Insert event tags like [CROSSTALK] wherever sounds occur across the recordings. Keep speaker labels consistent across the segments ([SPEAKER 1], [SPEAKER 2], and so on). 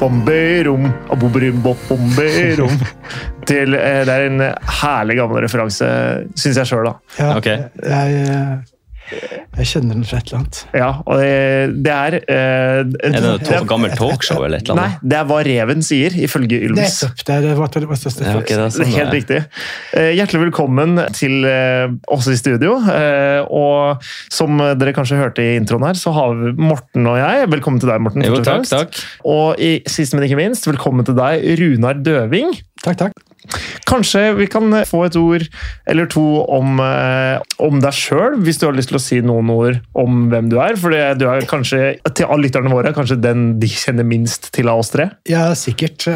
[SPEAKER 1] Bomberom, abobrimbop,
[SPEAKER 2] [LAUGHS]
[SPEAKER 1] bomberom. Til, eh, det er en herlig gammel referanse, syns jeg sjøl, da.
[SPEAKER 2] Ja,
[SPEAKER 3] Ok.
[SPEAKER 2] jeg, jeg, jeg kjenner den fra et eller annet.
[SPEAKER 1] Ja, og det, det er eh,
[SPEAKER 3] Er det
[SPEAKER 1] det
[SPEAKER 3] et gammelt talkshow eller et eller
[SPEAKER 1] Nei,
[SPEAKER 3] annet?
[SPEAKER 1] det er hva reven sier, ifølge Ylvis.
[SPEAKER 2] Nettopp. Det er det var det var største
[SPEAKER 3] Ja, ok, det er
[SPEAKER 1] Det
[SPEAKER 3] sånn
[SPEAKER 1] er
[SPEAKER 3] det
[SPEAKER 1] helt
[SPEAKER 3] er.
[SPEAKER 1] riktig. Eh, Hjertelig velkommen til eh, oss i studio. Eh, Og som dere kanskje hørte i introen her, så har vi Morten og jeg. Velkommen til deg, Morten.
[SPEAKER 3] Jo,
[SPEAKER 1] først og
[SPEAKER 3] takk,
[SPEAKER 1] fremst.
[SPEAKER 3] takk.
[SPEAKER 1] Og i, sist, men ikke minst, velkommen til deg, Runar Døving.
[SPEAKER 2] Takk, takk.
[SPEAKER 1] Kanskje vi kan eh, få et ord eller to om, eh, om deg sjøl, hvis du har lyst til å si noen ord om hvem du er. For det- du er kanskje, til alle lytterne våre, kanskje den de kjenner minst til av oss tre.
[SPEAKER 2] Ja, sikkert.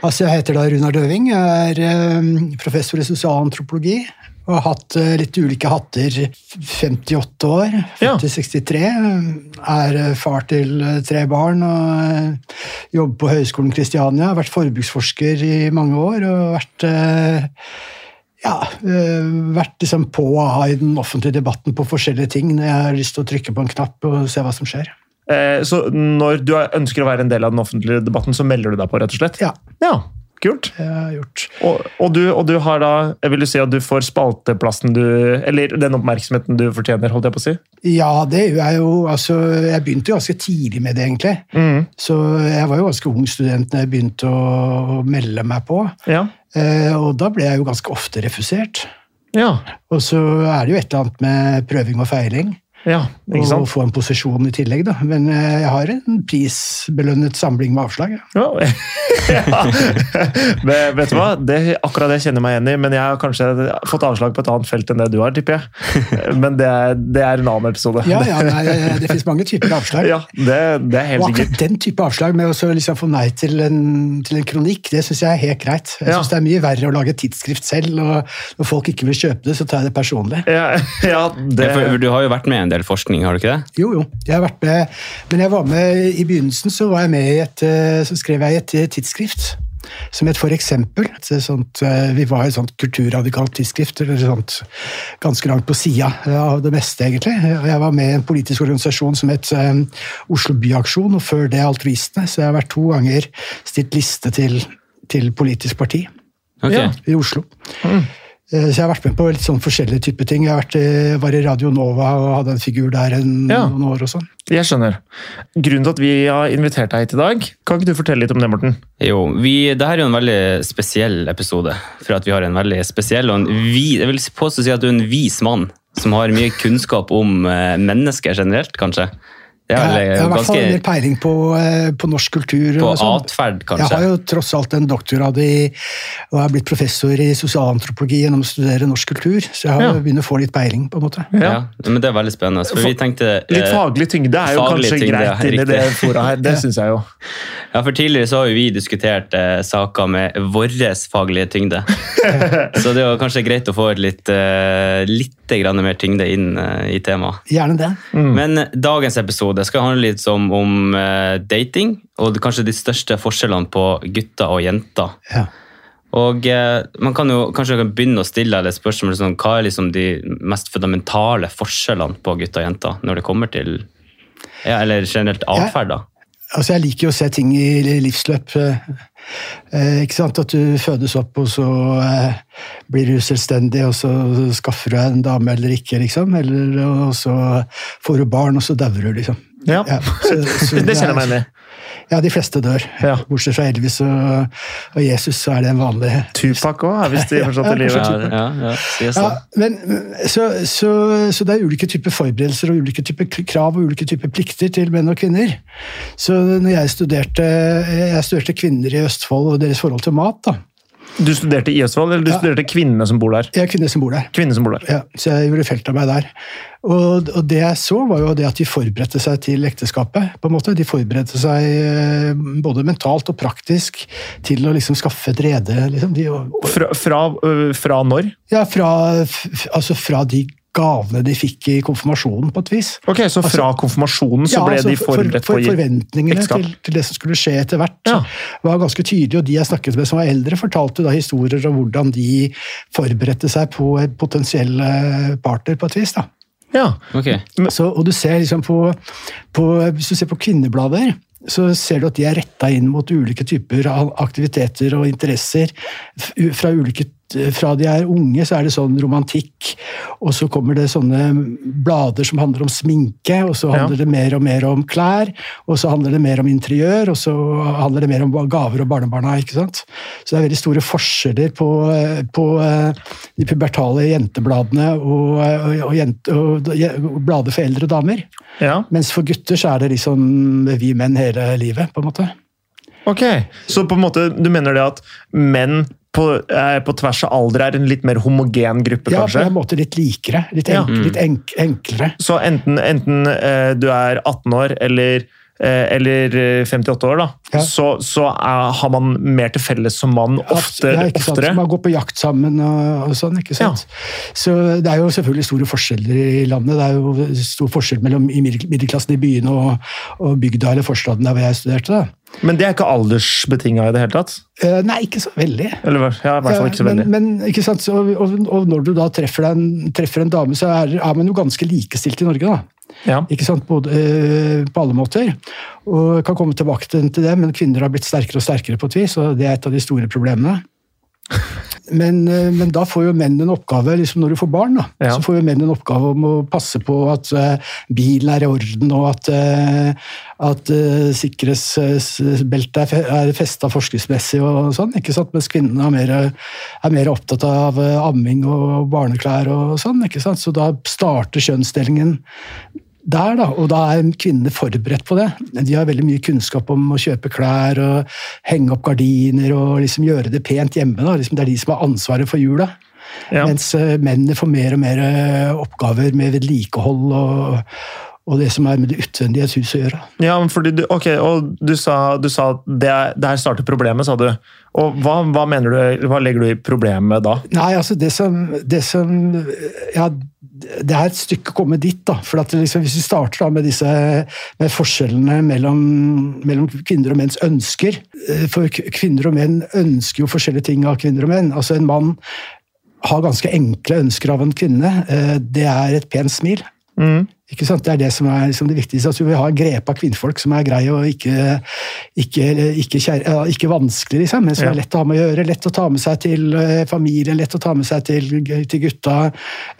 [SPEAKER 2] Altså, jeg heter da Runar Døving, jeg er eh, professor i sosialantropologi. Og har hatt eh, litt ulike hatter. 58 år,
[SPEAKER 1] Ja.
[SPEAKER 2] 50-63. Er eh, far til eh, tre barn og eh, jobber på Høgskolen Kristiania. Har vært forbruksforsker i mange år og vært eh, ja, eh, vært liksom på og av i den offentlige debatten på forskjellige ting når jeg har lyst til å trykke på en knapp og se hva som skjer.
[SPEAKER 1] Eh, Så når du er- ønsker å være en del av den offentlige debatten, så melder du deg på, rett og slett?
[SPEAKER 2] Ja,
[SPEAKER 1] Ja, kult.
[SPEAKER 2] det har jeg gjort.
[SPEAKER 1] Og, og, du, og du har da jeg Vil du si at du får spalteplassen du Eller den oppmerksomheten du fortjener, holdt jeg på å si?
[SPEAKER 2] Ja, det gjør jeg jo. Altså, jeg begynte jo ganske tidlig med det, egentlig.
[SPEAKER 1] Mhm,
[SPEAKER 2] Så jeg var jo ganske ung student da jeg begynte å melde meg på.
[SPEAKER 1] Ja.
[SPEAKER 2] Eh, og da ble jeg jo ganske ofte refusert.
[SPEAKER 1] Ja.
[SPEAKER 2] Og så er det jo et eller annet med prøving og feiling.
[SPEAKER 1] ja ikke
[SPEAKER 2] Og
[SPEAKER 1] sant?
[SPEAKER 2] få en posisjon i tillegg, da. Men eh, jeg har en prisbelønnet samling med avslag.
[SPEAKER 1] [LAUGHS]
[SPEAKER 2] Ja.
[SPEAKER 1] Ja. ja. Men Vet du hva? Det, akkurat det kjenner jeg meg igjen i, men jeg har kanskje fått avslag på et annet felt enn det du har, tipper jeg. Men det er, det er en annen episode.
[SPEAKER 2] Ja, ja, nei, det- det fins mange typer avslag.
[SPEAKER 1] [LAUGHS] Ja, det, det er helt
[SPEAKER 2] Og
[SPEAKER 1] sikkert.
[SPEAKER 2] akkurat den type avslag med å så liksom få nei til en, til en kronikk, det syns jeg er helt greit. Jeg
[SPEAKER 1] Ja.
[SPEAKER 2] synes Det er mye verre å lage et tidsskrift selv, og når folk ikke vil kjøpe det, så tar jeg det personlig.
[SPEAKER 1] Ja, ja, det,
[SPEAKER 3] Ja, for Du har jo vært med i en del forskning, har du ikke det?
[SPEAKER 2] Jo, jo, jeg har vært med, men jeg var med i begynnelsen, så, var jeg med i et, eh, så skrev jeg i et eh, tidsskrift. Som het For eksempel. Et sånt, eh, vi var i et sånt kulturradikalt tidsskrift, eller sånt, ganske langt på sida av det meste, egentlig. Og Jeg var med i en politisk organisasjon som het eh, Oslo Byaksjon, og før det Altruistene. Så jeg har vært to ganger stilt liste til, til politisk parti
[SPEAKER 3] Ok.
[SPEAKER 1] Ja.
[SPEAKER 2] i Oslo. Eh, Så jeg har vært med på litt sånn forskjellige typer ting. Jeg har vært, i- var i Radio Nova og hadde en figur der en,
[SPEAKER 1] Ja.
[SPEAKER 2] noen år og sånn.
[SPEAKER 1] Jeg skjønner. Grunnen til at vi har invitert deg hit i dag, kan ikke du fortelle litt om det, Morten?
[SPEAKER 3] Jo, vi, det her er jo en veldig spesiell episode, for at vi har en veldig spesiell og en vi, jeg vil påstå si at du er en vis mann, som har mye kunnskap om eh, mennesker generelt, kanskje. Det er
[SPEAKER 2] Jeg,
[SPEAKER 3] vel
[SPEAKER 2] jeg
[SPEAKER 3] eh,
[SPEAKER 2] har i hvert fall en del
[SPEAKER 3] ganske
[SPEAKER 2] peiling på, eh, på norsk kultur.
[SPEAKER 3] på
[SPEAKER 2] og sånn.
[SPEAKER 3] atferd,
[SPEAKER 2] Jeg har
[SPEAKER 3] kanskje.
[SPEAKER 2] jo tross alt en doktorgrad i, og er blitt professor i sosialantropologi gjennom å studere norsk kultur, så jeg har
[SPEAKER 1] Ja.
[SPEAKER 2] jo begynt å få litt peiling, på en måte.
[SPEAKER 3] Ja. men det er veldig spennende, for vi tenkte...
[SPEAKER 1] Litt
[SPEAKER 3] eh,
[SPEAKER 1] faglig tyngde er jo
[SPEAKER 3] faglig
[SPEAKER 1] kanskje
[SPEAKER 3] tyngde,
[SPEAKER 1] greit
[SPEAKER 3] ja,
[SPEAKER 1] inni det
[SPEAKER 3] riktig.
[SPEAKER 1] fora her. Det syns jeg jo.
[SPEAKER 3] Ja, for Tidligere så har jo vi diskutert eh, saker med vår faglige tyngde. så det var kanskje greit å få et litt, eh, litt grann mer tyngde inn eh, i temaet.
[SPEAKER 2] Gjerne det.
[SPEAKER 3] Men eh, dagens episode skal handle litt som om eh, dating, og kanskje de største forskjellene på gutter og jenter.
[SPEAKER 2] Ja.
[SPEAKER 3] Og eh, man kan jo kanskje kan begynne å stille deg et spørsmål sånn, hva er liksom de mest fundamentale forskjellene på gutter og jenter når det kommer til ja, Eller generelt atferd, da.
[SPEAKER 2] Altså, jeg liker jo å se ting i livsløp. eh, eh, Ikke sant? At du fødes opp, og så eh, blir du selvstendig, og så skaffer du deg en dame eller ikke, liksom. Eller, og så får du barn, og så dauer du, liksom.
[SPEAKER 1] Ja.
[SPEAKER 2] så- så
[SPEAKER 1] [LAUGHS] Det kjenner jeg
[SPEAKER 2] er-
[SPEAKER 1] meg igjen i.
[SPEAKER 2] Ja, de fleste dør.
[SPEAKER 1] Ja.
[SPEAKER 2] Bortsett fra Elvis og, og Jesus, så er det en vanlig
[SPEAKER 1] Tupac òg er visst de fortsatt i live.
[SPEAKER 3] Ja, ja, ja, sies det.
[SPEAKER 2] ja, men, så, så, så det er ulike typer forberedelser og ulike typer k- krav og ulike typer plikter til menn og kvinner. Så når jeg studerte, jeg studerte kvinner i Østfold og deres forhold til mat, da.
[SPEAKER 1] Du studerte i Østfold, eller du
[SPEAKER 2] Ja.
[SPEAKER 1] studerte kvinnene som bor der?
[SPEAKER 2] Jeg er kvinne som bor der.
[SPEAKER 1] Kvinner som bor der.
[SPEAKER 2] Ja, så jeg gjorde feltarbeid der. Og, og det jeg så, var jo det at de forberedte seg til ekteskapet. på en måte. De forberedte seg eh, både mentalt og praktisk til å liksom skaffe et rede. Liksom. De,
[SPEAKER 1] Fra, fra, øh, fra når?
[SPEAKER 2] ja, fra, f, altså fra de gavene de fikk i konfirmasjonen, på et vis.
[SPEAKER 1] Ok, Så fra konfirmasjonen så ble
[SPEAKER 2] altså,
[SPEAKER 1] de forberedt
[SPEAKER 2] for,
[SPEAKER 1] på
[SPEAKER 2] for,
[SPEAKER 1] å gi
[SPEAKER 2] Forventningene
[SPEAKER 1] ekteskap.
[SPEAKER 2] til, til det som skulle skje etter hvert,
[SPEAKER 1] Ja.
[SPEAKER 2] var ganske tydelige. Og de jeg snakket med som var eldre, fortalte da historier om hvordan de forberedte seg på en potensiell eh, partner, på et vis. da.
[SPEAKER 1] Ja.
[SPEAKER 3] Ok.
[SPEAKER 1] Men-
[SPEAKER 2] Så, og du ser liksom på, på Hvis du ser på kvinneblader, så ser du at de er retta inn mot ulike typer av aktiviteter og interesser. F- u- Fra, ulike, t- fra de er unge, så er det sånn romantikk, og så kommer det sånne blader som handler om sminke, og så handler det mer og mer om klær, og så handler det mer om interiør, og så handler det mer om ba- gaver og barnebarna. ikke sant? Så det er veldig store forskjeller på, eh, på eh, de pubertale jentebladene og, eh, og, og, jente, og, og blader for eldre damer.
[SPEAKER 1] Ja,
[SPEAKER 2] Mens for gutter så er det liksom vi menn hele livet, på en måte.
[SPEAKER 1] ok. Så på en måte, du mener det at menn på, eh, på tvers av alder er en litt mer homogen gruppe,
[SPEAKER 2] Ja, på
[SPEAKER 1] kanskje?
[SPEAKER 2] en måte litt likere. Litt,
[SPEAKER 1] Ja.
[SPEAKER 2] enk, litt enk, enklere.
[SPEAKER 1] Så enten, enten eh, du er 18 år eller eh, eller eh, 58 år, da.
[SPEAKER 2] Ja.
[SPEAKER 1] Så, så er, har man mer til felles som mann ofte,
[SPEAKER 2] Ja, ikke sant?
[SPEAKER 1] oftere.
[SPEAKER 2] Man går på jakt sammen og, og sånn. ikke sant? Så Det er jo selvfølgelig store forskjeller i landet. Det er jo stor forskjell mellom i middel- middelklassen i byene og, og bygda eller forstaden der hvor jeg studerte. da.
[SPEAKER 1] Men det er ikke aldersbetinga i det hele tatt?
[SPEAKER 2] Eh, Nei, ikke så veldig.
[SPEAKER 1] Eller hva- ja, i hvert fall ikke så
[SPEAKER 2] Ja,
[SPEAKER 1] veldig.
[SPEAKER 2] Men, men ikke sant? Så, og, og når du da treffer deg en, treffer en dame, så er, er man jo ganske likestilt i Norge, da.
[SPEAKER 1] Ja.
[SPEAKER 2] Ikke sant? Både, eh, på alle måter. Og jeg kan komme tilbake til til det, men kvinner har blitt sterkere og sterkere på et vis, og det er et av de store problemene.
[SPEAKER 1] [LAUGHS]
[SPEAKER 2] Men, eh, men da får jo menn en oppgave, liksom når du får barn, da,
[SPEAKER 1] Ja.
[SPEAKER 2] så får jo menn en oppgave om å passe på at eh, bilen er i orden, og at, eh, at eh, sikkerhetsbeltet er, fe er festa forskriftsmessig og sånn. ikke sant? Mens kvinnene er mer, er mer opptatt av eh, amming og barneklær og sånn. ikke sant? Så da starter kjønnsdelingen der, da. Og da er kvinnene forberedt på det. De har veldig mye kunnskap om å kjøpe klær og henge opp gardiner og liksom gjøre det pent hjemme. da. Liksom det er de som har ansvaret for jula.
[SPEAKER 1] Ja.
[SPEAKER 2] Mens eh, mennene får mer og mer eh, oppgaver med vedlikehold og, og det som er med det utvendige i et hus å gjøre.
[SPEAKER 1] Ja, men fordi du, ok, og du sa, du sa at det, er- der starter problemet, sa du. Og hva, hva mener du, hva legger du i problemet da?
[SPEAKER 2] Nei, altså det som, det som Ja, det er et stykke å komme dit, da. For at liksom, hvis vi starter da med disse med forskjellene mellom, mellom kvinner og menns ønsker eh, For k- kvinner og menn ønsker jo forskjellige ting av kvinner og menn. Altså en mann har ganske enkle ønsker av en kvinne. Eh, Det er et pent smil. Ikke sant? Det er det som er liksom det viktigste. At du vil ha en grep av kvinnfolk som er grei og ikke, ikke, ikke, kjær, ja, ikke vanskelig, liksom, men som
[SPEAKER 1] Ja.
[SPEAKER 2] er lett å ha med å gjøre. Lett å ta med seg til eh, familien, lett å ta med seg til, til gutta.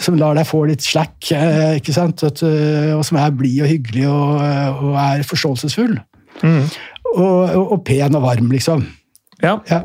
[SPEAKER 2] Som lar deg få litt slack, eh, ikke sant? At, eh, og som er blid og hyggelig og, eh, og er forståelsesfull. Og, og, og pen og varm, liksom.
[SPEAKER 1] Ja, [LAUGHS]
[SPEAKER 2] Ja.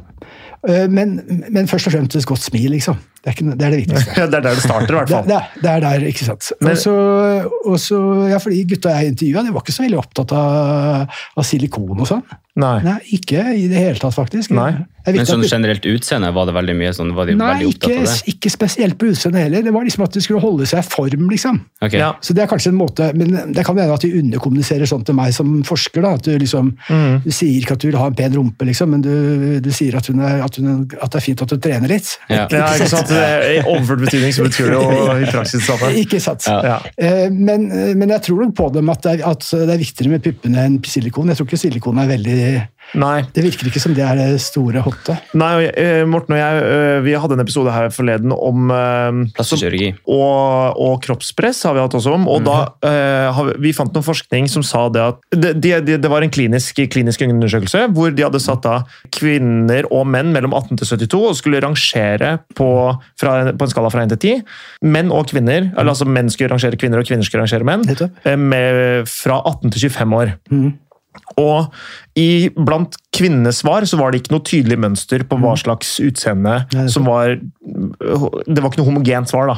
[SPEAKER 2] Eh, Men, men først og fremst et godt smil, liksom. Det er, ikke, det, er det viktigste.
[SPEAKER 1] det er der det starter i hvert
[SPEAKER 2] Det,
[SPEAKER 1] fall.
[SPEAKER 2] det, er- det er der, ikke sant.
[SPEAKER 1] Men-
[SPEAKER 2] Og så- og så, ja, fordi Gutta jeg intervjua, de var ikke så veldig opptatt av, av silikon og sånn.
[SPEAKER 1] Nei.
[SPEAKER 2] Nei, Ikke i det hele tatt, faktisk.
[SPEAKER 1] Nei.
[SPEAKER 2] Jeg vet
[SPEAKER 3] Men
[SPEAKER 2] at
[SPEAKER 3] sånn
[SPEAKER 2] du-
[SPEAKER 3] generelt utseende var det veldig mye sånn, var de
[SPEAKER 2] Nei,
[SPEAKER 3] veldig opptatt
[SPEAKER 2] ikke,
[SPEAKER 3] av det?
[SPEAKER 2] ikke spesielt på utseendet heller. Det var liksom at de skulle holde seg i form, liksom.
[SPEAKER 3] Ok.
[SPEAKER 1] Ja.
[SPEAKER 2] Så det er kanskje en måte, Men det kan hende at de underkommuniserer sånn til meg som forsker. da, at Du liksom,
[SPEAKER 1] Mm.
[SPEAKER 2] du sier ikke at du vil ha en pen rumpe, liksom, men du, du sier at, hun er, at, hun, at det er fint at du trener litt.
[SPEAKER 3] Ja.
[SPEAKER 1] Ja, ikke sant? Det er- I overført betydning så betyr det
[SPEAKER 2] [LAUGHS]
[SPEAKER 1] jo i praksis det samme.
[SPEAKER 2] Ikke sant?
[SPEAKER 3] Ja.
[SPEAKER 1] Ja.
[SPEAKER 2] Eh, Men, men jeg tror nok på dem at det, er, at det er viktigere med puppene enn silikon. Jeg tror ikke silikon er veldig
[SPEAKER 1] Nei.
[SPEAKER 2] Det virker ikke som det er det store hotte.
[SPEAKER 1] Nei, og jeg- eh, Morten og jeg eh, vi hadde en episode her forleden om eh,
[SPEAKER 3] Plastikkirurgi.
[SPEAKER 1] og, og kroppspress har vi hatt også om. Og da eh, har vi, vi fant noen forskning som sa det at det, det, det, det var en klinisk, klinisk undersøkelse hvor de hadde satt av kvinner og menn mellom 18 til 72 og skulle rangere på, fra, på en skala fra 1 til 10. Menn og kvinner, eller altså menn skulle rangere kvinner og kvinner skulle rangere menn,
[SPEAKER 2] Nettopp.
[SPEAKER 1] eh, med, fra 18 til 25 år. Og i, blant kvinnesvar så var det ikke noe tydelig mønster på hva slags utseende
[SPEAKER 2] Mm. Nei, det er Mm.
[SPEAKER 1] som var Det var ikke noe homogent svar, da.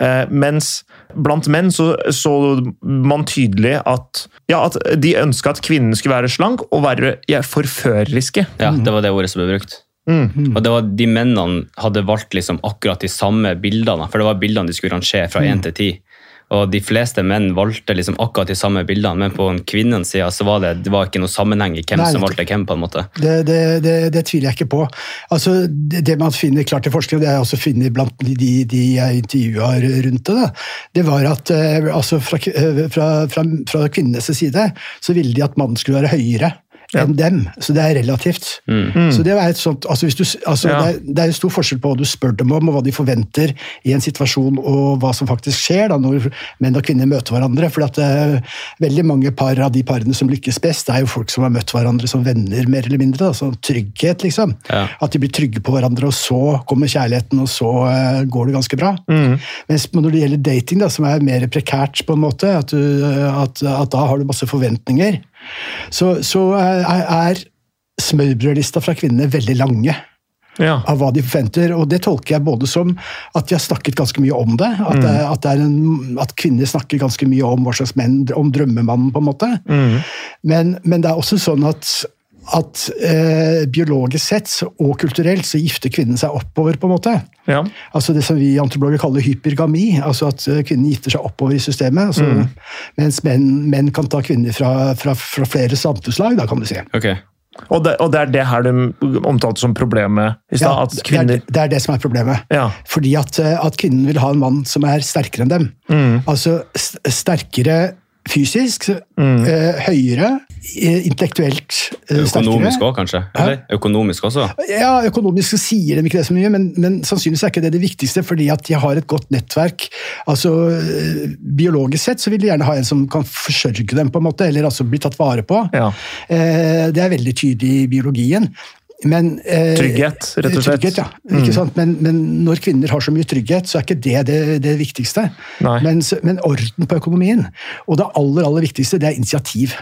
[SPEAKER 1] Eh, mens blant menn så, så man tydelig at Ja, at de ønska at kvinnen skulle være slank og være ja, forføreriske.
[SPEAKER 3] Ja,
[SPEAKER 2] Mm.
[SPEAKER 3] det var det ordet som ble brukt.
[SPEAKER 1] Mm.
[SPEAKER 3] Og det var de mennene hadde valgt liksom akkurat de samme bildene, for det var bildene de skulle rangere
[SPEAKER 2] Mm.
[SPEAKER 3] fra 1 til 10. Og de fleste menn valgte liksom akkurat de samme bildene, men på en kvinnens side så var det, det var ikke noe sammenheng i hvem
[SPEAKER 2] Nei,
[SPEAKER 3] som
[SPEAKER 2] nettopp.
[SPEAKER 3] valgte hvem, på en måte.
[SPEAKER 2] Det, det, det, det tviler jeg ikke på. Altså, det, det man finner klart i forskning, og det har jeg også funnet blant de, de- de jeg intervjua rundt det, da, det var at eh, altså fra, k- eh, fra, fra, fra kvinnenes side så ville de at mannen skulle være høyere
[SPEAKER 1] Ja. Mm.
[SPEAKER 2] enn dem. Så det er relativt. Så det er et sånt, altså hvis du, s- altså
[SPEAKER 1] Ja.
[SPEAKER 2] det, er, det er jo stor forskjell på hva du spør dem om, og hva de forventer i en situasjon, og hva som faktisk skjer da, når menn og kvinner møter hverandre. For at, eh, veldig mange par av de parene som lykkes best, det er jo folk som har møtt hverandre som venner, mer eller mindre. Da, sånn trygghet, liksom.
[SPEAKER 3] Ja.
[SPEAKER 2] At de blir trygge på hverandre, og så kommer kjærligheten, og så eh, går det ganske bra. Mens når det gjelder dating, da, som er mer prekært, på en måte, at, du, at, at da har du masse forventninger, så, så er, er smørbrødlista fra kvinnene veldig lange
[SPEAKER 1] Ja.
[SPEAKER 2] av hva de forventer, og det tolker jeg både som at de har snakket ganske mye om det, at, det,
[SPEAKER 1] Mm.
[SPEAKER 2] at, det er en, at kvinner snakker ganske mye om hva slags menn, om drømmemannen på en måte,
[SPEAKER 1] Mm.
[SPEAKER 2] men, men det er også sånn at at eh, biologisk sett og kulturelt så gifter kvinnen seg oppover, på en måte.
[SPEAKER 1] ja.
[SPEAKER 2] Altså det som vi antropologer kaller hypergami, altså at eh, kvinnen gifter seg oppover i systemet, altså,
[SPEAKER 1] Mm.
[SPEAKER 2] mens menn, menn kan ta kvinner fra, fra, fra flere samfunnslag, da kan du si.
[SPEAKER 3] Ok.
[SPEAKER 1] Og, det, og det er det her du omtalte som problemet i stad.
[SPEAKER 2] Ja,
[SPEAKER 1] at kvinner
[SPEAKER 2] det, er, det er det som er problemet.
[SPEAKER 1] Ja.
[SPEAKER 2] Fordi at, eh, at kvinnen vil ha en mann som er sterkere enn dem. Altså s- sterkere fysisk, eh, høyere, eh, intellektuelt eh, sterkere.
[SPEAKER 3] Økonomisk òg, kanskje? Eller? Økonomisk også?
[SPEAKER 2] Ja, Økonomisk så sier de ikke det så mye, men, men sannsynligvis er ikke det det viktigste, fordi at de har et godt nettverk. Altså, eh, Biologisk sett så vil de gjerne ha en som kan forsørge dem, på en måte, eller altså bli tatt vare på.
[SPEAKER 1] Ja.
[SPEAKER 2] Eh, Det er veldig tydelig i biologien. Men, eh,
[SPEAKER 1] Trygghet, rett og slett. Mm.
[SPEAKER 2] Trygghet, ja. Ikke sant? Men, men når kvinner har så mye trygghet, så er ikke det det, det viktigste.
[SPEAKER 1] Nei.
[SPEAKER 2] Men, men orden på økonomien. Og det aller, aller viktigste, det er initiativ.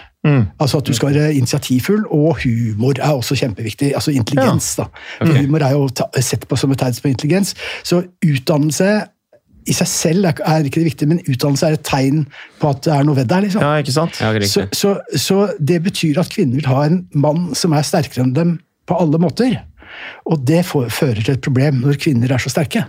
[SPEAKER 2] Altså At du skal være initiativfull, og humor er også kjempeviktig. Altså intelligens, da. For humor er jo ta- sett på som et tegn på intelligens. Så utdannelse i seg selv er, er ikke det viktige, men utdannelse er et tegn på at det er noe ved deg. liksom.
[SPEAKER 1] ja, ikke sant?
[SPEAKER 3] Ja, riktig.
[SPEAKER 2] Så, så, så det betyr at kvinner vil ha en mann som er sterkere enn dem på alle måter. Og det får, fører til et problem når kvinner er så sterke.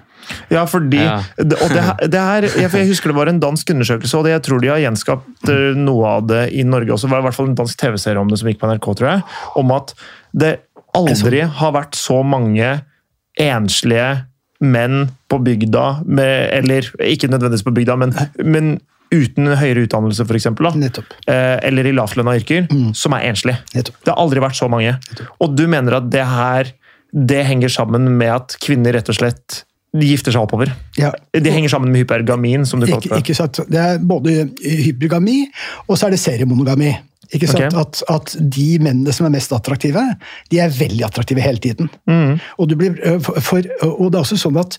[SPEAKER 1] Ja, fordi
[SPEAKER 3] Ja.
[SPEAKER 1] det- Og det, her- det her, jeg, for jeg husker det var en dansk undersøkelse, og det, jeg tror de har gjenskapt eh, noe av det i Norge også. Det var i hvert fall en dansk TV-serie om det som gikk på NRK, tror jeg. Om at det aldri har vært så mange enslige menn på bygda, med, eller ikke nødvendigvis på bygda, men, men uten høyere utdannelse, f.eks.
[SPEAKER 2] Nettopp.
[SPEAKER 1] Eh, Eller i lavtlønna yrker, som er enslige.
[SPEAKER 2] Nettopp.
[SPEAKER 1] Det har aldri vært så mange. Og du mener at det her det henger sammen med at kvinner rett og slett gifter seg oppover.
[SPEAKER 2] Ja.
[SPEAKER 1] Det henger sammen med hypergamin, som du kalte
[SPEAKER 2] Ikke,
[SPEAKER 1] det.
[SPEAKER 2] ikke sant? Det er både hypergami, og så er det seriemonogami. Ikke sant?
[SPEAKER 1] Ok.
[SPEAKER 2] At, at de mennene som er mest attraktive, de er veldig attraktive hele tiden.
[SPEAKER 1] Mm.
[SPEAKER 2] Og, du blir, ø, for, for, og det er også sånn at,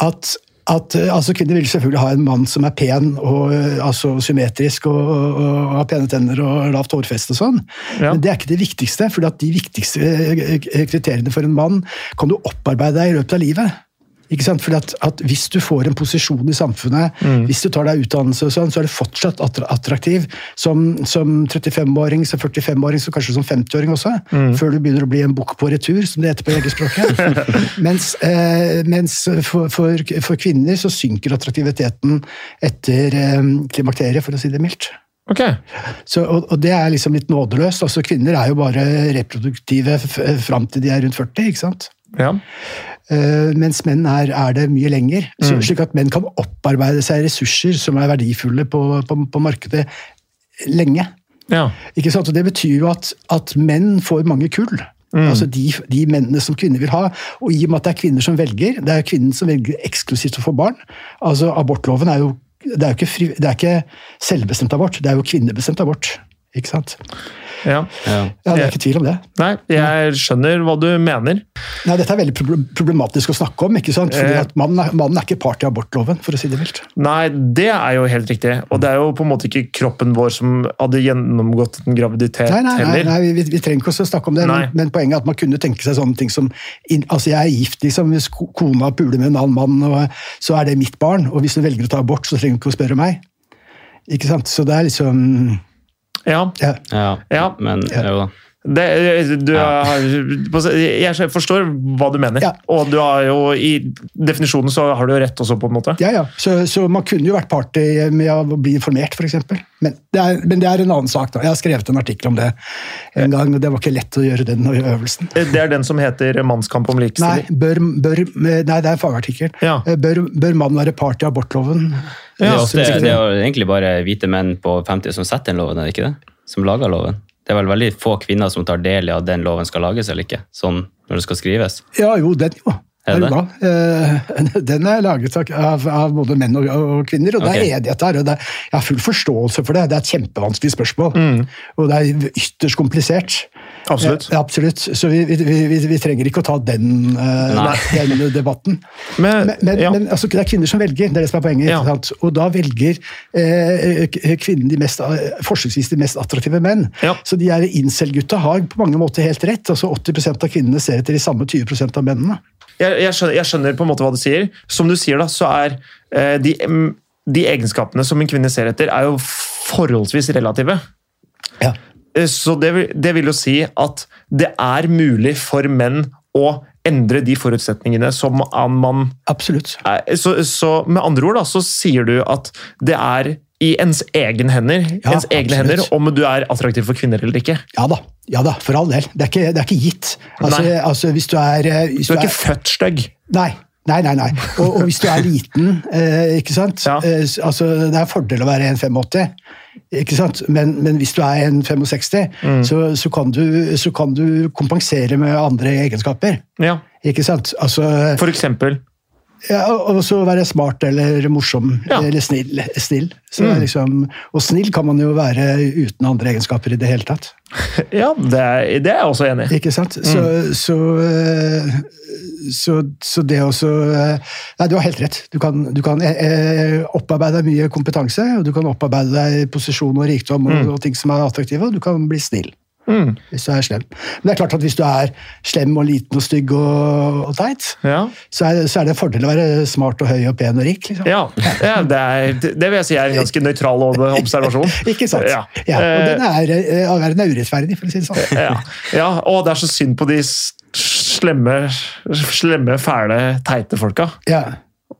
[SPEAKER 2] at at, ø, altså Kvinner vil selvfølgelig ha en mann som er pen og ø, altså symmetrisk og, og, og har pene tenner og lavt hårfeste og sånn,
[SPEAKER 1] Ja.
[SPEAKER 2] men det er ikke det viktigste. For de viktigste ø, ø, kriteriene for en mann kan du opparbeide deg i løpet av livet. Ikke sant? Fordi at, at Hvis du får en posisjon i samfunnet, hvis du tar deg utdannelse, og sånn, så er du fortsatt attra- attraktiv som, som 35-åring, som 45-åring, så kanskje som 50-åring også. Før du begynner å bli en bukk på retur, som det heter på legespråket. mens eh, mens for, for, for kvinner så synker attraktiviteten etter eh, klimakteriet, for å si det mildt.
[SPEAKER 1] Ok.
[SPEAKER 2] Så, og, og det er liksom litt nådeløst. Altså, kvinner er jo bare reproduktive f- fram til de er rundt 40. ikke sant?
[SPEAKER 1] Ja.
[SPEAKER 2] Eh, mens menn er, er det mye lenger. Så, Slik at menn kan opparbeide seg ressurser som er verdifulle på, på, på markedet lenge.
[SPEAKER 1] ja.
[SPEAKER 2] Ikke sant? Og det betyr jo at, at menn får mange kull. Altså de, de mennene som kvinner vil ha. Og i og med at det er kvinner som velger, det er kvinnen som velger eksklusivt å få barn. Altså Abortloven er jo, det er jo ikke, fri, det er ikke selvbestemt abort, det er jo kvinnebestemt abort. Ikke sant?
[SPEAKER 1] ja.
[SPEAKER 3] Ja.
[SPEAKER 2] Ja, Det er ikke tvil om det.
[SPEAKER 1] Nei, jeg skjønner hva du mener.
[SPEAKER 2] Nei, Dette er veldig proble- problematisk å snakke om. ikke sant? Fordi
[SPEAKER 1] Eh.
[SPEAKER 2] at Mannen er, mannen er ikke part i abortloven, for å si det mildt.
[SPEAKER 1] Nei, det er jo helt riktig. Og det er jo på en måte ikke kroppen vår som hadde gjennomgått en graviditet
[SPEAKER 2] Nei, nei, nei,
[SPEAKER 1] Eh, heller.
[SPEAKER 2] nei vi, vi trenger ikke å snakke om det,
[SPEAKER 1] Nei.
[SPEAKER 2] men, men poenget er at man kunne tenke seg sånne ting som inn- altså Jeg er gift, liksom. Hvis ko- kona puler med en annen mann, og, så er det mitt barn. Og hvis hun velger å ta abort, så trenger hun ikke å spørre meg. Ikke sant? Så det er liksom
[SPEAKER 1] Ja.
[SPEAKER 2] ja.
[SPEAKER 3] ja.
[SPEAKER 1] Ja.
[SPEAKER 3] Men jo da.
[SPEAKER 1] Det, du
[SPEAKER 3] Ja.
[SPEAKER 1] har, jeg forstår hva du mener.
[SPEAKER 2] Ja.
[SPEAKER 1] Og du har jo i definisjonen så har du jo rett også, på en måte.
[SPEAKER 2] Ja, ja. Så, så man kunne jo vært part i- med å bli informert, f.eks. Men, det er- men det er en annen sak. da. Jeg har skrevet en artikkel om det en gang, og det var ikke lett å gjøre den øvelsen.
[SPEAKER 1] Det er den som heter 'Mannskamp om
[SPEAKER 2] Nei,
[SPEAKER 1] likestilling'.
[SPEAKER 2] bør, bør, nei det er en fagartikkel.
[SPEAKER 1] Ja.
[SPEAKER 2] Bør, bør mann være part i abortloven?
[SPEAKER 3] Det er,
[SPEAKER 1] Ja,
[SPEAKER 3] ofte, det er jo egentlig bare hvite menn på 50 som setter den loven, er det ikke det? Som lager loven. Det er vel veldig få kvinner som tar del i at den loven skal lages eller ikke, sånn når det skal skrives.
[SPEAKER 2] Ja, jo, den jo.
[SPEAKER 3] Er
[SPEAKER 2] Er
[SPEAKER 3] det?
[SPEAKER 2] du gal? Eh, [LAUGHS] Den er laget av- av, av både menn og, og kvinner, og det
[SPEAKER 3] Ok.
[SPEAKER 2] er enighet der. og det er, Jeg har full forståelse for det. Det er et kjempevanskelig spørsmål. Og det er ytterst komplisert.
[SPEAKER 1] Absolutt.
[SPEAKER 2] Eh, absolutt. Så vi, vi, vi, vi- vi trenger ikke å ta den, eh,
[SPEAKER 3] Nei.
[SPEAKER 2] den debatten.
[SPEAKER 1] Men,
[SPEAKER 2] Men, men,
[SPEAKER 1] Eh, ja.
[SPEAKER 2] men altså, det er kvinner som velger, det er det som er poenget.
[SPEAKER 1] Ja.
[SPEAKER 2] Ikke sant? Og da velger eh, k- kvinnen de mest, forsøksvis de mest attraktive menn.
[SPEAKER 1] Ja.
[SPEAKER 2] Så de her incel-gutta har på mange måter helt rett. altså 80 av kvinnene ser etter de samme 20 av mennene.
[SPEAKER 1] jeg, jeg, skjønner, jeg skjønner på en måte hva du sier. Som du sier, da, så er eh, de, em, de egenskapene som en kvinne ser etter, er jo forholdsvis relative.
[SPEAKER 2] Ja.
[SPEAKER 1] Eh, Så det, vil- det vil jo si at det er mulig for menn å endre de forutsetningene som an- man
[SPEAKER 2] Absolutt.
[SPEAKER 1] er. Så, så med andre ord da, så sier du at det er i ens egen hender,
[SPEAKER 2] Ja,
[SPEAKER 1] ens egne hender
[SPEAKER 2] absolutt.
[SPEAKER 1] om du er attraktiv for kvinner eller ikke.
[SPEAKER 2] Ja da, ja da, for all del. Det er ikke, det er ikke gitt. Altså,
[SPEAKER 1] Nei.
[SPEAKER 2] altså, hvis du er, eh, hvis
[SPEAKER 1] Du er ikke født stygg.
[SPEAKER 2] Nei. Nei, nei, nei. Og, og hvis du er liten, eh, ikke sant?
[SPEAKER 1] Ja.
[SPEAKER 2] Eh, s- altså, det er en fordel å være 1,85, ikke sant? Men, men hvis du er 1,65,
[SPEAKER 1] Mm.
[SPEAKER 2] så, så, kan du- så kan du kompensere med andre egenskaper.
[SPEAKER 1] Ja.
[SPEAKER 2] Ikke sant? Altså,
[SPEAKER 1] For eksempel.
[SPEAKER 2] ja, og og så være smart eller morsom
[SPEAKER 1] Ja. Mm.
[SPEAKER 2] eller snill. snill. Så det er liksom, og snill kan man jo være uten andre egenskaper i det hele tatt.
[SPEAKER 1] Ja, det er, det er jeg også enig i.
[SPEAKER 2] Ikke sant? Så, så, eh, så, så det også eh, Nei, du har helt rett. Du kan, du kan eh, eh, opparbeide deg mye kompetanse, og du kan opparbeide deg posisjon og rikdom og, og ting som er attraktive, og du kan bli snill.
[SPEAKER 1] Mm.
[SPEAKER 2] Hvis du er slem. Men det er klart at hvis du er slem og liten og stygg og, og teit,
[SPEAKER 1] Ja.
[SPEAKER 2] så er, så er det en fordel å være smart og høy og pen og rik. Liksom.
[SPEAKER 1] Ja, ja det, er, det vil jeg si er en ganske nøytral observasjon.
[SPEAKER 2] [LAUGHS] Ikke sant?
[SPEAKER 1] Ja.
[SPEAKER 2] Ja, og
[SPEAKER 1] Eh,
[SPEAKER 2] den er, eh, all verden er urettferdig, for å si det sånn.
[SPEAKER 1] ja. ja, og det er så synd på de s- slemme, slemme fæle, teite folka.
[SPEAKER 2] Ja,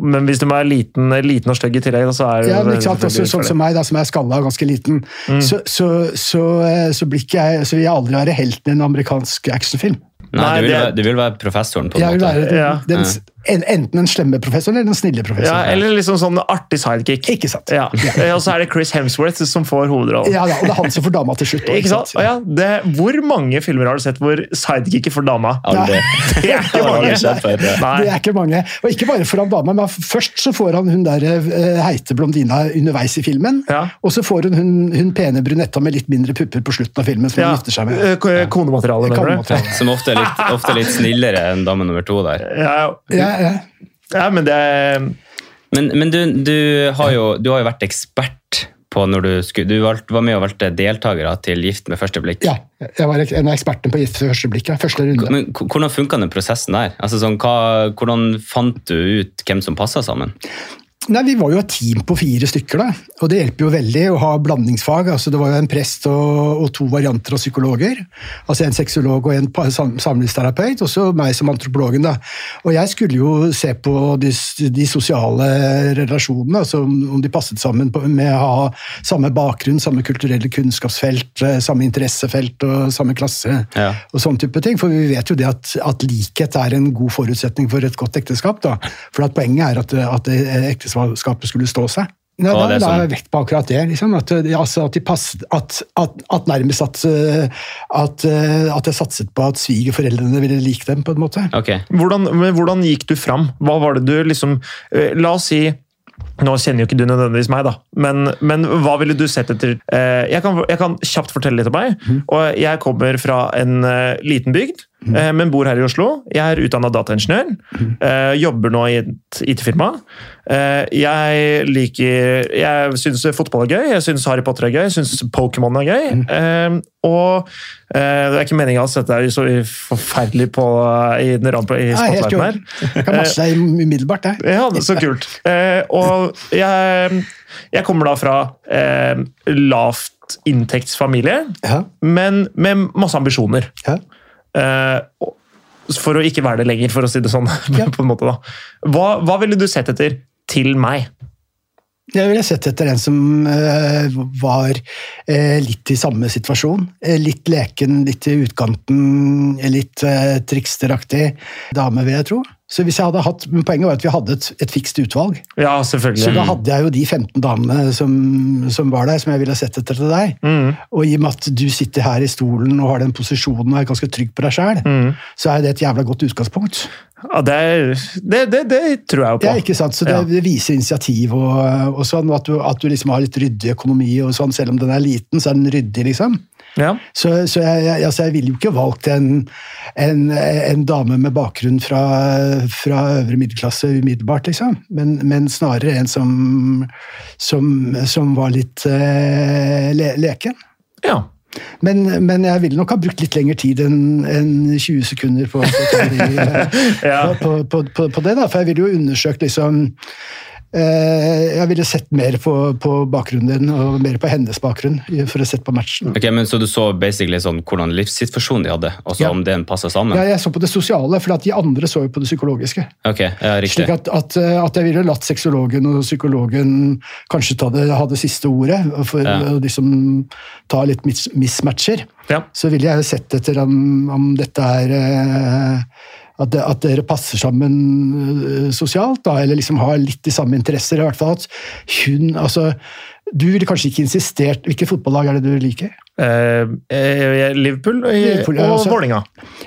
[SPEAKER 1] Men hvis de er liten, liten og stygg i tillegg, da, så er det
[SPEAKER 2] ja men ikke sant? Også,
[SPEAKER 1] selvfølgelig
[SPEAKER 2] sånn
[SPEAKER 1] for Mm.
[SPEAKER 2] som meg, da, som er skalla og ganske liten, så, så, så, eh, så, blir ikke jeg, så vil jeg aldri være helten i en amerikansk actionfilm.
[SPEAKER 3] Nei,
[SPEAKER 1] Nei,
[SPEAKER 3] du, vil
[SPEAKER 1] det-
[SPEAKER 3] være, du vil være professoren, på en
[SPEAKER 2] Jeg vil
[SPEAKER 3] måte.
[SPEAKER 2] være den,
[SPEAKER 1] Ja. Mm.
[SPEAKER 2] den, s- en, enten den slemme professoren eller den snille
[SPEAKER 1] Ja,
[SPEAKER 2] professoren.
[SPEAKER 1] eller liksom sånn artig sidekick.
[SPEAKER 2] Ikke sant?
[SPEAKER 1] Ja. Eh, Og så er det Chris Hemsworth som får hovedrollen.
[SPEAKER 2] Ja, da, og det er han som får dama til slutt. også,
[SPEAKER 1] Ikke sant? Å Ja, det, hvor mange filmer har du sett hvor sidekicket får dama?
[SPEAKER 3] Aldri.
[SPEAKER 1] Det er ikke
[SPEAKER 3] Har aldri
[SPEAKER 1] mange.
[SPEAKER 3] skjedd før, det.
[SPEAKER 2] Det
[SPEAKER 1] Nei.
[SPEAKER 2] er ikke mange. Og ikke bare får han dama, men først så får han hun der eh, heite blondina underveis i filmen.
[SPEAKER 1] Ja.
[SPEAKER 2] Og så får hun hun, hun pene brunetta med litt mindre pupper på slutten av filmen som
[SPEAKER 1] Ja.
[SPEAKER 2] hun gifter seg med.
[SPEAKER 1] eh, ko- Konemateriale, mener du?
[SPEAKER 2] Kamerater.
[SPEAKER 3] [LAUGHS] Som ofte er, litt, ofte er litt snillere enn dame nummer to der.
[SPEAKER 1] Ja,
[SPEAKER 2] Ja, ja.
[SPEAKER 1] ja, men det er-
[SPEAKER 3] Men, men du, du, har jo, du har jo vært ekspert på når du skulle Du valgte- var med og valgte deltakere til Gift med første blikk.
[SPEAKER 2] ja, jeg var ek- en av ekspertene på gift ved første blikk. Ja. Første runde.
[SPEAKER 3] Men h- hvordan funka den prosessen der? Altså sånn, hva, hvordan fant du ut hvem som passa sammen?
[SPEAKER 2] Nei, Vi var jo et team på fire stykker, da. og det hjelper jo veldig å ha blandingsfag. Altså, det var jo en prest og, og to varianter av psykologer. Altså En sexolog og en pa- sam- samlivsterapeut, og så meg som antropologen. da. Og Jeg skulle jo se på de, s- de sosiale relasjonene, altså om om de passet sammen på, med å ha samme bakgrunn, samme kulturelle kunnskapsfelt, eh, samme interessefelt og samme klasse.
[SPEAKER 3] Ja.
[SPEAKER 2] og sånn type ting. For vi vet jo det at, at likhet er en god forutsetning for et godt ekteskap. da. For at poenget er at, at det ekteskapet skulle stå seg. Nei,
[SPEAKER 3] Ja,
[SPEAKER 2] da,
[SPEAKER 3] det er
[SPEAKER 2] da er
[SPEAKER 3] sånn.
[SPEAKER 2] jeg vekt på akkurat det. liksom, At, eh, altså, at, de passet, at, at, at nærmest at, eh, at, eh, at jeg satset på at svigerforeldrene ville like dem, på en måte.
[SPEAKER 3] Ok,
[SPEAKER 1] hvordan, men hvordan gikk du fram? Hva var det du liksom eh, La oss si nå kjenner jo ikke du nødvendigvis meg, da, men, men hva ville du sett etter? Eh, Jeg kan, jeg kan kjapt fortelle litt om meg. og Jeg kommer fra en eh, liten bygd, eh, men bor her i Oslo. Jeg er utdanna dataingeniør. eh, Jobber nå i et IT-firma. Eh, Jeg liker Jeg syns fotball er gøy, jeg syns Harry Potter er gøy, jeg syns Pokémon er gøy. eh, Og eh, det er ikke meninga å sette deg så forferdelig på eh, i, den rampe- i
[SPEAKER 2] Nei, helt i
[SPEAKER 1] spotlighten her.
[SPEAKER 2] orden. Jeg kan matche deg umiddelbart, jeg.
[SPEAKER 1] Ja, det er så kult. Eh, og jeg, jeg kommer da fra eh, lavt inntektsfamilie,
[SPEAKER 2] Ja,
[SPEAKER 1] men med masse ambisjoner.
[SPEAKER 2] ja.
[SPEAKER 1] Eh, og- for å ikke være det lenger, for å si det sånn. [LAUGHS]
[SPEAKER 2] Ja.
[SPEAKER 1] på en måte da. Hva, hva ville du sett etter til meg?
[SPEAKER 2] Jeg ville sett etter en som eh, var eh, litt i samme situasjon. Eh, litt leken, litt i utkanten, eh, litt eh, triksteraktig dame, vil jeg tro. Så hvis jeg hadde hatt, men Poenget var at vi hadde et, et fikst utvalg.
[SPEAKER 1] Ja,
[SPEAKER 2] Så
[SPEAKER 1] selvfølgelig.
[SPEAKER 2] da hadde jeg jo de 15 damene som, som var der, som jeg ville sett etter til deg. Og i og med at du sitter her i stolen og har den posisjonen og er ganske trygg på deg sjæl, så er det et jævla godt utgangspunkt.
[SPEAKER 1] Ja, det, er, det, det, det tror jeg jo på.
[SPEAKER 2] Ja, ikke sant? Så det,
[SPEAKER 1] Ja.
[SPEAKER 2] det viser initiativ og, og sånn, og at du, at du liksom har litt ryddig økonomi og sånn, selv om den er liten, så er den ryddig, liksom.
[SPEAKER 1] Ja.
[SPEAKER 2] Så, så jeg, jeg, altså jeg ville jo ikke valgt en, en, en dame med bakgrunn fra, fra øvre middelklasse umiddelbart, liksom. Men, men snarere en som, som, som var litt eh, le, leken.
[SPEAKER 1] ja.
[SPEAKER 2] Men, men jeg ville nok ha brukt litt lengre tid enn enn 20 sekunder på, på,
[SPEAKER 1] Ja.
[SPEAKER 2] på, på, på, på det, da. For jeg ville jo undersøkt liksom eh, Jeg ville sett mer på, på bakgrunnen din, og mer på hennes bakgrunn, for å sette på matchen.
[SPEAKER 3] Ok, men Så du så basically sånn hvordan livssituasjonen de hadde, og så
[SPEAKER 2] Ja.
[SPEAKER 3] om den passa sammen?
[SPEAKER 2] Ja, jeg så på det sosiale, for at de andre så jo på det psykologiske.
[SPEAKER 3] Ok, ja, riktig.
[SPEAKER 2] Slik at, at, eh, at jeg ville latt sexologen og psykologen kanskje ta det, ha det siste ordet, for
[SPEAKER 3] Ja.
[SPEAKER 2] å liksom ta litt mis mismatcher.
[SPEAKER 1] Ja.
[SPEAKER 2] Så ville jeg sett etter om, om dette er eh, at, det- at dere passer sammen eh, sosialt, da, eller liksom har litt de samme interesser. i hvert fall at hun, altså, Du ville kanskje ikke insistert Hvilket fotballag er det du liker?
[SPEAKER 1] Eh, eh, Liverpool og,
[SPEAKER 2] Liverpool, ja,
[SPEAKER 1] og
[SPEAKER 2] altså.
[SPEAKER 1] Vålinga.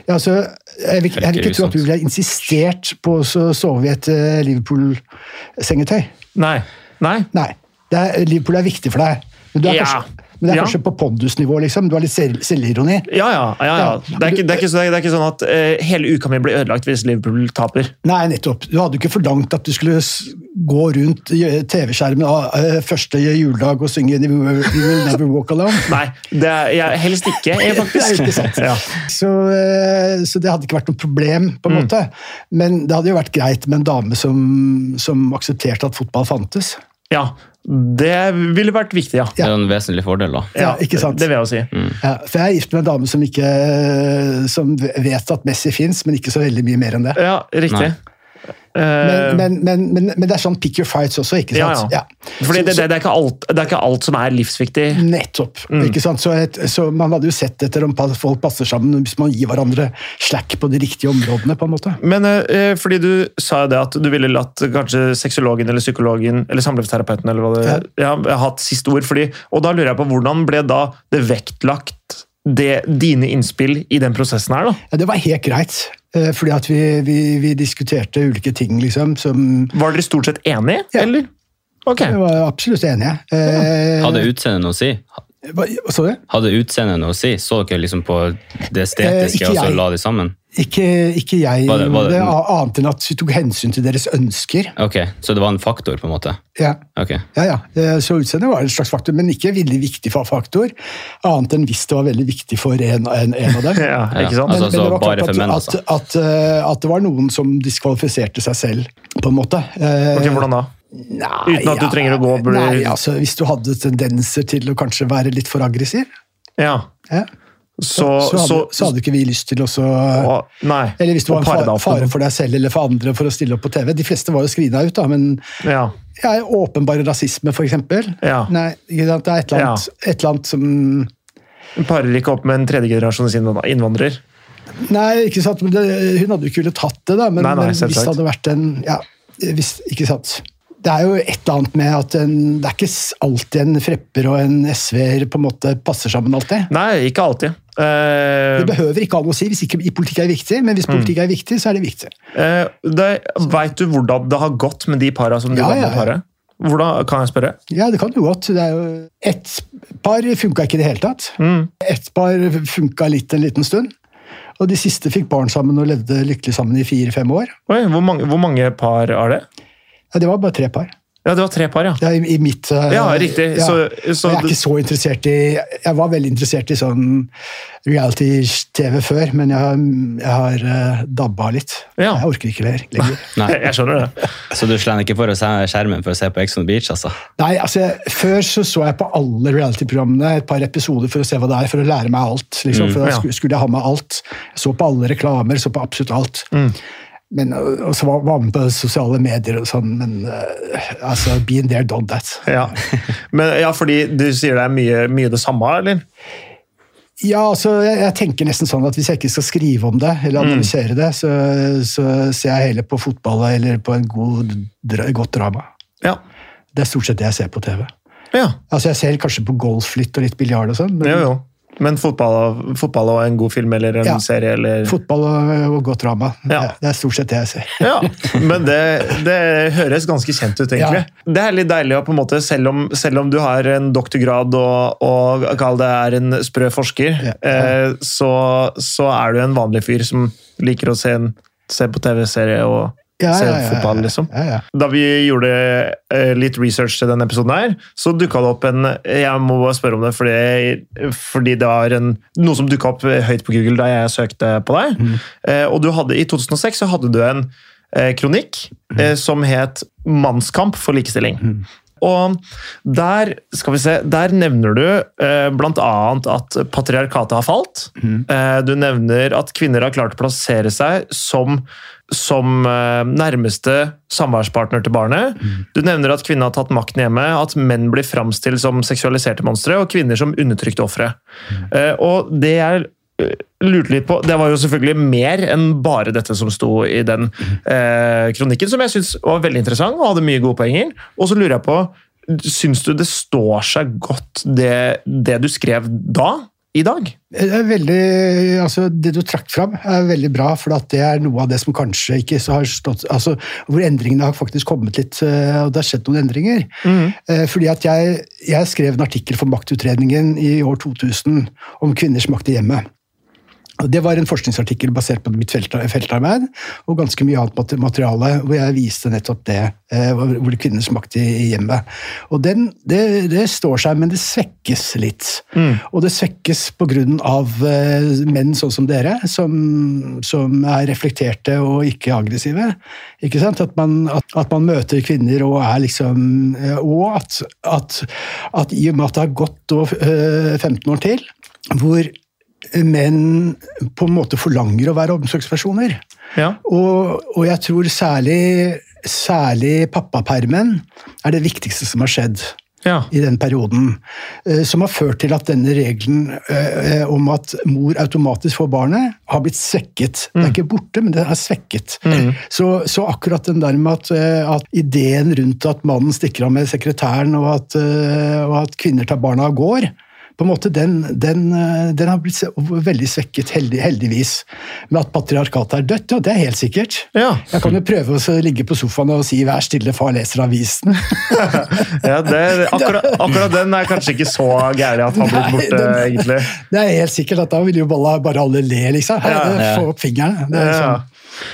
[SPEAKER 2] Ja, altså, jeg vil, jeg vil ikke tro
[SPEAKER 1] liksom-
[SPEAKER 2] at
[SPEAKER 3] grusomt.
[SPEAKER 2] du ville insistert på å så sove i et eh, Liverpool-sengetøy.
[SPEAKER 1] Nei. Nei.
[SPEAKER 2] Nei. Det er, Liverpool er viktig for deg. Men, du er
[SPEAKER 1] Ja.
[SPEAKER 2] kanskje, men det er
[SPEAKER 1] Ja.
[SPEAKER 2] kanskje på pondusnivå, liksom. Du har litt selv, selvironi.
[SPEAKER 1] Ja, ja. ja, ja.
[SPEAKER 2] Ja.
[SPEAKER 1] Det, er ikke, det, er ikke, så- det er ikke sånn at eh, hele uka mi blir ødelagt hvis Liverpool taper.
[SPEAKER 2] Nei, nettopp. Du hadde jo ikke forlangt at du skulle s- gå rundt i TV-skjermen av, eh, første juledag og synge You Will You Will Never Walk Alone.
[SPEAKER 1] Nei, det er, jeg, helst ikke,
[SPEAKER 2] [LAUGHS]
[SPEAKER 1] jeg, faktisk.
[SPEAKER 2] Det er jo ikke sant.
[SPEAKER 1] [LAUGHS] Ja.
[SPEAKER 2] Så, eh, så det hadde ikke vært noe problem, på en
[SPEAKER 1] Mm.
[SPEAKER 2] måte. Men det hadde jo vært greit med en dame som, som aksepterte at fotball fantes.
[SPEAKER 1] ja. Det ville vært viktig, ja.
[SPEAKER 3] Det er en vesentlig fordel, da.
[SPEAKER 2] Ja, ikke sant?
[SPEAKER 1] Det vil jeg jo si.
[SPEAKER 2] Ja, for jeg er gift med en dame som, ikke, som vet at Messi fins, men ikke så veldig mye mer enn det.
[SPEAKER 1] Ja, riktig.
[SPEAKER 3] Nei.
[SPEAKER 1] Eh,
[SPEAKER 2] Men, men, men, men, men det er sånn pick your fights også, ikke
[SPEAKER 1] Ja,
[SPEAKER 2] sant?
[SPEAKER 1] ja. Eh, Fordi
[SPEAKER 2] Så- Mm.
[SPEAKER 1] det, det, det, er ikke alt, det er ikke alt som er livsviktig.
[SPEAKER 2] Nettopp.
[SPEAKER 3] Mm.
[SPEAKER 2] ikke sant? Så, et, så Man hadde jo sett etter om pa- folk passer sammen, hvis man gir hverandre slack på de riktige områdene. på en måte.
[SPEAKER 1] Men eh, fordi du sa jo det at du ville latt kanskje sexologen eller psykologen eller samlivsterapeuten eller hva det ja. hatt siste ord. Fordi, og da lurer jeg på hvordan ble da det vektlagt det, dine innspill i den prosessen her, da?
[SPEAKER 2] Ja, det var helt greit, eh, fordi at vi, vi, vi diskuterte ulike ting, liksom, som
[SPEAKER 1] Var dere stort sett enige,
[SPEAKER 2] Ja.
[SPEAKER 1] eller? Ok.
[SPEAKER 2] Jeg var absolutt enige. Eh,
[SPEAKER 3] Hadde utseendet noe å si?
[SPEAKER 2] hva, hva sa du?
[SPEAKER 3] Hadde utseendet noe å si? Så dere liksom på det estetiske,
[SPEAKER 2] Eh, ikke
[SPEAKER 3] og så
[SPEAKER 2] jeg.
[SPEAKER 3] la de sammen?
[SPEAKER 2] Ikke, ikke jeg,
[SPEAKER 3] Var det- var det-
[SPEAKER 2] det, annet enn at vi tok hensyn til deres ønsker.
[SPEAKER 3] Ok, Så det var en faktor, på en måte?
[SPEAKER 2] Ja.
[SPEAKER 3] Ok.
[SPEAKER 2] Ja, ja. Eh, Så utseendet var en slags faktor, men ikke en veldig viktig fa- faktor. Annet enn hvis det var veldig viktig for en, en, en av dem.
[SPEAKER 3] [LAUGHS]
[SPEAKER 1] Ja, ikke sant?
[SPEAKER 3] altså, så
[SPEAKER 2] det var klart
[SPEAKER 3] bare for menn,
[SPEAKER 2] at,
[SPEAKER 3] altså.
[SPEAKER 2] at, at, eh, at det var noen som diskvalifiserte seg selv, på en måte. Eh,
[SPEAKER 1] Ok, hvordan da?
[SPEAKER 2] nei,
[SPEAKER 1] uten at du trenger å gå, blir-
[SPEAKER 2] Nei, altså, Hvis du hadde tendenser til å kanskje være litt for aggressiv,
[SPEAKER 1] Ja.
[SPEAKER 2] ja,
[SPEAKER 1] Så,
[SPEAKER 2] så, hadde,
[SPEAKER 1] så,
[SPEAKER 2] så, hadde ikke vi lyst til å så
[SPEAKER 1] Å, Nei.
[SPEAKER 2] Eller hvis det
[SPEAKER 1] Å
[SPEAKER 2] var en
[SPEAKER 1] pare deg
[SPEAKER 2] fare,
[SPEAKER 1] opp
[SPEAKER 2] fare
[SPEAKER 1] med-
[SPEAKER 2] for deg selv eller for andre for å stille opp på TV. De fleste var jo skrina ut, da, men
[SPEAKER 1] Ja.
[SPEAKER 2] ja, åpenbar rasisme, for eksempel.
[SPEAKER 1] Ja.
[SPEAKER 2] Nei, ikke sant? det er et eller annet, et eller annet som
[SPEAKER 1] Parer ikke opp med en tredjegenerasjons innvandrer.
[SPEAKER 2] Nei, ikke sant? Men det, hun hadde jo ikke villet tatt det, da, men,
[SPEAKER 1] Nei, nei,
[SPEAKER 2] men hvis det
[SPEAKER 1] selvsagt.
[SPEAKER 2] hadde vært en ja, hvis, Ikke sant. Det er jo et eller annet med at en, det er ikke s- alltid en frepper og en SV-er på en måte passer sammen alltid.
[SPEAKER 1] Nei, ikke alltid. Eh,
[SPEAKER 2] Det behøver ikke ha noe å si hvis ikke politikk er viktig, men hvis
[SPEAKER 1] Mm.
[SPEAKER 2] politikk er viktig, så er det viktig.
[SPEAKER 1] eh, det- Vet du hvordan det har gått med de para som du
[SPEAKER 2] Ja,
[SPEAKER 1] var med
[SPEAKER 2] ja,
[SPEAKER 1] å
[SPEAKER 2] ja.
[SPEAKER 1] pare? Hvordan, kan jeg spørre?
[SPEAKER 2] Ja, det kan jo godt. Det er jo Ett par funka ikke i det hele tatt.
[SPEAKER 1] Mm.
[SPEAKER 2] Ett par funka litt en liten stund. Og de siste fikk barn sammen og levde lykkelig sammen i fire-fem år.
[SPEAKER 1] Oi, hvor mange, hvor mange par er det?
[SPEAKER 2] Ja, det var bare tre par.
[SPEAKER 1] Ja, det var tre par, ja.
[SPEAKER 2] Ja, i, i mitt eh,
[SPEAKER 1] Ja, riktig. Så- så
[SPEAKER 2] Og jeg er
[SPEAKER 1] du-
[SPEAKER 2] ikke så interessert i Jeg var veldig interessert i sånn reality-TV før, men jeg, har- jeg har eh, dabba litt.
[SPEAKER 1] Ja.
[SPEAKER 2] Jeg orker ikke mer lenger.
[SPEAKER 3] Nei.
[SPEAKER 1] [LAUGHS] Jeg skjønner det.
[SPEAKER 3] Så du slenger ikke for å se skjermen for å se på Ex on the Beach, altså?
[SPEAKER 2] Nei, altså, jeg- Før så, så jeg på alle reality-programmene et par episoder for å se hva det er, for å lære meg alt. liksom, for Da
[SPEAKER 1] Mm, ja. Mm.
[SPEAKER 2] sku- skulle jeg ha med alt. Jeg så på alle reklamer, så på absolutt alt. Men, øh, og så var var man på sosiale medier og sånn, men øh, altså, been there, done that.
[SPEAKER 1] Ja.
[SPEAKER 2] [LAUGHS]
[SPEAKER 1] Men, ja, fordi du sier det er mye, mye det samme, eller?
[SPEAKER 2] Ja, altså, jeg, jeg tenker nesten sånn at hvis jeg ikke skal skrive om det, eller
[SPEAKER 1] Mm.
[SPEAKER 2] analysere det, så, så ser jeg heller på fotball eller på en god, dra, godt drama.
[SPEAKER 1] Ja.
[SPEAKER 2] Det er stort sett det jeg ser på TV.
[SPEAKER 1] ja.
[SPEAKER 2] Altså, Jeg ser kanskje på golflytt og litt biljard og sånn, men
[SPEAKER 1] Jo, jo. Men fotball, fotball og en god film eller en
[SPEAKER 2] Ja.
[SPEAKER 1] serie eller
[SPEAKER 2] fotball og, og godt drama,
[SPEAKER 1] Ja.
[SPEAKER 2] det, det er stort sett det jeg ser.
[SPEAKER 1] Ja, men det, det høres ganske kjent ut, egentlig. Det er litt deilig å på en måte, selv om, selv om du har en doktorgrad og, og kall det er en sprø forsker,
[SPEAKER 2] Ja.
[SPEAKER 1] Eh, så, så er du en vanlig fyr som liker å se, en, se på TV-serie og
[SPEAKER 2] Ja,
[SPEAKER 1] se
[SPEAKER 2] ja, ja, ja,
[SPEAKER 1] fotball, liksom.
[SPEAKER 2] Ja, ja.
[SPEAKER 1] Da vi gjorde eh, litt research til denne episoden, her, så dukka det opp en Jeg må bare spørre om det, fordi, fordi det var en, noe som dukka opp høyt på Google da jeg søkte på deg. Eh, og du hadde, I 2006 så hadde du en eh, kronikk eh, som het 'Mannskamp for likestilling'. Og der, skal vi se, der nevner du eh, bl.a. at patriarkatet har falt. Eh, du nevner at kvinner har klart å plassere seg som, som eh, nærmeste samværspartner til barnet. Du nevner at kvinner har tatt makten hjemme, at menn blir framstilt som seksualiserte monstre, og kvinner som undertrykte ofre. Eh, og det jeg eh, lurte litt på, Det var jo selvfølgelig mer enn bare dette som sto i den eh, kronikken, som jeg syns var veldig interessant og hadde mye gode poenger. Og så lurer jeg på, syns du det står seg godt, det, det du skrev da, i dag?
[SPEAKER 2] Det er veldig, altså det du trakk fram, er veldig bra, for at det er noe av det som kanskje ikke så har stått altså Hvor endringene har faktisk kommet litt, eh, og det har skjedd noen endringer. Eh, Fordi at jeg, jeg skrev en artikkel for Maktutredningen i år 2000 om kvinners makt i hjemmet. Og Det var en forskningsartikkel basert på mitt felt, feltarbeid og ganske mye annet mate- materiale hvor jeg viste nettopp det, eh, hvor hvor kvinners makt i i hjemmet. Og den, det, det står seg, men det svekkes litt. Og det svekkes på grunn av eh, menn sånn som dere, som, som er reflekterte og ikke aggressive. Ikke sant? At man, at, at man møter kvinner og er liksom eh, Og at, at, at i og med at det har gått eh, 15 år til, hvor menn på en måte forlanger å være omsorgspersoner.
[SPEAKER 1] Ja.
[SPEAKER 2] Og, og jeg tror særlig, særlig pappapermen er det viktigste som har skjedd
[SPEAKER 1] Ja.
[SPEAKER 2] i den perioden. eh, Som har ført til at denne regelen eh, eh, om at mor automatisk får barnet, har blitt svekket. Det er ikke borte, men det er svekket. Så, så akkurat den der med at, eh, at ideen rundt at mannen stikker av med sekretæren, og at, eh, og at kvinner tar barna og går, på en måte, den, den, eh, den har blitt se- veldig svekket, heldig, heldigvis. Men at patriarkatet er dødt, ja, det er helt sikkert.
[SPEAKER 1] Ja.
[SPEAKER 2] Jeg kan jo prøve å så ligge på sofaen og si 'vær stille, far leser avisen'.
[SPEAKER 1] ja det, akkurat, akkurat den er kanskje ikke så gærlig at han har blitt
[SPEAKER 2] Nei,
[SPEAKER 1] borte,
[SPEAKER 2] den-
[SPEAKER 1] egentlig.
[SPEAKER 2] Det er helt sikkert at da vil jo bare, bare alle le, liksom. Hei,
[SPEAKER 1] Ja,
[SPEAKER 3] ja.
[SPEAKER 2] Få opp fingrene. Det er
[SPEAKER 1] Ja.
[SPEAKER 2] sånn.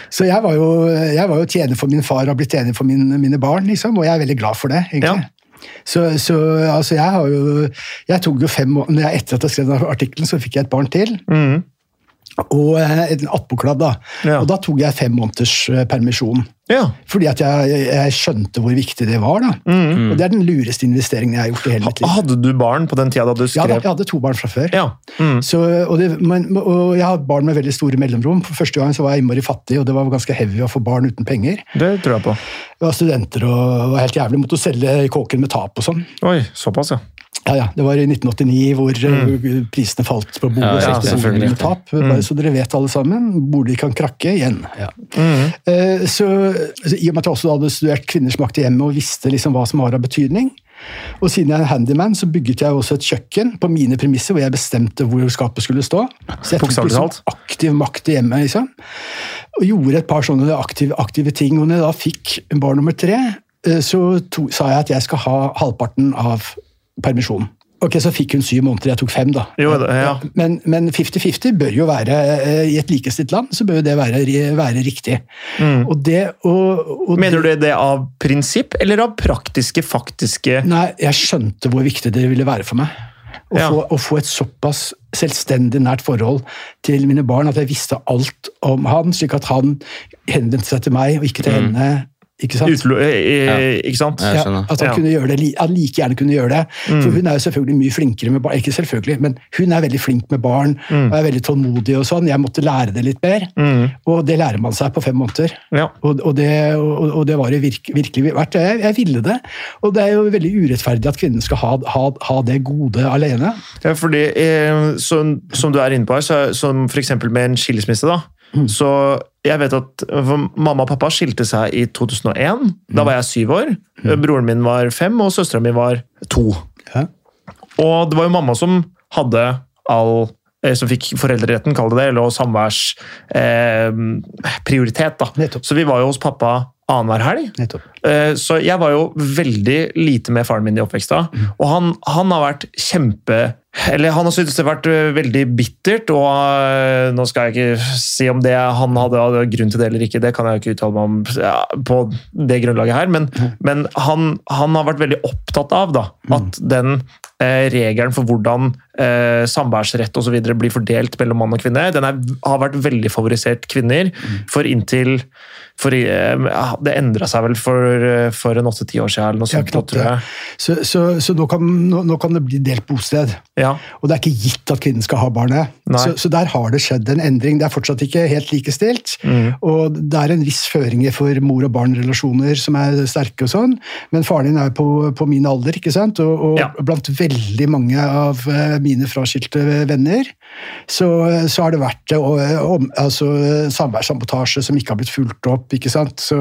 [SPEAKER 2] Så jeg var, jo, jeg var jo tjener for min far og har blitt tjener for min, mine barn, liksom. Og jeg er veldig glad for det, egentlig.
[SPEAKER 1] Ja.
[SPEAKER 2] Så, så altså, jeg har jo Jeg tok jo fem år når jeg, Etter at jeg skrev den artikkelen, så fikk jeg et barn til.
[SPEAKER 1] Mhm.
[SPEAKER 2] Og eh, en attpåkladd, da.
[SPEAKER 1] Ja.
[SPEAKER 2] Og da tok jeg fem måneders eh, permisjon.
[SPEAKER 1] Ja.
[SPEAKER 2] Fordi at jeg, jeg- jeg skjønte hvor viktig det var. da.
[SPEAKER 1] Mm.
[SPEAKER 2] Og det er den lureste investeringen jeg har gjort i hele mitt liv.
[SPEAKER 1] Hadde du barn på den tida da du
[SPEAKER 2] Ja, da,
[SPEAKER 1] skrev?
[SPEAKER 2] jeg hadde to barn fra før.
[SPEAKER 1] Ja.
[SPEAKER 3] Mm.
[SPEAKER 1] Mhm.
[SPEAKER 2] Så, og, det, men, og jeg har barn med veldig store mellomrom. For første gang så var jeg innmari fattig, og det var ganske heavy å få barn uten penger.
[SPEAKER 1] Det tror jeg på.
[SPEAKER 2] Jeg var studenter og var helt jævlig. Måtte jo selge kåken med tap og sånn.
[SPEAKER 1] Oi, såpass, ja.
[SPEAKER 2] Ja, ja, Det var i 1989 hvor eh, prisene falt på bordet.
[SPEAKER 3] Mm. Ja,
[SPEAKER 2] og
[SPEAKER 3] ja,
[SPEAKER 2] solgte
[SPEAKER 3] selvfølgelig.
[SPEAKER 2] bolig
[SPEAKER 3] Mm.
[SPEAKER 2] med tap. Bare så dere vet alle sammen, bolig kan krakke igjen. Ja.
[SPEAKER 3] Mm.
[SPEAKER 2] Eh, så, så I og med at jeg også hadde studert kvinners makt i hjemmet og visste liksom hva som har av betydning. Og siden jeg er handyman, så bygget jeg også et kjøkken på mine premisser. hvor jeg bestemte hvor skapet skulle stå. Så jeg tok
[SPEAKER 1] Bokstavelig
[SPEAKER 2] liksom
[SPEAKER 1] talt.
[SPEAKER 2] aktiv makt i hjemmet. liksom og gjorde et par sånne aktive, aktive ting. Og når jeg da fikk barn nummer tre, eh, så to, sa jeg at jeg skal ha halvparten av permisjonen. Ok, Så fikk hun syv måneder, jeg tok fem, da.
[SPEAKER 1] Jo, det- ja.
[SPEAKER 2] Men men 50-50 bør jo være eh, I et likestilt land så bør jo det være, være riktig.
[SPEAKER 1] Mm.
[SPEAKER 2] Og det, og, og
[SPEAKER 1] Mener du det av prinsipp eller av praktiske, faktiske
[SPEAKER 2] Nei, jeg skjønte hvor viktig det ville være for meg. Å,
[SPEAKER 1] Ja.
[SPEAKER 2] få, å få et såpass selvstendig nært forhold til mine
[SPEAKER 1] Mm.
[SPEAKER 2] barn at jeg visste alt om han, slik at han henvendte seg til meg og ikke til henne Ikke sant?
[SPEAKER 1] Utlo eh, Ikke sant?
[SPEAKER 3] Ja. Jeg
[SPEAKER 2] Ja,
[SPEAKER 3] skjønner.
[SPEAKER 2] at han
[SPEAKER 1] Ja.
[SPEAKER 2] kunne gjøre det, li- han like gjerne kunne gjøre det. For
[SPEAKER 1] Mm.
[SPEAKER 2] hun er jo selvfølgelig mye flinkere med barn. Ikke selvfølgelig, men hun er veldig flink med barn
[SPEAKER 1] Mm.
[SPEAKER 2] og er veldig tålmodig og sånn. Jeg måtte lære det litt mer,
[SPEAKER 1] Mm.
[SPEAKER 2] og det lærer man seg på fem måneder.
[SPEAKER 1] Ja.
[SPEAKER 2] Og, og, det, og, og det var det virk, virkelig verdt. Jeg, jeg ville det. Og det er jo veldig urettferdig at kvinnen skal ha, ha, ha det gode alene.
[SPEAKER 1] Ja, fordi eh, så, Som du er inne på her, så, som for eksempel med en skilsmisse, da.
[SPEAKER 2] Mm.
[SPEAKER 1] Så jeg vet at for mamma og pappa skilte seg i 2001.
[SPEAKER 2] Mm.
[SPEAKER 1] Da var jeg syv år. Eh, Broren min var fem, og søstera mi var to.
[SPEAKER 2] Ja.
[SPEAKER 1] Og det var jo mamma som hadde all eh, som fikk foreldreretten, kall det det, eller samværsprioritet. Eh, prioritet, da.
[SPEAKER 2] Nettopp.
[SPEAKER 1] Så vi var jo hos pappa annenhver helg.
[SPEAKER 2] Nettopp.
[SPEAKER 1] Eh, Så jeg var jo veldig lite med faren min i oppveksten. Og han, han har vært kjempe Eller han har syntes det har vært eh, veldig bittert, og eh, nå skal jeg ikke si om det han hadde, hadde grunn til det eller ikke, det kan jeg jo ikke uttale meg om ja, på det grunnlaget her, men, men han, han har vært veldig opptatt av da, at den eh, regelen for hvordan eh, samværsrett osv. blir fordelt mellom mann og kvinne, den er, har vært veldig favorisert kvinner.
[SPEAKER 2] Mm.
[SPEAKER 1] For inntil for, eh, ja, Det endra seg vel for, eh, for en åtte-ti år siden, eller noe
[SPEAKER 2] Ja,
[SPEAKER 1] sånt,
[SPEAKER 2] knapt
[SPEAKER 1] tror
[SPEAKER 2] det.
[SPEAKER 1] jeg.
[SPEAKER 2] Så, så, så nå, kan, nå, nå kan det bli delt bosted.
[SPEAKER 1] Ja.
[SPEAKER 2] Og det er ikke gitt at kvinnen skal ha barnet.
[SPEAKER 1] Nei.
[SPEAKER 2] Så, så der har det skjedd en endring. Det er fortsatt ikke helt likestilt.
[SPEAKER 1] Mm.
[SPEAKER 2] Og det er en viss føringer for mor- og barn-relasjoner som er sterke og sånn. Men faren din er på, på min alder, ikke sant? Og, og
[SPEAKER 1] Ja.
[SPEAKER 2] blant veldig mange av eh, mine fraskilte venner, så, så har det vært eh, om, altså, samværssabotasje som ikke har blitt fulgt opp, ikke sant? Så,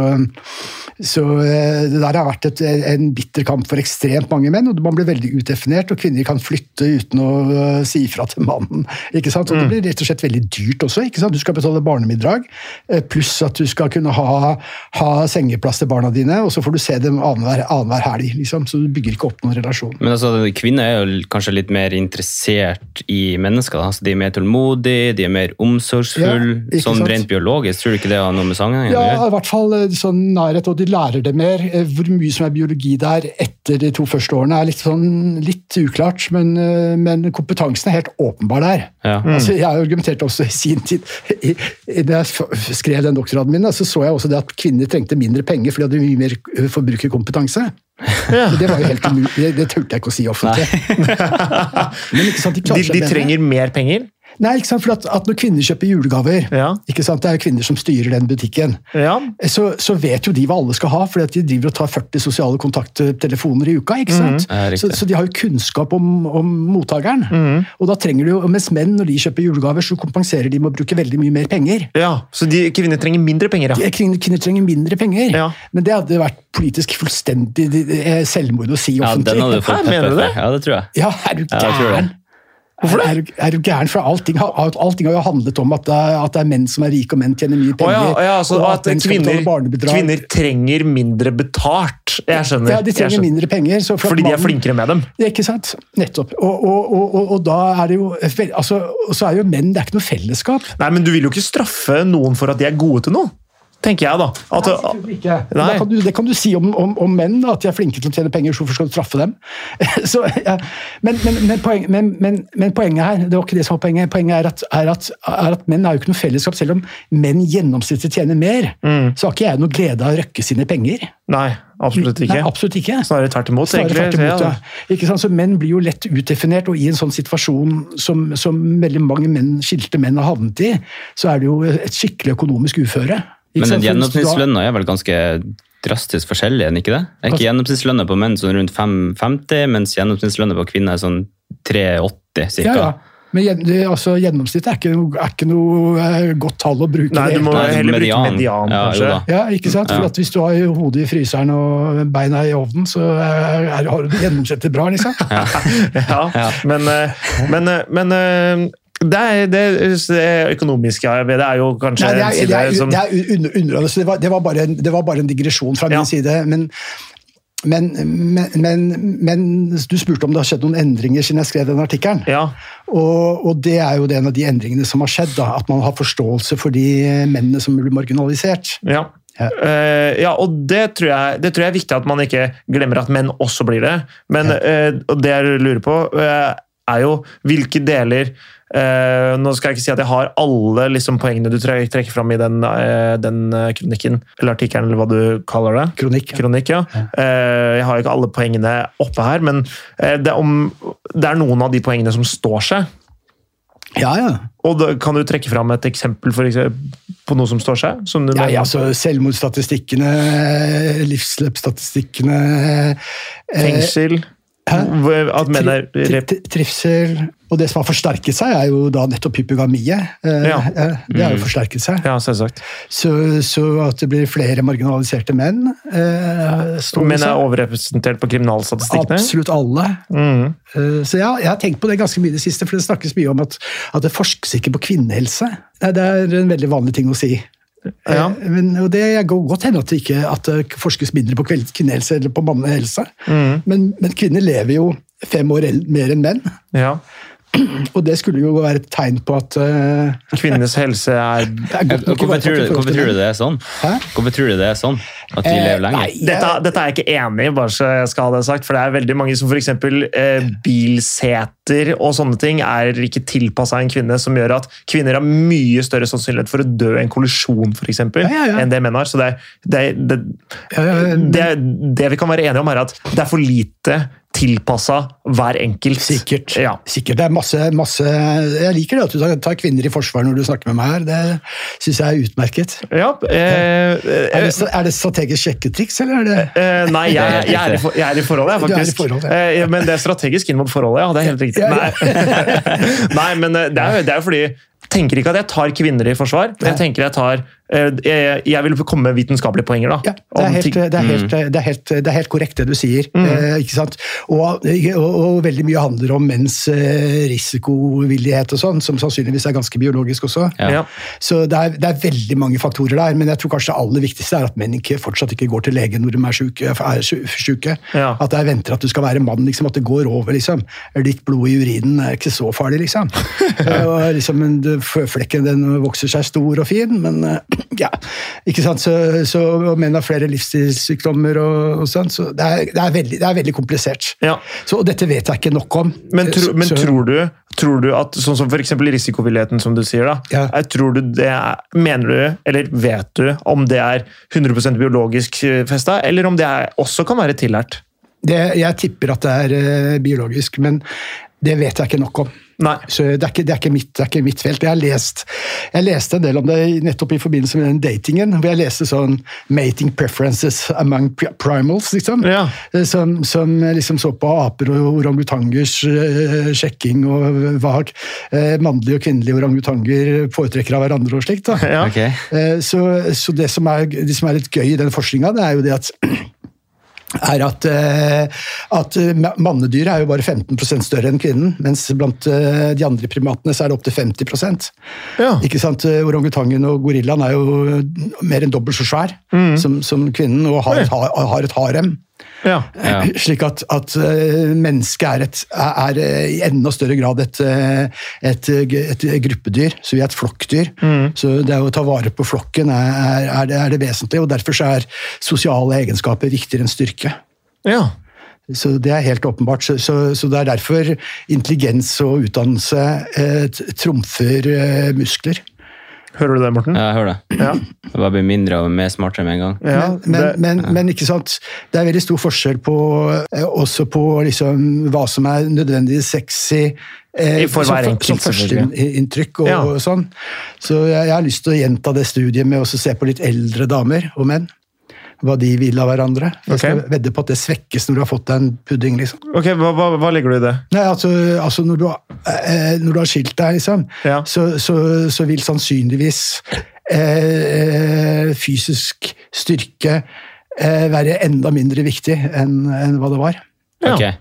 [SPEAKER 2] så eh, det der har vært et, en bitter kamp for ekstremt mange menn, og man blir veldig utdefinert, og kvinner kan flytte uten å eh, si ifra til mannen. Ikke sant? Og det blir rett og slett veldig dyrt også. Ikke sant? Du skal betale barnemiddag, eh, pluss at du skal kunne ha, ha sengeplass til barna dine, og så får du se dem annenhver annenhver helg, liksom. så du bygger ikke opp noen relasjon.
[SPEAKER 3] Men altså, kvinner er jo kanskje litt mer interessert i mennesker. Da. Altså, de er mer tålmodige, de er mer omsorgsfulle.
[SPEAKER 2] Ja, ikke
[SPEAKER 3] sånn
[SPEAKER 2] sant?
[SPEAKER 3] rent biologisk. Tror du ikke det har noe med sangen å
[SPEAKER 2] Ja,
[SPEAKER 3] gjøre?
[SPEAKER 2] i hvert fall eh, sånn nærhet, og de lærer det mer. Eh, Hvor mye som er biologi der etter de to første årene, er litt, sånn, litt uklart, men, eh, men kompetansen er helt åpenbar der.
[SPEAKER 3] Ja.
[SPEAKER 1] Mm.
[SPEAKER 2] Altså, jeg argumenterte også i sin tid i, i, Da jeg f- skrev den doktorgraden min, da, så så jeg også det at kvinner trengte mindre penger fordi de hadde mye mer eh, forbrukerkompetanse.
[SPEAKER 1] Ja.
[SPEAKER 2] Men Det var jo helt umulig, det, det turte jeg ikke å si offentlig. Men ikke sant, de
[SPEAKER 1] [LAUGHS] De,
[SPEAKER 2] klarer seg
[SPEAKER 1] de
[SPEAKER 2] bedre.
[SPEAKER 1] trenger mer penger.
[SPEAKER 2] Nei, ikke sant, for at, at når kvinner kjøper julegaver
[SPEAKER 1] Ja.
[SPEAKER 2] ikke sant, Det er jo kvinner som styrer den butikken
[SPEAKER 1] ja.
[SPEAKER 2] så, så vet jo de hva alle skal ha, fordi at de driver og tar 40 sosiale kontakttelefoner i uka. ikke sant?
[SPEAKER 3] Ja, riktig.
[SPEAKER 2] så, så de har jo kunnskap om, om mottakeren. Og da trenger de jo, og Mens menn, når de kjøper julegaver, så kompenserer de med å bruke veldig mye mer penger.
[SPEAKER 1] ja. Så de, kvinner trenger mindre penger, ja.
[SPEAKER 2] Eh, Kvinner, kvinner trenger mindre penger,
[SPEAKER 1] Ja.
[SPEAKER 2] men det hadde vært politisk fullstendig eh, selvmord å si [LAUGHS]
[SPEAKER 3] Ja,
[SPEAKER 2] offentlig.
[SPEAKER 3] den hadde du fått
[SPEAKER 1] Hæ, mener
[SPEAKER 3] pepper
[SPEAKER 1] du det?
[SPEAKER 3] for. Ja, det tror jeg.
[SPEAKER 2] Ja, er du
[SPEAKER 3] Ja, jeg tror
[SPEAKER 2] gæren?
[SPEAKER 3] det.
[SPEAKER 2] Hvorfor det? Er, du- er du gæren? For allting, har- alt- allting har jo handlet om at det, er, at det er menn som er rike, og menn tjener
[SPEAKER 1] Å
[SPEAKER 2] mye penger.
[SPEAKER 1] ja, å ja, så
[SPEAKER 2] og
[SPEAKER 1] at
[SPEAKER 2] menn skal
[SPEAKER 1] kvinner,
[SPEAKER 2] betale barnebidrag.
[SPEAKER 1] kvinner trenger mindre betalt. Jeg skjønner.
[SPEAKER 2] Ja, de
[SPEAKER 1] jeg
[SPEAKER 2] trenger
[SPEAKER 1] skjønner.
[SPEAKER 2] mindre penger. Så for at
[SPEAKER 1] Fordi de er
[SPEAKER 2] mannen-
[SPEAKER 1] flinkere med dem.
[SPEAKER 2] Ja, ikke sant? Nettopp. Og, og, og, og, og da er det jo vel- altså, og så er jo menn, det er ikke noe fellesskap.
[SPEAKER 1] Nei, men du vil jo ikke straffe noen for at de er gode til noe. Tenker jeg, da. At,
[SPEAKER 2] Selvfølgelig ikke. Men
[SPEAKER 1] Nei.
[SPEAKER 2] Da kan du, det kan du si om, om, om menn, da, at de er flinke til å tjene penger, så hvorfor skal du straffe dem? [LAUGHS] Så, ja. men, men, men, poeng, men, men, men poenget her, det var ikke det som var poenget, poenget er at, er at, er at menn er jo ikke noe fellesskap. Selv om menn gjennomsnittlig tjener mer,
[SPEAKER 1] Mm.
[SPEAKER 2] så har ikke jeg noe glede av å røkke sine penger.
[SPEAKER 1] nei, absolutt ikke.
[SPEAKER 2] Nei, absolutt ikke.
[SPEAKER 1] Snarere tvert imot.
[SPEAKER 2] Snarere
[SPEAKER 1] egentlig.
[SPEAKER 2] tvert imot,
[SPEAKER 1] Ja.
[SPEAKER 2] ja. altså. Ikke sant? Så menn blir jo lett utdefinert, og i en sånn situasjon som, som veldig mange menn, skilte menn har havnet i, så er det jo et skikkelig økonomisk uføre. Ikke
[SPEAKER 3] Men
[SPEAKER 2] sant?
[SPEAKER 3] den
[SPEAKER 2] For hvis du da-
[SPEAKER 3] gjennomsnittslønna er vel ganske drastisk forskjellig, er den ikke det? Er
[SPEAKER 2] Altså-
[SPEAKER 3] ikke gjennomsnittslønna på menn sånn rundt 5,50, mens gjennomsnittslønna på kvinner er sånn 3,80
[SPEAKER 2] Ja,
[SPEAKER 3] cirka?
[SPEAKER 2] ja. Men gjen- det- altså, gjennomsnittet er ikke noe, er ikke noe eh, godt tall å bruke.
[SPEAKER 1] Nei,
[SPEAKER 2] i det
[SPEAKER 1] du må
[SPEAKER 2] hele tatt.
[SPEAKER 3] Nei,
[SPEAKER 1] heller bruke
[SPEAKER 3] median.
[SPEAKER 1] median,
[SPEAKER 3] Ja, jo
[SPEAKER 1] kanskje.
[SPEAKER 3] da.
[SPEAKER 2] ja, ikke sant? For at Hvis du har hodet i fryseren og beina i ovnen, så er, er, har du det gjennomsnittet bra. liksom.
[SPEAKER 3] [LAUGHS]
[SPEAKER 1] ja. [LAUGHS] Men, eh, men, eh, men eh, det, er, det, det økonomiske her ved det er jo kanskje
[SPEAKER 2] Nei, det er,
[SPEAKER 1] en
[SPEAKER 2] det
[SPEAKER 1] side
[SPEAKER 2] er,
[SPEAKER 1] som
[SPEAKER 2] det er under, underordnet, så det var, det, var bare en, det var bare en digresjon fra min
[SPEAKER 1] Ja.
[SPEAKER 2] side. Men, men, men, men, men du spurte om det har skjedd noen endringer siden jeg skrev den artikkelen.
[SPEAKER 1] ja,
[SPEAKER 2] Og, og det er jo det en av de endringene som har skjedd. Da, at man har forståelse for de mennene som blir marginalisert.
[SPEAKER 1] ja.
[SPEAKER 2] Ja.
[SPEAKER 1] Eh, ja, og det tror, jeg, det tror jeg er viktig at man ikke glemmer at menn også blir det. Men eh, og det jeg lurer på eh, er jo hvilke deler eh, Nå skal jeg ikke si at jeg har alle liksom, poengene du tre- trekker fram i den, eh, den eh, kronikken, eller artikkelen, eller hva du kaller det.
[SPEAKER 2] Kronikk.
[SPEAKER 1] Kronikk, ja. Eh, jeg har ikke alle poengene oppe her, men eh, det, er om, det er noen av de poengene som står seg.
[SPEAKER 2] Ja, ja.
[SPEAKER 1] Og da, Kan du trekke fram et eksempel for eksempel, på noe som står seg? Som du
[SPEAKER 2] Ja,
[SPEAKER 1] mener-
[SPEAKER 2] ja, altså Selvmordsstatistikkene, livsløpsstatistikkene eh,
[SPEAKER 1] Fengsel? Hvor- At menn er
[SPEAKER 2] tri- tri- tri- Trivsel. Og det som har forsterket seg, er jo da nettopp hypogamie. Eh,
[SPEAKER 1] Ja.
[SPEAKER 2] eh, Det har jo forsterket seg.
[SPEAKER 1] Ja, selvsagt.
[SPEAKER 2] Så, så at det blir flere marginaliserte menn eh, står
[SPEAKER 1] Menn er
[SPEAKER 2] seg.
[SPEAKER 1] overrepresentert på kriminalstatistikkene?
[SPEAKER 2] Absolutt alle.
[SPEAKER 1] Mm.
[SPEAKER 2] Eh, Så ja, jeg har tenkt på det ganske mye i det siste, for det snakkes mye om at, at det forskes ikke på kvinnehelse. Nei, det er en veldig vanlig ting å si. Eh,
[SPEAKER 1] Ja.
[SPEAKER 2] Men, og det går godt hende at det ikke at det forskes mindre på kveld- kvinnehelse eller på mannehelse.
[SPEAKER 1] Mm.
[SPEAKER 2] Men, men kvinner lever jo fem år el- mer enn menn,
[SPEAKER 1] Ja.
[SPEAKER 2] og det skulle jo være et tegn på at eh, [LAUGHS]
[SPEAKER 1] Kvinnenes helse er
[SPEAKER 2] det er godt nok
[SPEAKER 3] Hvorfor
[SPEAKER 2] ivaretatt i
[SPEAKER 3] tror, du,
[SPEAKER 2] forhold
[SPEAKER 3] hvorfor
[SPEAKER 2] til
[SPEAKER 3] tror du
[SPEAKER 2] menn.
[SPEAKER 3] det er sånn?
[SPEAKER 2] Hæ?
[SPEAKER 3] Hvorfor tror du det er sånn? At de
[SPEAKER 2] Eh,
[SPEAKER 3] lever lenger?
[SPEAKER 2] nei,
[SPEAKER 1] dette, dette er jeg ikke enig i, bare så jeg skal ha det sagt. For det er veldig mange som f.eks. Eh, bilseter og sånne ting er ikke tilpassa en kvinne, som gjør at kvinner har mye større sannsynlighet for å dø i en kollisjon, f.eks.,
[SPEAKER 2] Ja, ja, ja.
[SPEAKER 1] enn det menn har. Så det, er- det, er- det,
[SPEAKER 2] Ja, ja, ja,
[SPEAKER 1] det, det vi kan være enige om, er at det er for lite tilpassa hver enkelt.
[SPEAKER 2] Sikkert.
[SPEAKER 1] Ja.
[SPEAKER 2] Sikkert. Det er masse, masse Jeg liker det at du tar kvinner i forsvar når du snakker med meg her. Det syns jeg er utmerket.
[SPEAKER 1] ja eh,
[SPEAKER 2] Er
[SPEAKER 1] eh,
[SPEAKER 2] det, er det strategisk sjekketriks, eller er det
[SPEAKER 1] Eh, nei, jeg, jeg, er i, for- jeg er i forhold, jeg,
[SPEAKER 2] Du er i
[SPEAKER 1] faktisk.
[SPEAKER 2] forhold,
[SPEAKER 1] Eh, men det er strategisk inn mot forholdet, ja. Det er helt riktig.
[SPEAKER 2] Ja,
[SPEAKER 1] Nei. nei, [LAUGHS] men eh, det er jo det er jo fordi jeg tenker ikke at jeg tar kvinner i forsvar. Jeg tenker jeg tar eh, jeg, jeg vil komme med vitenskapelige poenger, da.
[SPEAKER 2] ja, det er,
[SPEAKER 1] Om
[SPEAKER 2] helt,
[SPEAKER 1] ting- Mm.
[SPEAKER 2] det, er helt, det, er helt, det er helt korrekt det du sier. Eh, ikke sant? Og, og, og veldig mye handler om menns eh, risikovillighet og sånn, som sannsynligvis er ganske biologisk også.
[SPEAKER 3] Ja.
[SPEAKER 1] ja.
[SPEAKER 2] Så det er, det er veldig mange faktorer der, men jeg tror kanskje det aller viktigste er at menn ikke, fortsatt ikke går til lege når de er syke. Er sy- syke.
[SPEAKER 1] Ja.
[SPEAKER 2] At jeg venter at du skal være mann, liksom, at det går over. liksom. Litt blod i urinen er ikke så
[SPEAKER 1] [LAUGHS]
[SPEAKER 2] farlig, liksom. Eh, og liksom men det- Flekken den vokser seg stor og fin, men eh, [CLEARS THROAT] ja. Ikke sant? Så, så og menn har flere livsstilssykdommer og, og sånn, så det er, det, er veldig, det er veldig komplisert.
[SPEAKER 1] Ja.
[SPEAKER 2] Så og dette vet jeg ikke nok om.
[SPEAKER 1] Men, tro, men
[SPEAKER 2] Eh, Så-
[SPEAKER 1] tror, du, tror du at sånn som f.eks. risikovilligheten, som du sier, da,
[SPEAKER 2] Ja.
[SPEAKER 1] er- tror du det er, mener du, eller vet du, om det er 100 biologisk festa, eller om det er, også kan være tillært?
[SPEAKER 2] Det, jeg tipper at det er eh, biologisk, men det vet jeg ikke nok om.
[SPEAKER 1] Nei.
[SPEAKER 2] Så det er, ikke, det, er ikke mitt, det er ikke mitt felt. Jeg har lest jeg leste en del om det i- nettopp i forbindelse med den datingen, hvor jeg leste sånn 'Mating preferences among pri- primals', liksom.
[SPEAKER 1] Ja.
[SPEAKER 2] Eh, Som, som liksom så på aper og orangutangers eh, sjekking, og hva eh, mannlige og kvinnelige orangutanger foretrekker av hverandre og slikt. da.
[SPEAKER 1] Ja.
[SPEAKER 3] Ok.
[SPEAKER 2] Eh, Så, så det, som er, det som er litt gøy i den forskninga, det er jo det at [CLEARS THROAT] er at, eh, at eh, ma- mannedyret er jo bare 15 større enn kvinnen, mens blant eh, de andre primatene så er det opptil 50
[SPEAKER 1] Ja.
[SPEAKER 2] Ikke sant? Eh, Orangutangen og gorillaen er jo eh, mer enn dobbelt så svær som, som kvinnen, og har et, ha- har et harem.
[SPEAKER 1] Ja.
[SPEAKER 3] Ja.
[SPEAKER 2] [LAUGHS] Slik at, at eh, mennesket er, et, er eh, i enda større grad et, eh, et, eh, g- et gruppedyr, så vi er et flokkdyr. Så det å ta vare på flokken er, er, er, det, er det vesentlige, og derfor så er sosiale egenskaper viktigere enn styrke.
[SPEAKER 1] ja.
[SPEAKER 2] Så det er helt åpenbart. Så, så, så det er derfor intelligens og utdannelse eh, t- trumfer eh, muskler.
[SPEAKER 1] Hører du det, Morten?
[SPEAKER 3] Ja, jeg hører det.
[SPEAKER 1] Ja.
[SPEAKER 3] Jeg bare blir mindre og mer smartere med en gang.
[SPEAKER 1] Ja,
[SPEAKER 2] men, men,
[SPEAKER 1] det-
[SPEAKER 2] men, men ikke sant, det er veldig stor forskjell på eh, også på liksom, hva som er nødvendigvis sexy
[SPEAKER 1] I
[SPEAKER 2] eh,
[SPEAKER 1] for
[SPEAKER 2] som
[SPEAKER 1] hver
[SPEAKER 2] fø-
[SPEAKER 1] enkelt,
[SPEAKER 2] som førsteinntrykk og,
[SPEAKER 1] Ja.
[SPEAKER 2] og sånn. Så jeg, jeg har lyst til å gjenta det studiet med å se på litt eldre damer og menn. Hva de vil av hverandre. Jeg skal
[SPEAKER 1] Ok.
[SPEAKER 2] vedde på at det svekkes når du har fått deg en pudding. liksom.
[SPEAKER 1] Ok, hva, hva, hva legger du i det?
[SPEAKER 2] Nei, altså, altså når, du, har- eh, når du har skilt deg, liksom,
[SPEAKER 1] Ja.
[SPEAKER 2] så, så, så vil sannsynligvis eh, eh, fysisk styrke eh, være enda mindre viktig enn enn hva det var.
[SPEAKER 1] Ja.
[SPEAKER 3] Ok.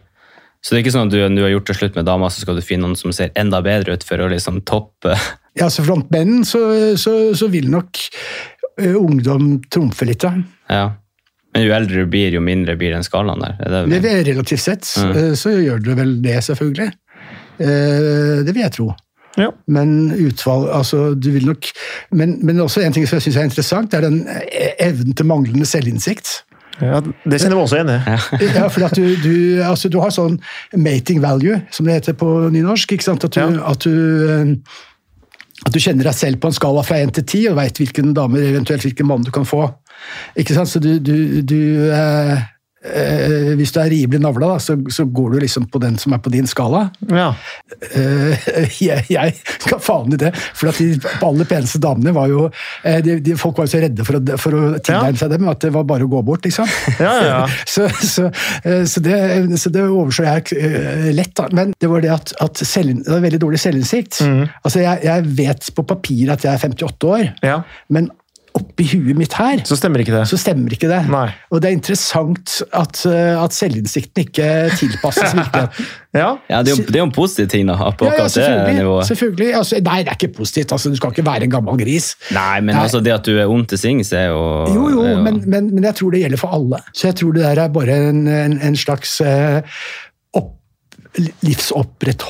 [SPEAKER 3] Så det er ikke sånn at du, du har gjort det slutt med dama, så skal du finne noen som ser enda bedre ut for å liksom toppe [LAUGHS]
[SPEAKER 2] Ja, så Blant menn så, så, så vil nok eh, ungdom trumfe litt. Ja.
[SPEAKER 3] Ja. Men jo eldre du blir, jo mindre blir den skalaen der. Er det,
[SPEAKER 2] Det, det, er relativt sett eh, så gjør det vel det, selvfølgelig. Eh, det vil jeg tro.
[SPEAKER 1] Ja.
[SPEAKER 2] Men utvalg, altså du vil nok Men, men også en ting som jeg syns er interessant, er den eh, evnen til manglende selvinnsikt.
[SPEAKER 1] Ja, det kjenner vi også igjen, det.
[SPEAKER 2] Ja, for at du, du, altså, du har sånn mating value, som det heter på nynorsk. ikke sant? At du,
[SPEAKER 1] Ja.
[SPEAKER 2] at du, eh, at du kjenner deg selv på en skala fra 1 til 10, og veit hvilken dame, eventuelt hvilken mann du kan få. Ikke sant? Så du, du, du eh, eh, Hvis du er rimelig navla, da, så, så går du liksom på den som er på din skala.
[SPEAKER 1] Ja.
[SPEAKER 2] Eh, [LAUGHS] jeg, jeg ga faen i det. For at de aller peneste damene var jo eh, de, de, Folk var jo så redde for å, for å tilnærme seg dem at det var bare å gå bort, liksom.
[SPEAKER 1] Ja, ja, ja.
[SPEAKER 2] [LAUGHS] så, så, eh, så, det, så det overså jeg eh, lett, da. Men det var det at, at selv, det var veldig dårlig selvinnsikt.
[SPEAKER 1] Mm.
[SPEAKER 2] Altså, jeg, jeg vet på papir at jeg er 58 år,
[SPEAKER 1] ja.
[SPEAKER 2] men oppi huet mitt her
[SPEAKER 1] Så stemmer ikke det.
[SPEAKER 2] så stemmer ikke det.
[SPEAKER 1] Nei.
[SPEAKER 2] Og det er interessant at, eh, at selvinnsikten ikke
[SPEAKER 1] [LAUGHS]
[SPEAKER 2] tilpasses virkeligheten.
[SPEAKER 1] Ja.
[SPEAKER 3] Ja, det er jo, det er jo en positiv ting da, på
[SPEAKER 2] Ja, ja,
[SPEAKER 3] akkurat det
[SPEAKER 2] selvfølgelig.
[SPEAKER 3] nivået.
[SPEAKER 2] selvfølgelig. Altså, nei, det er ikke positivt. Altså, du skal ikke være en gammel gris.
[SPEAKER 3] Nei, men
[SPEAKER 2] Nei.
[SPEAKER 3] altså det at du er ung til sinns er jo
[SPEAKER 2] Jo, jo,
[SPEAKER 3] det er
[SPEAKER 2] men, men, men jeg tror det gjelder for alle. Så jeg tror det der er bare en, en, en slags eh, opp,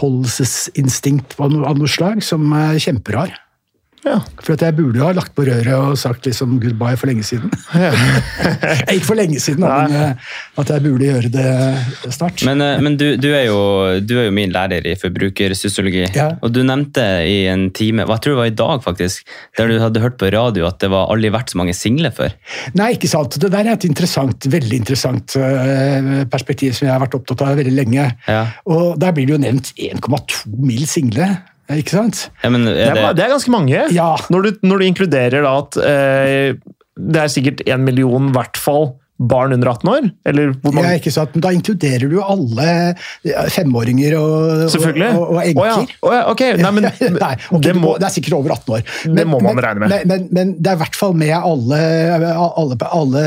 [SPEAKER 2] livsopprettholdelsesinstinkt av noe, av noe slag som er kjemperar.
[SPEAKER 1] Ja.
[SPEAKER 2] For at jeg burde jo ha lagt på røret og sagt liksom goodbye for lenge
[SPEAKER 3] [LAUGHS]
[SPEAKER 2] siden. [LAUGHS] Ikke for lenge siden, da, men eh, at jeg burde gjøre det snart.
[SPEAKER 3] Men, eh, men du, du, er jo, du er jo min lærer i forbrukersosiologi,
[SPEAKER 2] Ja.
[SPEAKER 3] og du nevnte i en time, jeg tror det var i dag faktisk, der du hadde hørt på radio at det var aldri vært så mange single før.
[SPEAKER 2] Nei, ikke sant. Det der er et interessant, veldig interessant eh, perspektiv som jeg har vært opptatt av veldig lenge.
[SPEAKER 3] Ja.
[SPEAKER 2] Og der blir det jo nevnt 1,2 mil single, eh, ikke sant?
[SPEAKER 3] Ja, men
[SPEAKER 1] Det
[SPEAKER 3] er
[SPEAKER 1] er, bare-
[SPEAKER 3] det,
[SPEAKER 1] det er ganske mange.
[SPEAKER 2] Ja.
[SPEAKER 1] Når, du, når du inkluderer da at eh, det er sikkert en million, i hvert fall, barn under 18 år? Eller hvor
[SPEAKER 2] Ja,
[SPEAKER 1] mange?
[SPEAKER 2] ikke sant? Men da inkluderer du jo alle ja, femåringer og, og,
[SPEAKER 1] Selvfølgelig.
[SPEAKER 2] og, og enker.
[SPEAKER 1] Å ja. Å ja, ok. Nei, men
[SPEAKER 2] [LAUGHS] Nei, ok,
[SPEAKER 1] det
[SPEAKER 2] du må,
[SPEAKER 1] må
[SPEAKER 2] det er sikkert over 18 år.
[SPEAKER 1] Det må man regne med.
[SPEAKER 2] Men, men, men det er i hvert fall med alle, alle, alle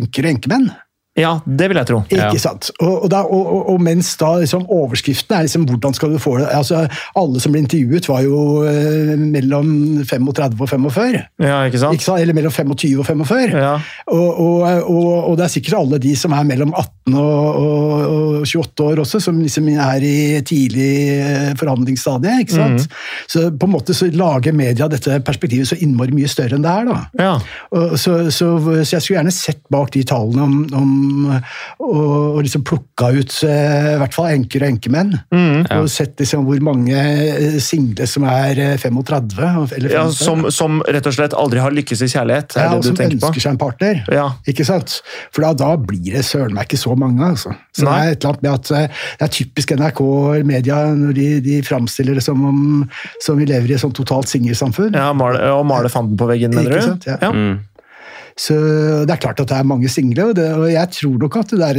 [SPEAKER 2] enker og enkemenn.
[SPEAKER 1] Ja, det vil jeg tro.
[SPEAKER 2] Ikke
[SPEAKER 3] Ja.
[SPEAKER 2] sant? Og, og, da, og, og- og mens da liksom, overskriften er liksom, hvordan skal du få det altså, Alle som ble intervjuet, var jo eh, mellom 35 og 45.
[SPEAKER 1] Ja, ikke
[SPEAKER 2] Ikke
[SPEAKER 1] sant?
[SPEAKER 2] sant? Eller mellom 25 og 45.
[SPEAKER 1] Ja.
[SPEAKER 2] Og, og, og, og det er sikkert alle de som er mellom 18 og, og, og 28 år også, som liksom er i tidlig eh, forhandlingsstadie. Ikke sant?
[SPEAKER 1] Mhm.
[SPEAKER 2] Så på en måte så lager media dette perspektivet så innmari mye større enn det er. da.
[SPEAKER 1] Ja.
[SPEAKER 2] Og Så, så, så jeg skulle gjerne sett bak de tallene om, om og, og liksom plukka ut eh, i hvert fall enker og enkemenn.
[SPEAKER 1] Mhm.
[SPEAKER 2] Og sett liksom hvor mange eh, single som er eh, 35 og- eller 55.
[SPEAKER 1] Ja, som, som rett og slett aldri har lykkes i kjærlighet, er
[SPEAKER 2] Ja, og
[SPEAKER 1] det
[SPEAKER 2] som
[SPEAKER 1] du tenker
[SPEAKER 2] ønsker
[SPEAKER 1] på?
[SPEAKER 2] seg en partner.
[SPEAKER 1] Ja.
[SPEAKER 2] Ikke sant? For da, da blir det søren meg ikke så mange. altså. Så Det
[SPEAKER 1] Nei.
[SPEAKER 2] er et eller annet med at eh, det er typisk NRK og media når de, de framstiller det som om som vi lever i et sånt totalt singelsamfunn.
[SPEAKER 1] Ja, male, og male fanden på veggen, mener
[SPEAKER 2] Ikke
[SPEAKER 1] du?
[SPEAKER 2] sant, ja.
[SPEAKER 1] Ja.
[SPEAKER 2] Så det er klart at det er mange single, og, det, og jeg tror nok at det der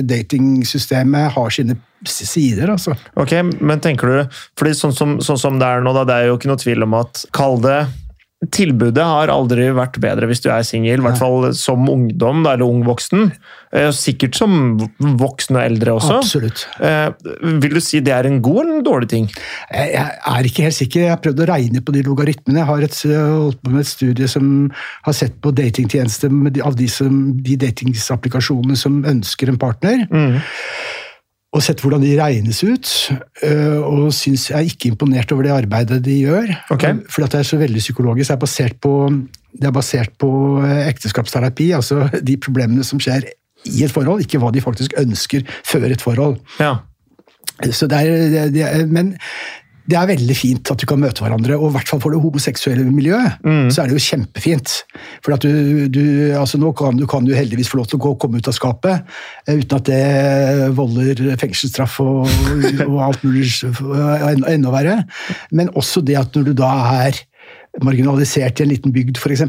[SPEAKER 2] datingsystemet har sine s- sider. altså.
[SPEAKER 1] Ok, men tenker du fordi sånn som, sånn som det er nå, da, det er jo ikke noe tvil om at Kall det Tilbudet har aldri vært bedre hvis du er singel, i hvert fall som ungdom da, eller ung voksen. Eh, Sikkert som voksne og eldre også.
[SPEAKER 2] Absolutt.
[SPEAKER 1] Eh, Vil du si det er en god eller en dårlig ting?
[SPEAKER 2] Jeg, jeg er ikke helt sikker. Jeg har prøvd å regne på de logaritmene. Jeg har et, jeg har holdt på med et studie som har sett på datingtjenester med de, av de, som, de datingsapplikasjonene som ønsker en partner.
[SPEAKER 1] Mm.
[SPEAKER 2] Og sett hvordan de regnes ut. øh, Og syns jeg er ikke imponert over det arbeidet de gjør. Eh,
[SPEAKER 1] Ok.
[SPEAKER 2] Fordi at det er så veldig psykologisk. Det er basert på, det er basert på eh, ekteskapsterapi, altså [LAUGHS] de problemene som skjer i et forhold, ikke hva de faktisk ønsker før et forhold.
[SPEAKER 1] Ja.
[SPEAKER 2] Så det er, det, det er, men det er veldig fint at du kan møte hverandre, og i hvert fall for det homoseksuelle miljøet.
[SPEAKER 1] Mm.
[SPEAKER 2] Så er det jo kjempefint. For at du, du, altså nå kan du kan jo heldigvis få lov til å gå, komme ut av skapet eh, uten at det volder fengselsstraff og, og alt mulig s- og en- enda verre. Men også det at når du da er marginalisert i en liten bygd f.eks.,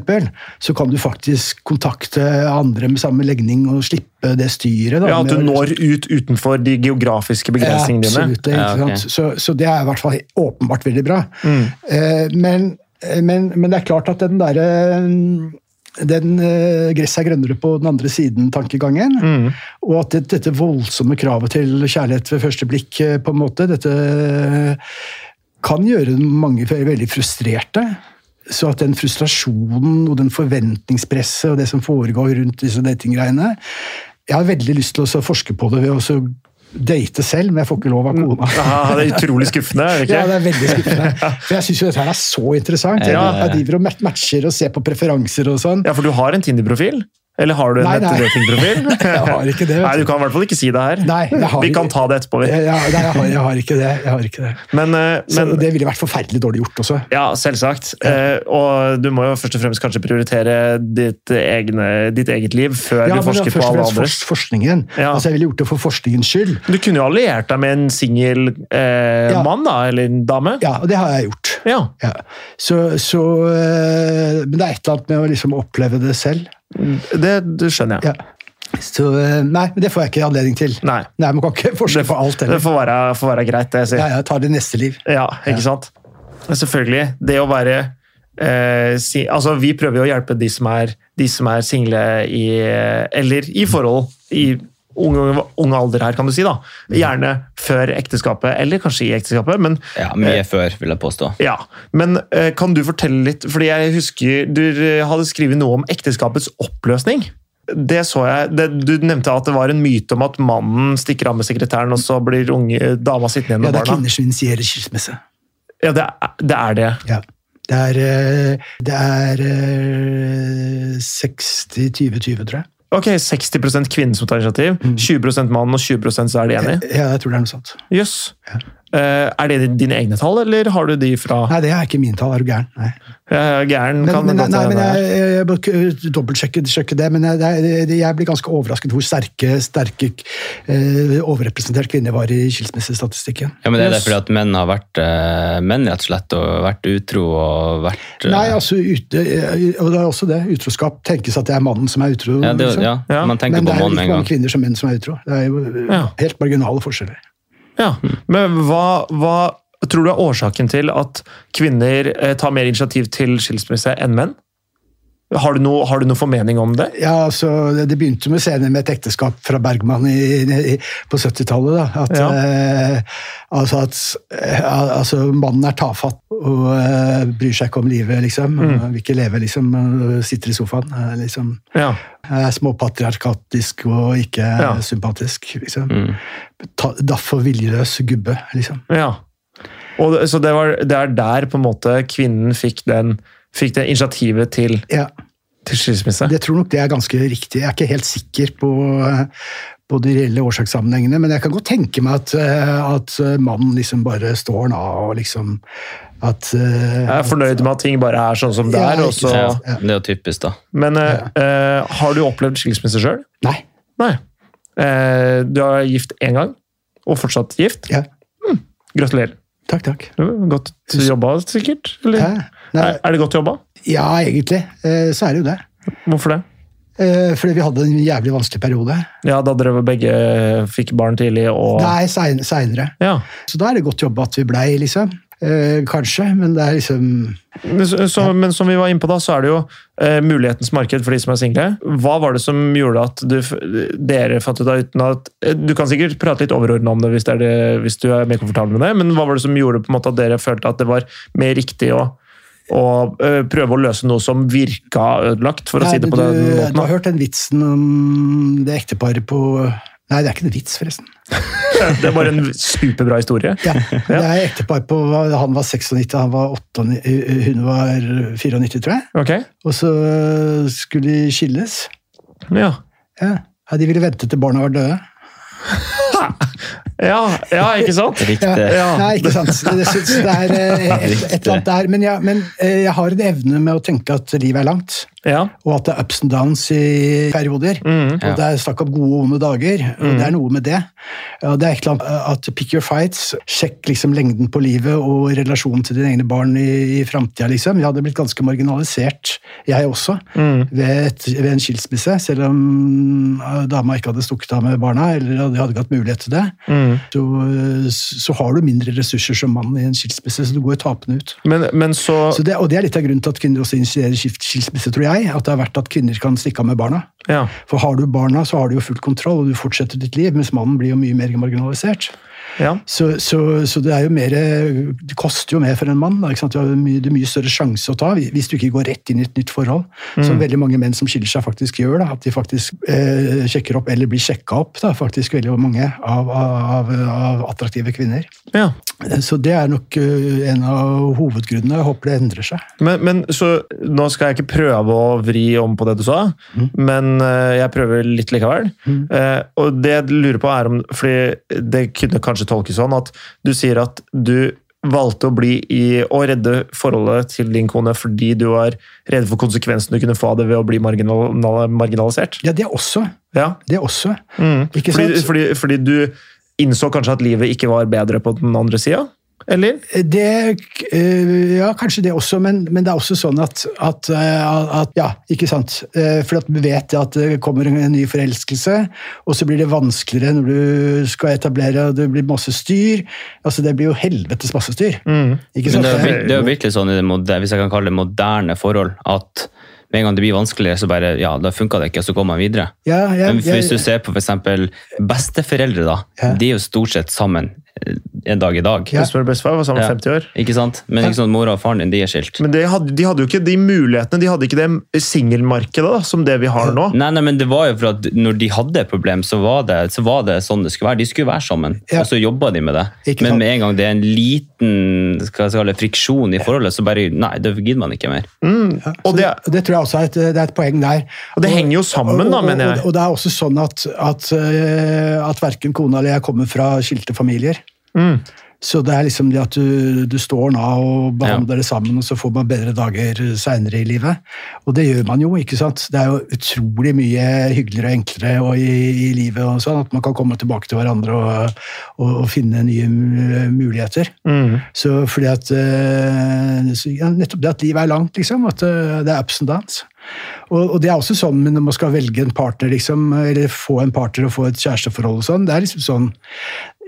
[SPEAKER 2] så kan du faktisk kontakte andre med samme legning og slippe det styret. da,
[SPEAKER 1] ja, At du
[SPEAKER 2] med å-
[SPEAKER 1] når ut utenfor de geografiske begrensningene
[SPEAKER 2] ja,
[SPEAKER 1] dine.
[SPEAKER 2] absolutt, det, ikke
[SPEAKER 3] Ja, ok.
[SPEAKER 2] sant? Så, så det er i hvert fall åpenbart veldig bra. Eh, men, men, men det er klart at den derre den eh, gresset er grønnere på den andre siden-tankegangen. Og at det, dette voldsomme kravet til kjærlighet ved første blikk, eh, på en måte, dette eh, kan gjøre mange veldig frustrerte. Så at den frustrasjonen og den forventningspresset og det som foregår rundt disse datinggreiene Jeg har veldig lyst til å så forske på det ved å så date selv, men jeg får ikke lov av kona.
[SPEAKER 1] [LAUGHS] Ja, det er utrolig skuffende. er det
[SPEAKER 2] Ja,
[SPEAKER 1] ikke?
[SPEAKER 2] det er veldig skuffende. For jeg syns jo dette her er så interessant. Jeg,
[SPEAKER 1] Ja.
[SPEAKER 2] jeg driver og mat- matcher og ser på preferanser og sånn.
[SPEAKER 1] Ja, for du har en Tinder-profil? Eller har du en
[SPEAKER 2] Nei, nei.
[SPEAKER 1] nettdatingprofil?
[SPEAKER 2] [LAUGHS] Jeg har ikke det, vet
[SPEAKER 1] Nei,
[SPEAKER 2] du.
[SPEAKER 1] du kan i hvert fall ikke si det her.
[SPEAKER 2] Nei, jeg har
[SPEAKER 1] Vi
[SPEAKER 2] ikke-
[SPEAKER 1] kan ta det etterpå. vi.
[SPEAKER 2] Eh, Ja, ja, nei, jeg, har, jeg har ikke det. Jeg har ikke det.
[SPEAKER 1] Men, eh,
[SPEAKER 2] Så
[SPEAKER 1] men
[SPEAKER 2] det ville vært forferdelig dårlig gjort også.
[SPEAKER 1] Ja, selvsagt. Eh, og du må jo først og fremst kanskje prioritere ditt, egne, ditt eget liv før
[SPEAKER 2] Ja,
[SPEAKER 1] du
[SPEAKER 2] men
[SPEAKER 1] forsker
[SPEAKER 2] først
[SPEAKER 1] på
[SPEAKER 2] og
[SPEAKER 1] alle
[SPEAKER 2] fremst
[SPEAKER 1] andres.
[SPEAKER 2] fors- forskningen.
[SPEAKER 1] Ja.
[SPEAKER 2] Altså, jeg ville gjort det for forskningens skyld.
[SPEAKER 1] Du kunne jo alliert deg med en singel eh,
[SPEAKER 2] Ja.
[SPEAKER 1] mann, da, eller en dame.
[SPEAKER 2] Ja, og det har jeg gjort.
[SPEAKER 1] Ja.
[SPEAKER 2] Ja. Så, så, øh, men det er et eller annet med å liksom oppleve det selv.
[SPEAKER 1] Det, det skjønner jeg.
[SPEAKER 2] Ja. Så, øh, nei, men det får jeg ikke anledning til.
[SPEAKER 1] Nei.
[SPEAKER 2] Nei, Man kan ikke forske på alt
[SPEAKER 1] Det
[SPEAKER 2] heller.
[SPEAKER 1] får være, får være greit, det jeg sier.
[SPEAKER 2] Ja, jeg tar det neste liv.
[SPEAKER 1] Ja, ikke sant? Men selvfølgelig, det å være eh, si, Altså, vi prøver jo å hjelpe de som er, de som er single i Eller i forhold i ung, ung alder her, kan du si, da. Gjerne før ekteskapet, eller kanskje i ekteskapet, men
[SPEAKER 3] Ja,
[SPEAKER 2] Eh.
[SPEAKER 3] Mye før, vil jeg påstå.
[SPEAKER 1] ja, Men eh, kan du fortelle litt Fordi jeg husker du hadde skrevet noe om ekteskapets oppløsning. Det så jeg. Det, du nevnte at det var en myte om at mannen stikker av med sekretæren, og så blir unge, dama sittende igjen
[SPEAKER 2] Ja,
[SPEAKER 1] med
[SPEAKER 2] Det er
[SPEAKER 1] barna.
[SPEAKER 2] kvinner som initierer skilsmisse.
[SPEAKER 1] Ja, det er det. Er det.
[SPEAKER 2] Ja. Det er, øh, det er øh, 60-20-20, tror jeg.
[SPEAKER 1] Ok, 60 kvinner som tar initiativ,
[SPEAKER 2] Mm.
[SPEAKER 1] 20 mann og 20 så er de enige.
[SPEAKER 2] Ja, jeg tror det er noe sånt.
[SPEAKER 1] Jøss. Eh, er det dine egne tall, eller har du de fra
[SPEAKER 2] Nei, det er ikke min tall. Er du gæren? Nei.
[SPEAKER 1] Eh, Gæren
[SPEAKER 2] Men,
[SPEAKER 1] kan
[SPEAKER 2] men,
[SPEAKER 1] godt
[SPEAKER 2] nei, men
[SPEAKER 1] hende.
[SPEAKER 2] jeg, jeg, jeg bør ikke dobbeltsjekke sjekke det, men jeg, det- det- jeg blir ganske overrasket hvor sterke, sterke eh, overrepresentert kvinner var i skilsmissestatistikken.
[SPEAKER 3] Ja, men Det er det
[SPEAKER 1] Yes.
[SPEAKER 3] fordi at menn har vært eh, menn rett og slett, og vært utro og vært eh,
[SPEAKER 2] Nei, altså, ute, eh, og det er også det. Utroskap tenkes at det er mannen som er utro.
[SPEAKER 3] ja, det,
[SPEAKER 2] liksom.
[SPEAKER 3] ja,
[SPEAKER 1] Ja.
[SPEAKER 3] Man tenker
[SPEAKER 2] Men det
[SPEAKER 3] på
[SPEAKER 2] er liksom jo
[SPEAKER 3] mann med
[SPEAKER 2] like
[SPEAKER 3] en
[SPEAKER 2] mange
[SPEAKER 3] gang.
[SPEAKER 2] kvinner som menn som er utro. Det er jo eh,
[SPEAKER 1] Ja.
[SPEAKER 2] helt marginale forskjeller.
[SPEAKER 1] Ja, Men hva, hva tror du er årsaken til at kvinner eh, tar mer initiativ til skilsmisse enn menn? Har du noe, har du noe formening om det?
[SPEAKER 2] Ja, altså, det- Det begynte med senere med et ekteskap fra Bergman i, i, på 70-tallet. da, At,
[SPEAKER 1] Ja.
[SPEAKER 2] eh, altså at eh, al- altså, mannen er tafatt og eh, bryr seg ikke om livet, liksom.
[SPEAKER 1] Mm.
[SPEAKER 2] Han Vil ikke leve, liksom. og Sitter i sofaen. eh, liksom.
[SPEAKER 1] Ja.
[SPEAKER 2] Er småpatriarkatisk og ikke
[SPEAKER 1] Ja. Mm.
[SPEAKER 2] sympatisk, liksom. Ta, daff og viljeløs gubbe, liksom.
[SPEAKER 1] ja. Og, det- så det, var, det er der på en måte kvinnen fikk, den, fikk det initiativet til,
[SPEAKER 2] Ja.
[SPEAKER 1] til skilsmisse?
[SPEAKER 2] Jeg tror nok det er ganske riktig. Jeg er ikke helt sikker på, eh, på de reelle årsakssammenhengene, men jeg kan godt tenke meg at, eh, at mannen liksom bare står den av og liksom at eh,
[SPEAKER 1] Jeg er fornøyd med at ting bare er sånn som det
[SPEAKER 2] Ja,
[SPEAKER 1] er. Og
[SPEAKER 2] ikke
[SPEAKER 1] så,
[SPEAKER 3] Ja, det er jo typisk, da.
[SPEAKER 1] men eh, eh, har du opplevd skilsmisse sjøl?
[SPEAKER 2] Nei.
[SPEAKER 1] Nei. Eh, du er gift én gang, og fortsatt gift.
[SPEAKER 2] Ja.
[SPEAKER 1] Gratulerer.
[SPEAKER 2] Takk, takk.
[SPEAKER 1] Det var Godt jobba, sikkert? Eller?
[SPEAKER 2] Ja, nei,
[SPEAKER 1] Er- Er det godt jobba?
[SPEAKER 2] ja egentlig eh, så er det jo det.
[SPEAKER 1] Hvorfor det?
[SPEAKER 2] Eh, Fordi vi hadde en jævlig vanskelig periode.
[SPEAKER 1] Ja, da dere begge fikk barn tidlig og
[SPEAKER 2] Nei, seinere.
[SPEAKER 1] Ja.
[SPEAKER 2] Så da er det godt jobba at vi blei, liksom. Eh, Kanskje, men det er liksom
[SPEAKER 1] Men, så, så- men som vi var inne på, da, så er det jo eh, mulighetens marked for de som er single. Hva var det som gjorde at du, f- dere fant ut av uten at eh, Du kan sikkert prate litt overordna om det hvis, det er det hvis du er mer komfortabel med det, men hva var det som gjorde på en måte at dere følte at det var mer riktig å, å eh, prøve å løse noe som virka ødelagt, for å
[SPEAKER 2] Nei,
[SPEAKER 1] si det på
[SPEAKER 2] du,
[SPEAKER 1] den
[SPEAKER 2] Du
[SPEAKER 1] måten?
[SPEAKER 2] har
[SPEAKER 1] da?
[SPEAKER 2] hørt den vitsen om det ekteparet på Nei, det er ikke en vits, forresten.
[SPEAKER 1] [LAUGHS] Det er bare en superbra historie.
[SPEAKER 2] Ja,
[SPEAKER 1] [LAUGHS]
[SPEAKER 2] Det er ektepar på Han var 96, han var 98, hun var 94, tror jeg.
[SPEAKER 1] Ok?
[SPEAKER 2] Og så skulle de skilles.
[SPEAKER 1] Ja.
[SPEAKER 2] Ja. Ja, de ville vente til barna var døde.
[SPEAKER 1] Ja, ja ikke sant?
[SPEAKER 3] Riktig.
[SPEAKER 1] Ja.
[SPEAKER 2] Nei, ikke sant. Det, det, synes det er eh, et, et eller annet der. Men, ja, men eh, jeg har en evne med å tenke at livet er langt.
[SPEAKER 1] Ja. Mm,
[SPEAKER 2] og at det er ups and downs i perioder.
[SPEAKER 3] Ja.
[SPEAKER 2] Og det er snakk om gode og onde dager, og det er noe med det. Og det er et eller annet at Pick your fights, sjekk liksom lengden på livet og relasjonen til dine egne barn i, i framtida. Liksom. Jeg hadde blitt ganske marginalisert, jeg også,
[SPEAKER 1] Mm.
[SPEAKER 2] ved, et, ved en skilsmisse. Selv om eh, dama ikke hadde stukket av med barna, eller hadde, hadde ikke hatt mulighet til det.
[SPEAKER 1] mm.
[SPEAKER 2] Så, eh, så har du mindre ressurser som mann i en skilsmisse, så du går jo tapende ut.
[SPEAKER 1] Men, men så,
[SPEAKER 2] Så det, og det er litt av grunnen til at kvinner også initierer skil- skilsmisse, tror jeg. At det har vært at kvinner kan stikke av med barna.
[SPEAKER 1] Ja.
[SPEAKER 2] For har du barna, så har du jo full kontroll, og du fortsetter ditt liv, mens mannen blir jo mye mer marginalisert.
[SPEAKER 1] Ja.
[SPEAKER 2] Så, så, så det er jo mer Det koster jo mer for en mann. Da, ikke sant? Du har jo mye, det er mye større sjanse å ta hvis du ikke går rett inn i et nytt forhold. Som veldig mange menn som skiller seg, faktisk gjør. da, At de faktisk eh, sjekker opp, eller blir sjekka opp, da, faktisk veldig mange av, av, av attraktive kvinner.
[SPEAKER 1] Ja.
[SPEAKER 2] Eh, Så det er nok eh, en av hovedgrunnene. Jeg håper det endrer seg.
[SPEAKER 1] Men, men så, Nå skal jeg ikke prøve å vri om på det du sa,
[SPEAKER 2] Mhm.
[SPEAKER 1] men eh, jeg prøver litt likevel. Eh, og det jeg lurer på er om, fordi det kunne kanskje tolkes sånn at du sier at du valgte å bli i å redde forholdet til din kone fordi du var redd for konsekvensene du kunne få av det ved å bli marginal, marginalisert.
[SPEAKER 2] Ja, det også.
[SPEAKER 1] Ja.
[SPEAKER 2] Det også.
[SPEAKER 1] Mm.
[SPEAKER 2] Ikke
[SPEAKER 1] Fordi,
[SPEAKER 2] sant?
[SPEAKER 1] fordi, fordi du innså kanskje at livet ikke var bedre på den andre sida? Eller?
[SPEAKER 2] Det, eh, ja, kanskje det også, men, men det er også sånn at, at, eh, at Ja, ikke sant. Eh, For at vi vet at det kommer en ny forelskelse, og så blir det vanskeligere når du skal etablere, og det blir masse styr. Altså, det blir jo helvetes masse styr.
[SPEAKER 1] Mm.
[SPEAKER 2] Ikke
[SPEAKER 3] Men
[SPEAKER 2] sant?
[SPEAKER 3] det er, jo vir-
[SPEAKER 2] Det-
[SPEAKER 3] det er jo virkelig sånn, i det moder- hvis jeg kan kalle det moderne forhold, at med en gang det blir vanskeligere, så bare ja, da funka det ikke, og så går man videre.
[SPEAKER 2] Ja, jeg-
[SPEAKER 3] Men hvis du
[SPEAKER 2] jeg-
[SPEAKER 3] ser på f.eks. besteforeldre, da.
[SPEAKER 2] Ja.
[SPEAKER 3] De er jo stort sett sammen eh, en dag i dag.
[SPEAKER 2] Ja.
[SPEAKER 1] Spør bestefar, var sammen
[SPEAKER 3] Ja.
[SPEAKER 1] 50 år.
[SPEAKER 3] Ikke sant? Men ikke sånn, mora og faren din de er skilt.
[SPEAKER 1] Men de hadde, de hadde jo ikke de mulighetene, de hadde ikke det singelmarkedet da, som det vi har nå.
[SPEAKER 3] Nei, nei, men det var jo for at når de hadde et problem, så var det, så var det sånn det skulle være. De skulle være sammen,
[SPEAKER 2] Ja.
[SPEAKER 3] og så jobba de med det.
[SPEAKER 2] Ikke sant.
[SPEAKER 3] men med en gang det er en liten skal jeg kalle det, friksjon i forholdet, så bare Nei, det gidder man ikke mer.
[SPEAKER 2] ja,
[SPEAKER 1] og
[SPEAKER 2] så
[SPEAKER 1] det-
[SPEAKER 2] det, det tror jeg også er et, det er et poeng der.
[SPEAKER 1] Og det henger jo sammen, da,
[SPEAKER 2] og,
[SPEAKER 1] mener
[SPEAKER 2] og,
[SPEAKER 1] jeg.
[SPEAKER 2] og det er også sånn at, at, eh, at verken kona eller jeg kommer fra skilte familier.
[SPEAKER 1] Mm.
[SPEAKER 2] Så det er liksom det at du, du står nå og behandler det sammen, og så får man bedre dager eh, seinere i livet. Og det gjør man jo, ikke sant. Det er jo utrolig mye hyggeligere og enklere og i, i livet og sånn, at man kan komme tilbake til hverandre og, og, og finne nye mu- muligheter.
[SPEAKER 1] Mm.
[SPEAKER 2] Så fordi at eh, så, ja, Nettopp det at livet er langt, liksom. At eh, det er ups and downs. Og, og det er også sånn men når man skal velge en partner, liksom, eller få en partner og få et kjæresteforhold og sånn. Det er liksom sånn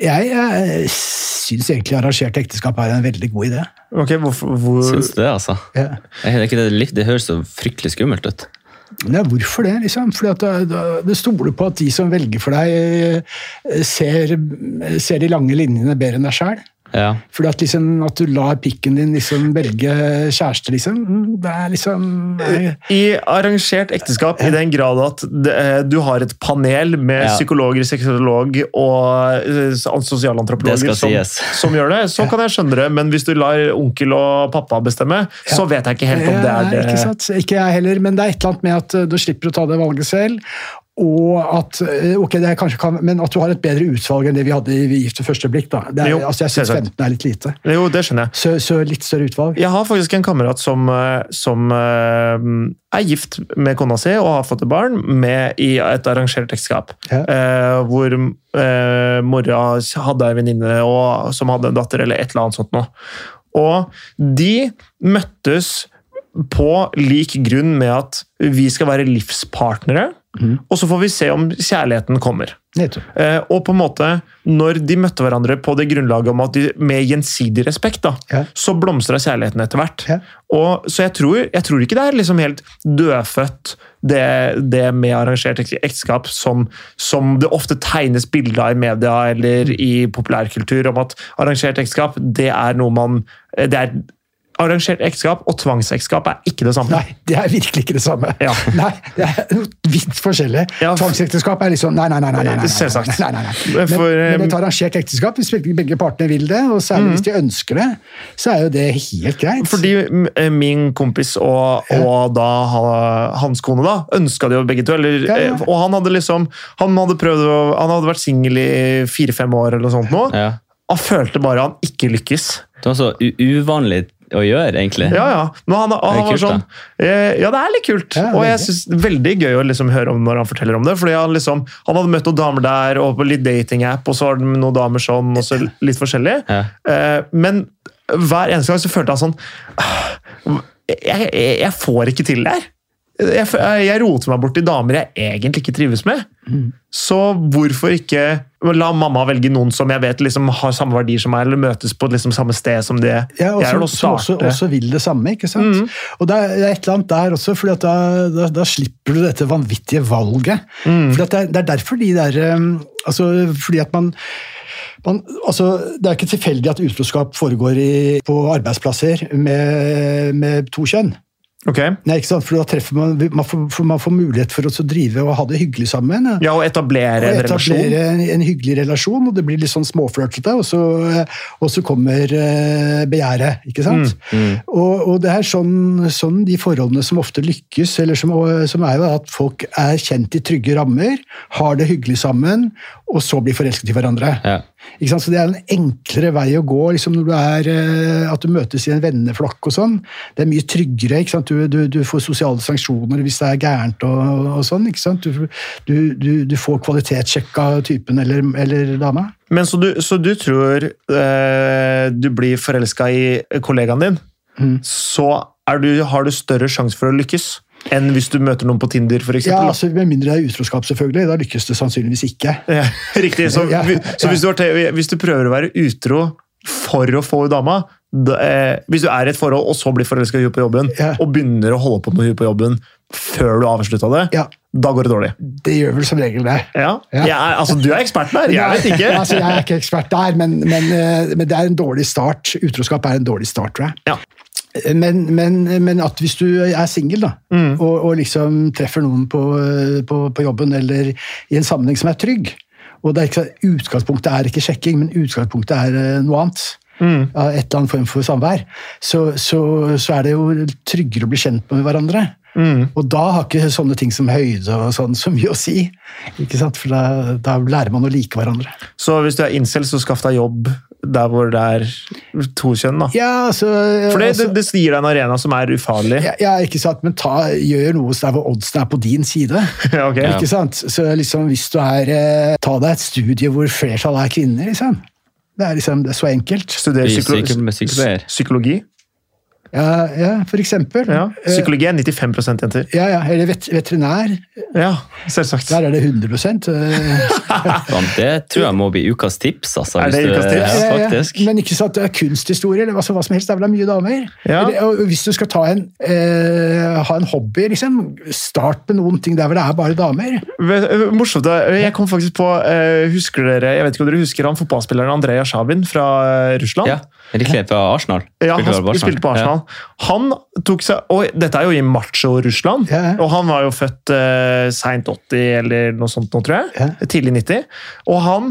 [SPEAKER 2] Jeg, jeg syns egentlig arrangert ekteskap er en veldig god idé.
[SPEAKER 1] Ok, hvorfor, hvor,
[SPEAKER 3] Syns du det, altså?
[SPEAKER 2] Ja.
[SPEAKER 3] Det, er ikke det, litt- det høres så fryktelig skummelt ut.
[SPEAKER 2] Ja, hvorfor det, liksom? Fordi at da- da- det stoler på at de som velger for deg, eh, ser, ser de lange linjene bedre enn deg sjæl.
[SPEAKER 3] Ja.
[SPEAKER 2] Fordi at, liksom, at du lar pikken din liksom velge kjæreste, liksom. mm, Det er liksom nei.
[SPEAKER 1] I arrangert ekteskap, i den grad at det, eh, du har et panel med
[SPEAKER 3] Ja.
[SPEAKER 1] psykologer, seksolog og eh, sosialantropologer
[SPEAKER 3] Det skal
[SPEAKER 1] som,
[SPEAKER 3] sies.
[SPEAKER 2] [LAUGHS]
[SPEAKER 1] som gjør det, så kan jeg skjønne det. Men hvis du lar onkel og pappa bestemme, så vet jeg ikke helt om det er
[SPEAKER 2] Ja, Ikke,
[SPEAKER 1] det.
[SPEAKER 2] sant? ikke jeg heller, men det er et eller annet med at eh, du slipper å ta det valget selv. Og at eh, ok, det er kanskje kan, men at du har et bedre utvalg enn det vi hadde i Vi gift ved første blikk. da. Det er,
[SPEAKER 1] Jo,
[SPEAKER 2] altså, jeg syns
[SPEAKER 1] selvsagt.
[SPEAKER 2] 15 er litt lite.
[SPEAKER 1] Jo, det skjønner jeg.
[SPEAKER 2] Så, så litt større utvalg.
[SPEAKER 1] Jeg har faktisk en kamerat som, eh, som eh, er gift med kona si og har fått et barn med i et arrangert ekteskap.
[SPEAKER 2] Ja.
[SPEAKER 1] Eh, hvor eh, mora hadde ei venninne og- som hadde en datter, eller et eller annet sånt noe. Og de møttes på lik grunn med at vi skal være livspartnere, og så får vi se om kjærligheten kommer.
[SPEAKER 2] Nettopp.
[SPEAKER 1] Eh, og på en måte, når de møtte hverandre på det grunnlaget om at de, med gjensidig respekt, da,
[SPEAKER 2] Ja.
[SPEAKER 1] så blomstra kjærligheten etter hvert.
[SPEAKER 2] Ja.
[SPEAKER 1] Og, så jeg tror, jeg tror ikke det er liksom helt dødfødt, det, det med arrangert ek- ekteskap som, som det ofte tegnes bilder av i media eller i populærkultur, om at arrangert ekteskap, det er noe man eh, det er, Arrangert ekteskap og tvangsekteskap er ikke det samme.
[SPEAKER 2] Nei, det er virkelig ikke det samme.
[SPEAKER 1] Ja.
[SPEAKER 2] [LAUGHS] Nei, Det er noe vidt forskjellig.
[SPEAKER 1] Ja.
[SPEAKER 2] Tvangsekteskap er liksom Nei, nei, nei. nei, nei, nei, nei,
[SPEAKER 1] Selvsagt.
[SPEAKER 2] Nei, nei, nei.
[SPEAKER 1] Men
[SPEAKER 2] Men,
[SPEAKER 1] for, eh, Mhm.
[SPEAKER 2] men et arrangert ekteskap, hvis begge begge partene vil det, og særlig hvis de ønsker det, så er jo det helt greit.
[SPEAKER 1] Fordi m- eh, min kompis og, og da ha- hans kone da, ønska det jo begge to. Eller,
[SPEAKER 2] Ja, ja.
[SPEAKER 1] eh, Og han hadde liksom Han hadde, prøvd å, han hadde vært singel i fire-fem år eller noe sånt nå.
[SPEAKER 3] ja.
[SPEAKER 1] Han følte bare han ikke lykkes.
[SPEAKER 3] Det var så u uvanlig å gjøre, egentlig.
[SPEAKER 1] Ja, ja. Men han, og han
[SPEAKER 3] Det er
[SPEAKER 1] var
[SPEAKER 3] kult,
[SPEAKER 1] sånn eh, Ja, det er litt kult.
[SPEAKER 2] Ja,
[SPEAKER 1] og jeg
[SPEAKER 2] veldig.
[SPEAKER 1] synes det er veldig gøy å liksom høre om når han forteller om det. fordi Han liksom, han hadde møtt noen damer der, og på litt datingapp, og så var det noen damer sånn, og så litt forskjellig.
[SPEAKER 3] Ja.
[SPEAKER 1] Eh, Men hver eneste gang så følte han sånn «Ah, Jeg, jeg, jeg får ikke til det her. Jeg, f- eh, jeg roter meg bort til damer jeg egentlig ikke trives med. Så hvorfor ikke la mamma velge noen som jeg vet liksom har samme verdier som meg, eller møtes på liksom samme sted som det
[SPEAKER 2] Ja, og
[SPEAKER 1] jeg vil
[SPEAKER 2] som,
[SPEAKER 1] også
[SPEAKER 2] som også,
[SPEAKER 1] starte. Mm.
[SPEAKER 2] også vil det samme. ikke sant? Og det er det er et eller annet der også, for da, da, da slipper du dette
[SPEAKER 1] Mm.
[SPEAKER 2] eh, vanvittige valget. Fordi at det, er, det er derfor de der um, altså Fordi at man Man, altså, det er ikke tilfeldig at utroskap foregår i, på arbeidsplasser med, med to kjønn.
[SPEAKER 1] Ok.
[SPEAKER 2] Nei, ikke sant? For da treffer man, man, får, for man får mulighet for å drive og ha det hyggelig sammen.
[SPEAKER 1] Ja, å etablere en
[SPEAKER 2] og
[SPEAKER 1] relasjon.
[SPEAKER 2] etablere en, en hyggelig relasjon, og det blir litt sånn småflørtete, og, så- og så kommer eh, begjæret, ikke sant?
[SPEAKER 1] Mm,
[SPEAKER 2] Og, og det er sånn, sånn de forholdene som ofte lykkes, eller som, som er jo at folk er kjent i trygge rammer, har det hyggelig sammen, og så blir forelsket i hverandre.
[SPEAKER 3] Ja.
[SPEAKER 2] Ikke sant? Så det er en enklere vei å gå liksom når du er, eh, at du møtes i en venneflokk og sånn. Det er mye tryggere. Ikke sant? Du, du, du får sosiale sanksjoner hvis det er gærent og, og sånn. Ikke sant? Du, du, du, du får kvalitetssjekk av typen eller, eller dama.
[SPEAKER 1] Men så du, så du tror eh, du blir forelska i kollegaen din,
[SPEAKER 2] Mm.
[SPEAKER 1] så er du, har du større sjanse for å lykkes enn hvis du møter noen på Tinder, f.eks.?
[SPEAKER 2] Ja, altså, Med mindre det er utroskap, selvfølgelig. Da lykkes det sannsynligvis ikke.
[SPEAKER 1] Ja, [LAUGHS] Riktig. Så,
[SPEAKER 2] Ja,
[SPEAKER 1] vi- så
[SPEAKER 2] ja.
[SPEAKER 1] hvis, du har te hvis du prøver å være utro for å få dama da, eh, Hvis du er i et forhold og så blir forelska i henne på jobben,
[SPEAKER 2] Ja.
[SPEAKER 1] og begynner å holde på med henne på jobben før du har avslutta det,
[SPEAKER 2] Ja,
[SPEAKER 1] da går det dårlig.
[SPEAKER 2] Det gjør vel som regel det.
[SPEAKER 1] Ja.
[SPEAKER 2] Ja.
[SPEAKER 1] Jeg er, altså, du er eksperten her, jeg vet ikke.
[SPEAKER 2] [LAUGHS] altså, jeg er ikke ekspert der, men, men, eh, men det er en dårlig start. Utroskap er en dårlig start, tror jeg.
[SPEAKER 1] Ja.
[SPEAKER 2] Men, men, men at hvis du er singel da, og, og liksom treffer noen på, på, på jobben eller i en sammenheng som er trygg og det er ikke, Utgangspunktet er ikke sjekking, men utgangspunktet er eh, noe annet. Ja, Et eller annet form for samvær. Så, så, så er det jo tryggere å bli kjent med hverandre. Og da har ikke sånne ting som høyde og sånn så mye å si. Ikke sant? For da, da lærer man å like hverandre.
[SPEAKER 1] Så hvis du er incel, så skaff deg jobb der hvor det er to kjønn. da.
[SPEAKER 2] Ja, altså...
[SPEAKER 1] For det,
[SPEAKER 2] altså-
[SPEAKER 1] det, det gir deg en arena som er ufarlig.
[SPEAKER 2] Ja, ja, ikke sant, men ta, gjør noe der hvor oddsen er på din side.
[SPEAKER 1] [LAUGHS] Ja, ok.
[SPEAKER 2] Ikke sant? Så liksom, hvis du er eh, Ta deg et studie hvor flertallet er kvinner, liksom. Det er liksom det er så enkelt.
[SPEAKER 1] Studerer
[SPEAKER 3] Bli
[SPEAKER 1] psykolo-
[SPEAKER 3] psyko- psykologer.
[SPEAKER 1] psykologi.
[SPEAKER 2] Ja, ja for eksempel.
[SPEAKER 1] Ja.
[SPEAKER 2] Eh,
[SPEAKER 1] Psykologi er 95 jenter.
[SPEAKER 2] ja, ja, eller vet, veterinær.
[SPEAKER 1] Ja, selvsagt.
[SPEAKER 2] Der er det 100 eh,
[SPEAKER 1] [LAUGHS]
[SPEAKER 3] Faen, det tror jeg må bli ukas tips, altså.
[SPEAKER 1] Er
[SPEAKER 3] hvis
[SPEAKER 1] det
[SPEAKER 3] du-
[SPEAKER 1] ukas tips?
[SPEAKER 3] Ja,
[SPEAKER 2] Ja, ja.
[SPEAKER 3] faktisk.
[SPEAKER 2] Men ikke sant, det er kunsthistorie eller hva som, hva som helst. Det er vel mye damer.
[SPEAKER 1] Ja.
[SPEAKER 2] Eller, og hvis du skal ta en, eh, ha en hobby, liksom, start med noen ting der hvor det er bare damer.
[SPEAKER 1] Vet- øh, Morsomt. da. Jeg kom faktisk på øh, Husker dere jeg vet ikke om dere husker han fotballspilleren Andreja Sjavin fra øh, Russland?
[SPEAKER 3] Ja, Riktig, fra Arsenal.
[SPEAKER 1] Ja, han
[SPEAKER 3] Spilte vel
[SPEAKER 1] sp- spilte på Arsenal. Han tok seg Og dette er jo i macho-Russland,
[SPEAKER 2] Ja, ja.
[SPEAKER 1] og han var jo født uh, seint 80 eller noe sånt, nå, tror jeg.
[SPEAKER 2] Ja.
[SPEAKER 1] Tidlig 90. Og han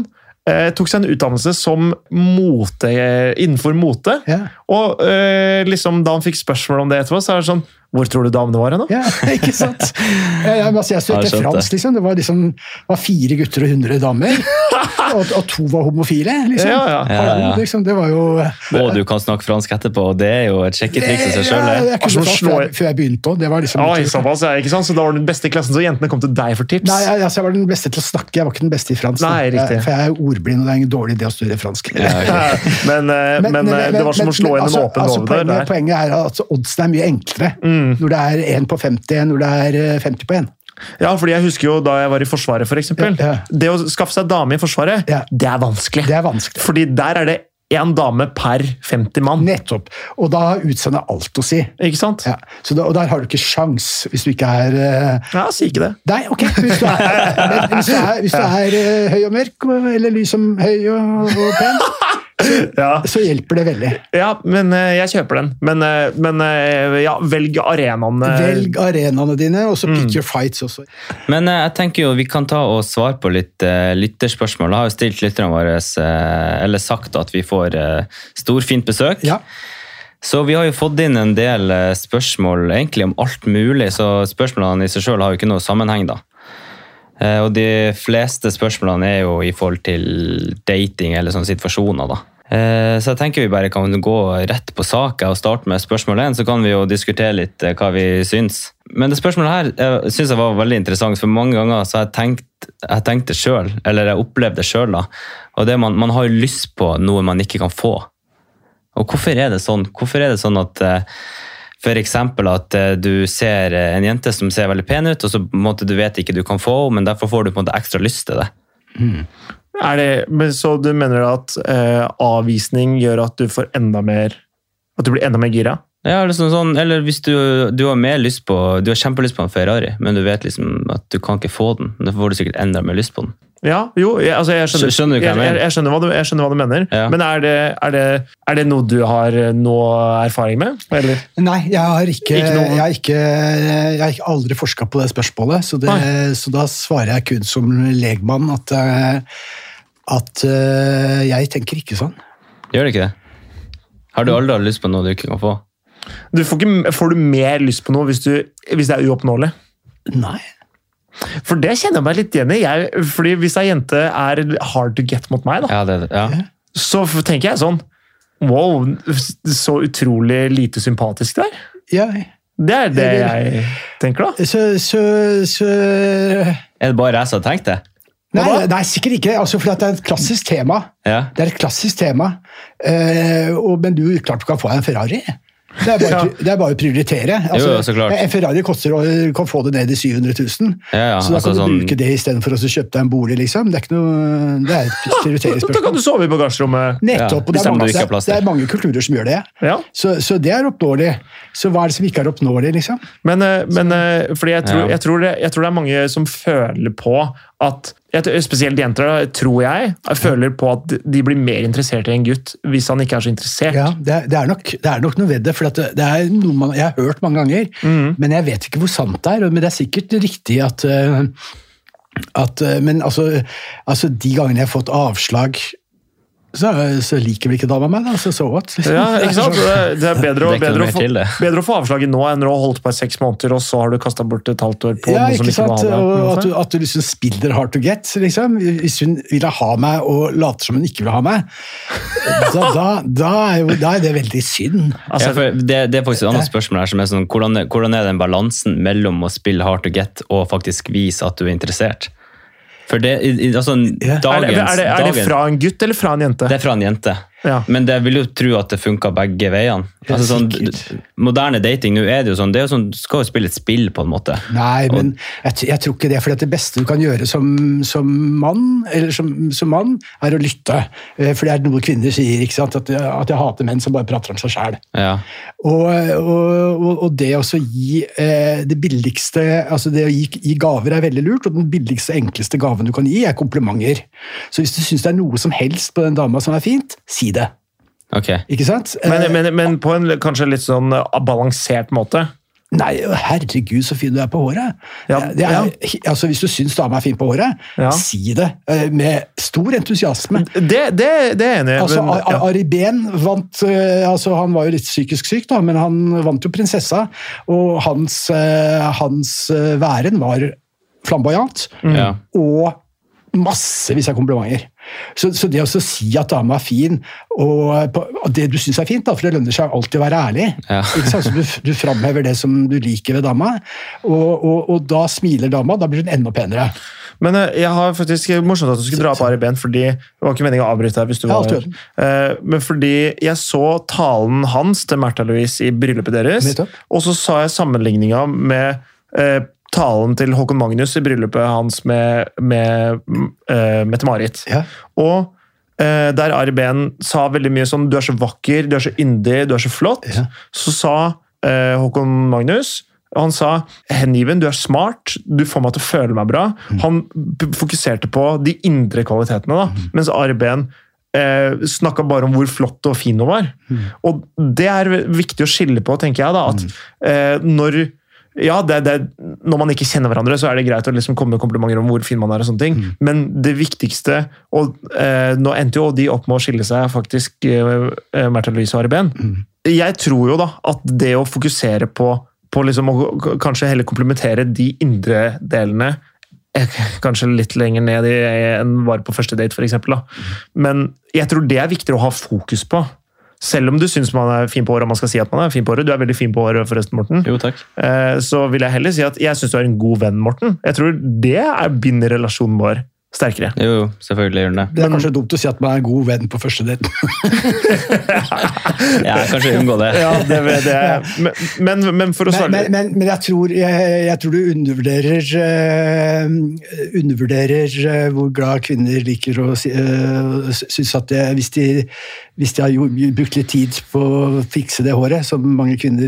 [SPEAKER 1] eh, tok seg en utdannelse som mote, eh, innenfor mote.
[SPEAKER 2] Ja.
[SPEAKER 1] Og eh, liksom da han fikk spørsmål om det etterpå, så er det sånn Hvor tror du damene var hen, da?
[SPEAKER 2] Ja, [LAUGHS] ikke sant? Ja, ja, men altså, jeg
[SPEAKER 3] Ja, jeg
[SPEAKER 2] studerte
[SPEAKER 3] skjønte.
[SPEAKER 2] fransk, liksom. Det var, liksom, det var fire gutter og 100
[SPEAKER 1] [LAUGHS]
[SPEAKER 2] damer. Og, og to var homofile, liksom.
[SPEAKER 1] Ja, ja.
[SPEAKER 3] Ja, ja.
[SPEAKER 2] Hallo, liksom. Det var jo
[SPEAKER 3] Ja. Og du kan snakke fransk etterpå, og det er jo et sjekketriks i seg
[SPEAKER 2] Ja,
[SPEAKER 3] sjøl. det.
[SPEAKER 2] jeg kunne
[SPEAKER 1] Altså,
[SPEAKER 2] tatt
[SPEAKER 1] slå-
[SPEAKER 2] før jeg- før jeg begynte òg. Det var liksom
[SPEAKER 1] Oi, såpass, ja, ikke sant? Så da var du den beste i klassen, så jentene kom til deg for tips?
[SPEAKER 2] Nei, jeg, altså, jeg var den beste til å snakke, jeg var ikke den beste i fransk. da.
[SPEAKER 1] Nei, riktig.
[SPEAKER 2] Jeg- For jeg er ordblind, og det er en dårlig idé å studere fransk. [LAUGHS]
[SPEAKER 1] men, eh, men, eh, det var som å slå
[SPEAKER 2] men,
[SPEAKER 1] inn en
[SPEAKER 2] altså,
[SPEAKER 1] åpen
[SPEAKER 2] altså,
[SPEAKER 1] låve
[SPEAKER 2] poenget,
[SPEAKER 1] der. Mm.
[SPEAKER 2] Poenget er at altså, oddsen er mye enklere når det er 1 på 50 enn når det er eh, 50 på 1.
[SPEAKER 1] Ja, fordi jeg husker jo da jeg var i Forsvaret, for eksempel.
[SPEAKER 2] Ja, ja.
[SPEAKER 1] Det å skaffe seg dame i Forsvaret,
[SPEAKER 2] Ja.
[SPEAKER 1] det er vanskelig.
[SPEAKER 2] Det er vanskelig.
[SPEAKER 1] Fordi der er det én dame per 50 mann.
[SPEAKER 2] Nettopp. Og da har utseendet alt å si.
[SPEAKER 1] Ikke sant?
[SPEAKER 2] Ja. Så da, og der har du ikke sjans hvis du ikke er eh,
[SPEAKER 1] Ja, si ikke det.
[SPEAKER 2] Nei, ok! Hvis du er, [LAUGHS] men hvis du er, hvis du er eh, høy og mørk, og- eller lys som høy og, og pen,
[SPEAKER 1] Ja,
[SPEAKER 2] så hjelper det veldig.
[SPEAKER 1] ja men eh, jeg kjøper den. Men, eh, men eh, ja, velg arenaen. eh.
[SPEAKER 2] Velg arenaene dine, og så
[SPEAKER 1] Mm.
[SPEAKER 2] pick your fights også.
[SPEAKER 3] Men eh, jeg tenker jo vi kan ta og svare på litt eh, lytterspørsmål. Jeg har jo stilt lytterne våre, eh, eller sagt at vi får eh, storfint besøk.
[SPEAKER 2] Ja.
[SPEAKER 3] Så vi har jo fått inn en del eh, spørsmål egentlig om alt mulig, så spørsmålene i seg selv har jo ikke noe sammenheng da. Eh, Og de fleste spørsmålene er jo i forhold til dating eller sånne situasjoner da. Eh, Så jeg tenker vi bare kan gå rett på saken og starte med spørsmål 1, så kan vi jo diskutere litt eh, hva vi syns. Men det spørsmålet her eh, synes jeg var veldig interessant, for mange ganger så har jeg tenkt, jeg tenkt det selv, eller jeg opplevd det selv da. Og det er man, man har jo lyst på noe man ikke kan få. Og hvorfor er det sånn? Hvorfor er det sånn at eh, for eksempel at eh, du ser eh, en jente som ser veldig pen ut, og så på en måte, du vet ikke du kan få henne, men derfor får du på en måte ekstra lyst til det.
[SPEAKER 1] Er det, men så du mener at eh, avvisning gjør at du får enda mer At du blir enda mer gira?
[SPEAKER 3] Ja, eller, sånn, sånn, eller hvis du, du har mer lyst på Du har kjempelyst på en Ferrari, men du vet liksom at du kan ikke få den. Da får du sikkert enda mer lyst på den.
[SPEAKER 1] Ja, jo, jeg, altså jeg skjønner,
[SPEAKER 3] Skjønner du hva jeg mener?
[SPEAKER 1] Jeg, skjønner hva du, jeg skjønner hva du mener.
[SPEAKER 3] Ja.
[SPEAKER 1] Men er det, er, det, er det noe du har eh, noe erfaring med? Eller?
[SPEAKER 2] Nei, jeg har ikke,
[SPEAKER 1] Ikke noe-
[SPEAKER 2] jeg har ikke, jeg har ikke aldri forska på det spørsmålet, så, det,
[SPEAKER 1] Nei.
[SPEAKER 2] så da svarer jeg kun som legmann at, eh, at eh, jeg tenker ikke sånn.
[SPEAKER 3] Gjør det ikke det? Har du aldri hatt lyst på noe du ikke kan få?
[SPEAKER 1] Du får, ikke, får du mer lyst på noe hvis, du, hvis det er uoppnåelig?
[SPEAKER 2] Nei.
[SPEAKER 1] For det kjenner jeg meg litt igjen i. Jeg, fordi hvis ei jente er hard to get mot meg, da,
[SPEAKER 3] Ja, det, ja.
[SPEAKER 1] så f- tenker jeg sånn Wow, så utrolig lite sympatisk du er.
[SPEAKER 2] Jeg,
[SPEAKER 1] Det er det jeg tenker, da.
[SPEAKER 2] så, så, så
[SPEAKER 3] Er det bare jeg som har tenkt det?
[SPEAKER 2] Nei,
[SPEAKER 1] Hva da?
[SPEAKER 2] nei, sikkert ikke. Altså, for at det er et klassisk tema.
[SPEAKER 3] Ja.
[SPEAKER 2] Det er et klassisk tema. Eh, og, men du klart du kan få deg en Ferrari. Det er bare,
[SPEAKER 1] Ja.
[SPEAKER 2] det er bare å prioritere. Altså,
[SPEAKER 3] jo, så klart.
[SPEAKER 2] En Ferrari koster, og du kan få det ned i 700 000.
[SPEAKER 3] Ja, ja,
[SPEAKER 2] så da
[SPEAKER 3] altså
[SPEAKER 2] kan du
[SPEAKER 3] sånn-
[SPEAKER 2] bruke det istedenfor å kjøpe deg en bolig, liksom. Det er, ikke noe, det er et
[SPEAKER 1] Da kan
[SPEAKER 2] prioriteringsspørsmål.
[SPEAKER 1] du sove i bagasjerommet.
[SPEAKER 3] [LAUGHS] Ja,
[SPEAKER 2] Nettopp. og
[SPEAKER 3] hvis
[SPEAKER 2] det,
[SPEAKER 3] det er
[SPEAKER 2] er
[SPEAKER 3] noe du
[SPEAKER 2] mange,
[SPEAKER 3] ikke har plass til.
[SPEAKER 2] det er mange kulturer som gjør det.
[SPEAKER 1] Ja.
[SPEAKER 2] Så, så det er oppnåelig. Så hva er det som ikke er oppnåelig, liksom?
[SPEAKER 1] Men, eh, men eh, fordi jeg tror,
[SPEAKER 3] Ja.
[SPEAKER 1] jeg, tror det, jeg tror det er mange som føler på at jeg tror- Spesielt jenter, da, tror jeg, føler på at de blir mer interessert i en gutt hvis han ikke er så interessert.
[SPEAKER 2] Ja, det er, det, er nok, det er nok noe ved det. For at det, det er noe man, jeg har hørt mange ganger,
[SPEAKER 1] Mhm.
[SPEAKER 2] men jeg vet ikke hvor sant det er. og- Men det er sikkert riktig at, eh, at eh, Men altså, altså, de gangene jeg har fått avslag, så, så liker vel ikke dama meg, da. Så så what? liksom.
[SPEAKER 1] Ja,
[SPEAKER 2] [LAUGHS]
[SPEAKER 1] ikke sant? Det er, det er, bedre, å-
[SPEAKER 3] Det er ikke noe
[SPEAKER 1] bedre, å
[SPEAKER 3] mer
[SPEAKER 1] få,
[SPEAKER 3] til det.
[SPEAKER 1] bedre å få avslaget nå enn å ha holdt på i seks måneder, og så har du kasta bort et halvt år på
[SPEAKER 2] Ja,
[SPEAKER 1] noe som
[SPEAKER 2] ikke
[SPEAKER 1] ikke
[SPEAKER 2] sant?
[SPEAKER 1] vil ha
[SPEAKER 2] Og at
[SPEAKER 1] deg.
[SPEAKER 2] du, at du liksom spiller hard to get, liksom. Hvis hun ville ha meg og later som hun ikke vil ha meg, da, da, da, er, jo, da er det veldig synd.
[SPEAKER 1] Altså,
[SPEAKER 3] ja, for det, det er faktisk et annet spørsmål her som er sånn, hvordan, er- hvordan er den balansen mellom å spille hard to get og faktisk vise at du er interessert? For det, i- i- altså,
[SPEAKER 2] Ja.
[SPEAKER 1] Er det,
[SPEAKER 3] dagens,
[SPEAKER 1] er, det, er det
[SPEAKER 3] dagens-
[SPEAKER 1] fra en gutt eller fra en jente?
[SPEAKER 3] Det er fra en jente.
[SPEAKER 1] Ja.
[SPEAKER 3] Men jeg vil jo tro at det funka begge veiene. Altså, sånn,
[SPEAKER 2] sikkert.
[SPEAKER 3] moderne dating nå er det jo sånn, det er jo sånn, du skal jo spille et spill, på en måte.
[SPEAKER 2] Nei, men jeg, t- jeg tror ikke det. For det beste du kan gjøre som, som mann, eller som, som mann, er å lytte. Eh, For det er noe kvinner sier, ikke sant? At, jeg- at jeg hater menn som bare prater om seg sjæl.
[SPEAKER 3] Ja.
[SPEAKER 2] Og, og, og- og det å så gi eh, det billigste altså Det å gi, gi gaver er veldig lurt, og den billigste enkleste gaven du kan gi, er komplimenter. Så hvis du syns det er noe som helst på den dama som er fint, si det.
[SPEAKER 3] Ok.
[SPEAKER 2] Ikke sant?
[SPEAKER 1] Men,
[SPEAKER 2] Eh,
[SPEAKER 1] men, men på en kanskje litt sånn eh, balansert måte.
[SPEAKER 2] Nei, herregud så fin du er på håret.
[SPEAKER 1] Ja,
[SPEAKER 2] det er, altså, hvis du syns dama er fin på håret,
[SPEAKER 1] Ja.
[SPEAKER 2] si det eh, med stor entusiasme.
[SPEAKER 1] Det, det, det er jeg enig i.
[SPEAKER 2] Altså,
[SPEAKER 1] men-
[SPEAKER 2] A- A-
[SPEAKER 1] ja.
[SPEAKER 2] Ari Behn vant eh, altså, Han var jo litt psykisk syk, da, men han vant jo Prinsessa. Og hans, eh, hans eh, væren var flamboyant.
[SPEAKER 1] Mm.
[SPEAKER 3] Ja.
[SPEAKER 2] Og massevis av komplimenter. Så, så det å så si at dama er fin, og på, og det du syns er fint, da, for det lønner seg alltid å være ærlig
[SPEAKER 3] Ja.
[SPEAKER 2] ikke sant? Så du, du framhever det som du liker ved dama, og, og, og da smiler dama. Da blir hun enda penere.
[SPEAKER 1] Men eh, jeg har faktisk morsomt at du skulle dra på Ari Behn, fordi det var ikke meningen å avbryte deg. hvis du
[SPEAKER 2] Ja,
[SPEAKER 1] var
[SPEAKER 2] alt i orden.
[SPEAKER 1] Eh, Men fordi jeg så talen hans til Märtha Louise i bryllupet deres,
[SPEAKER 2] Nettopp.
[SPEAKER 1] og så sa jeg sammenligninga med eh, talen til Håkon Magnus i bryllupet hans med, med eh, Mette-Marit.
[SPEAKER 2] Ja.
[SPEAKER 1] Og eh, der Ari Behn sa veldig mye sånn 'du er så vakker, du er så yndig, du er så flott',
[SPEAKER 2] Ja.
[SPEAKER 1] så sa eh, Håkon Magnus og han sa 'Hengiven, du er smart, du får meg til å føle meg bra'. Han p- fokuserte på de indre kvalitetene, da, mens Ari Behn eh, snakka bare om hvor flott og fin hun var. Og det er viktig å skille på, tenker jeg, da, at eh, når ja, det, det, Når man ikke kjenner hverandre, så er det greit å liksom komme med komplimenter om hvor fin man er. og sånne ting, Men det viktigste og eh, Nå endte jo de opp med å skille seg, faktisk, eh, eh, Märtha Louise og Ari Behn. Jeg tror jo da at det å fokusere på, på liksom å k- kanskje heller komplementere de indre delene eh, [LAUGHS] Kanskje litt lenger ned i- enn bare på første date, f.eks. Men jeg tror det er viktigere å ha fokus på. Selv om du syns man er fin på håret, og man skal si at man er fin på håret. Du er veldig fin på håret, forresten, Morten.
[SPEAKER 3] Jo, takk.
[SPEAKER 1] Eh, så vil jeg heller si at jeg syns du er en god venn, Morten. Jeg tror det er binder relasjonen vår. sterkere.
[SPEAKER 3] Jo, jo, selvfølgelig gjør den det.
[SPEAKER 2] Det er kanskje dumt å si at man er en god venn på første date.
[SPEAKER 3] Ja, kanskje unngå det.
[SPEAKER 1] [LAUGHS] Ja, det, det, [LAUGHS] men, men, men for å
[SPEAKER 2] Men,
[SPEAKER 1] svare
[SPEAKER 2] men, men, men jeg, tror, jeg, jeg tror du undervurderer eh, undervurderer eh, hvor glad kvinner liker å si- eh, sy- synes at det, hvis, de, hvis de har jo, brukt litt tid på å fikse det håret, som mange kvinner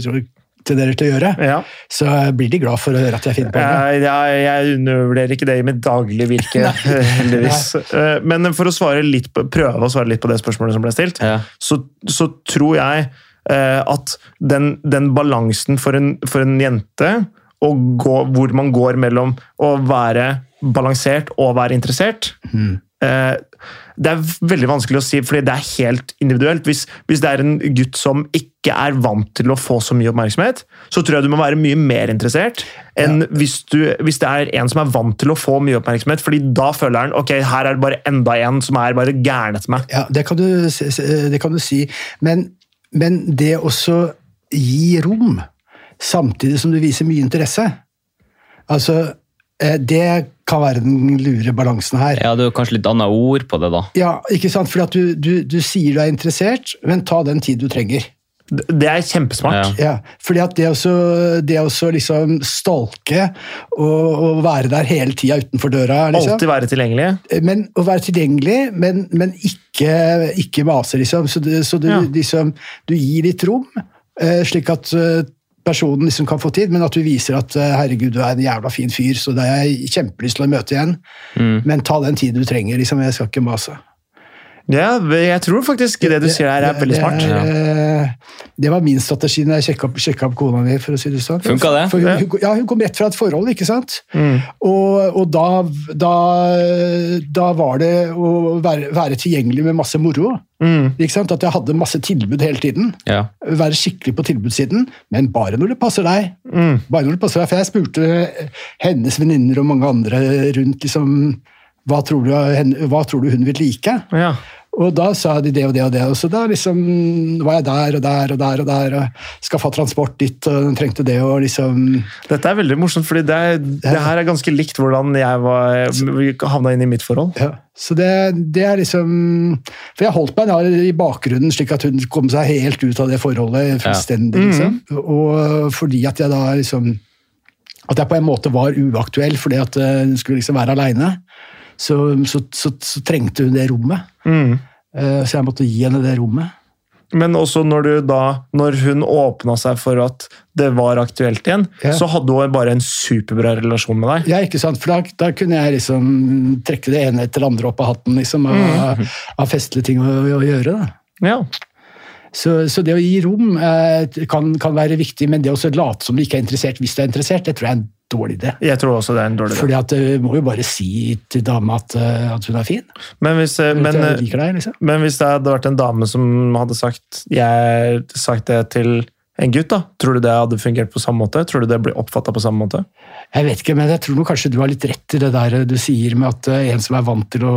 [SPEAKER 2] tenderer til å gjøre,
[SPEAKER 1] ja.
[SPEAKER 2] så blir de glad for å høre at jeg finner på det.
[SPEAKER 1] Jeg, jeg, jeg undervurderer ikke det i mitt daglige virke, heldigvis. Eh, Men for å svare litt på, prøve å svare litt på det spørsmålet som ble stilt,
[SPEAKER 3] Ja.
[SPEAKER 1] så, så tror jeg eh, at den, den balansen for en, for en jente, og gå, hvor man går mellom å være balansert og være interessert eh, det er veldig vanskelig å si, fordi det er helt individuelt. Hvis, hvis det er en gutt som ikke er vant til å få så mye oppmerksomhet, så tror jeg du må være mye mer interessert enn hvis, du, hvis det er en som er vant til å få mye oppmerksomhet. fordi da føler han ok, her er det bare enda en som er bare gæren etter meg.
[SPEAKER 2] Ja, det kan du, s- s- eh, det kan du si. Men, men det også gi rom, samtidig som du viser mye interesse Altså, eh, det kan være den lure balansen her.
[SPEAKER 3] ja, det er jo kanskje litt annet ord på det, da.
[SPEAKER 2] Ja, ikke sant? Fordi at du, du, du sier du er interessert, men ta den tid du trenger.
[SPEAKER 1] Det det er kjempesmart.
[SPEAKER 3] Ja.
[SPEAKER 2] Ja, fordi at det også, det også liksom stalke og, og være der hele tida utenfor døra liksom.
[SPEAKER 1] Alltid være tilgjengelig.
[SPEAKER 2] Men Å være tilgjengelig, men, men ikke, ikke mase, liksom. Så, du, så du,
[SPEAKER 1] Ja.
[SPEAKER 2] liksom, du gir litt rom, eh, slik at eh, personen liksom kan få tid, men at du viser at eh, 'herregud, du er en jævla fin fyr, så det har jeg kjempelyst til å møte igjen', men ta den tiden du trenger. liksom, Jeg skal ikke mase.
[SPEAKER 1] Ja, jeg tror faktisk det du sier her, er veldig smart.
[SPEAKER 2] Det, er, eh, det var min strategi når jeg sjekka opp, sjekket opp kona mi. for å si det sånn.
[SPEAKER 3] Funka det?
[SPEAKER 2] For hun, hun, ja, hun kom rett fra et forhold, ikke sant?
[SPEAKER 1] Mm.
[SPEAKER 2] Og, og da, da, da var det å være, være tilgjengelig med masse moro.
[SPEAKER 1] Mm.
[SPEAKER 2] Ikke sant? At jeg hadde masse tilbud hele tiden.
[SPEAKER 3] Ja.
[SPEAKER 2] Være skikkelig på tilbudssiden, men bare når det passer deg.
[SPEAKER 1] Mm.
[SPEAKER 2] Bare når det passer deg, For jeg spurte hennes venninner og mange andre rundt liksom, hva tror, du, hen- hva tror du hun vil like.
[SPEAKER 1] Ja.
[SPEAKER 2] Og da sa de det og det og det. Og så da liksom var jeg der og der og der og der. og Skaffa transport dit, og den trengte det og liksom
[SPEAKER 1] Dette er veldig morsomt, fordi det, er, det her er ganske likt hvordan jeg var, havna inn i mitt forhold.
[SPEAKER 2] ja. Så det, det er liksom For jeg holdt meg da i bakgrunnen, slik at hun kom seg helt ut av det forholdet fullstendig. liksom. Og fordi at jeg da liksom At jeg på en måte var uaktuell fordi at eh, hun skulle liksom være aleine. Så, så, så, så trengte hun det rommet.
[SPEAKER 1] Mm.
[SPEAKER 2] Eh, Så jeg måtte gi henne det rommet.
[SPEAKER 1] Men også når, du da, når hun åpna seg for at det var aktuelt igjen,
[SPEAKER 2] Ja.
[SPEAKER 1] så hadde hun bare en superbra relasjon med deg.
[SPEAKER 2] Ja, ikke sant? For da, da kunne jeg liksom trekke det ene etter det andre opp av hatten liksom,
[SPEAKER 1] Mhm.
[SPEAKER 2] av, av festlige ting å, å gjøre. Da.
[SPEAKER 1] Ja.
[SPEAKER 2] Så, så det å gi rom eh, kan, kan være viktig, men det å så late som du ikke er interessert hvis du er interessert, det tror jeg er en dårlig idé.
[SPEAKER 1] Jeg tror også det er en dårlig idé.
[SPEAKER 2] Fordi at eh, du må jo bare si til dama at, eh, at hun er fin.
[SPEAKER 1] Men, hvis, eh,
[SPEAKER 2] Men,
[SPEAKER 1] men,
[SPEAKER 2] at
[SPEAKER 1] eh,
[SPEAKER 2] jeg liker deg, liksom.
[SPEAKER 1] men hvis det hadde vært en dame som hadde sagt, jeg, sagt det til en gutt, da, tror du det hadde fungert på samme måte? Tror du det blir oppfatta på samme måte?
[SPEAKER 2] Jeg vet ikke, men jeg tror nok kanskje du har litt rett i det der eh, du sier med at eh, en som er vant til å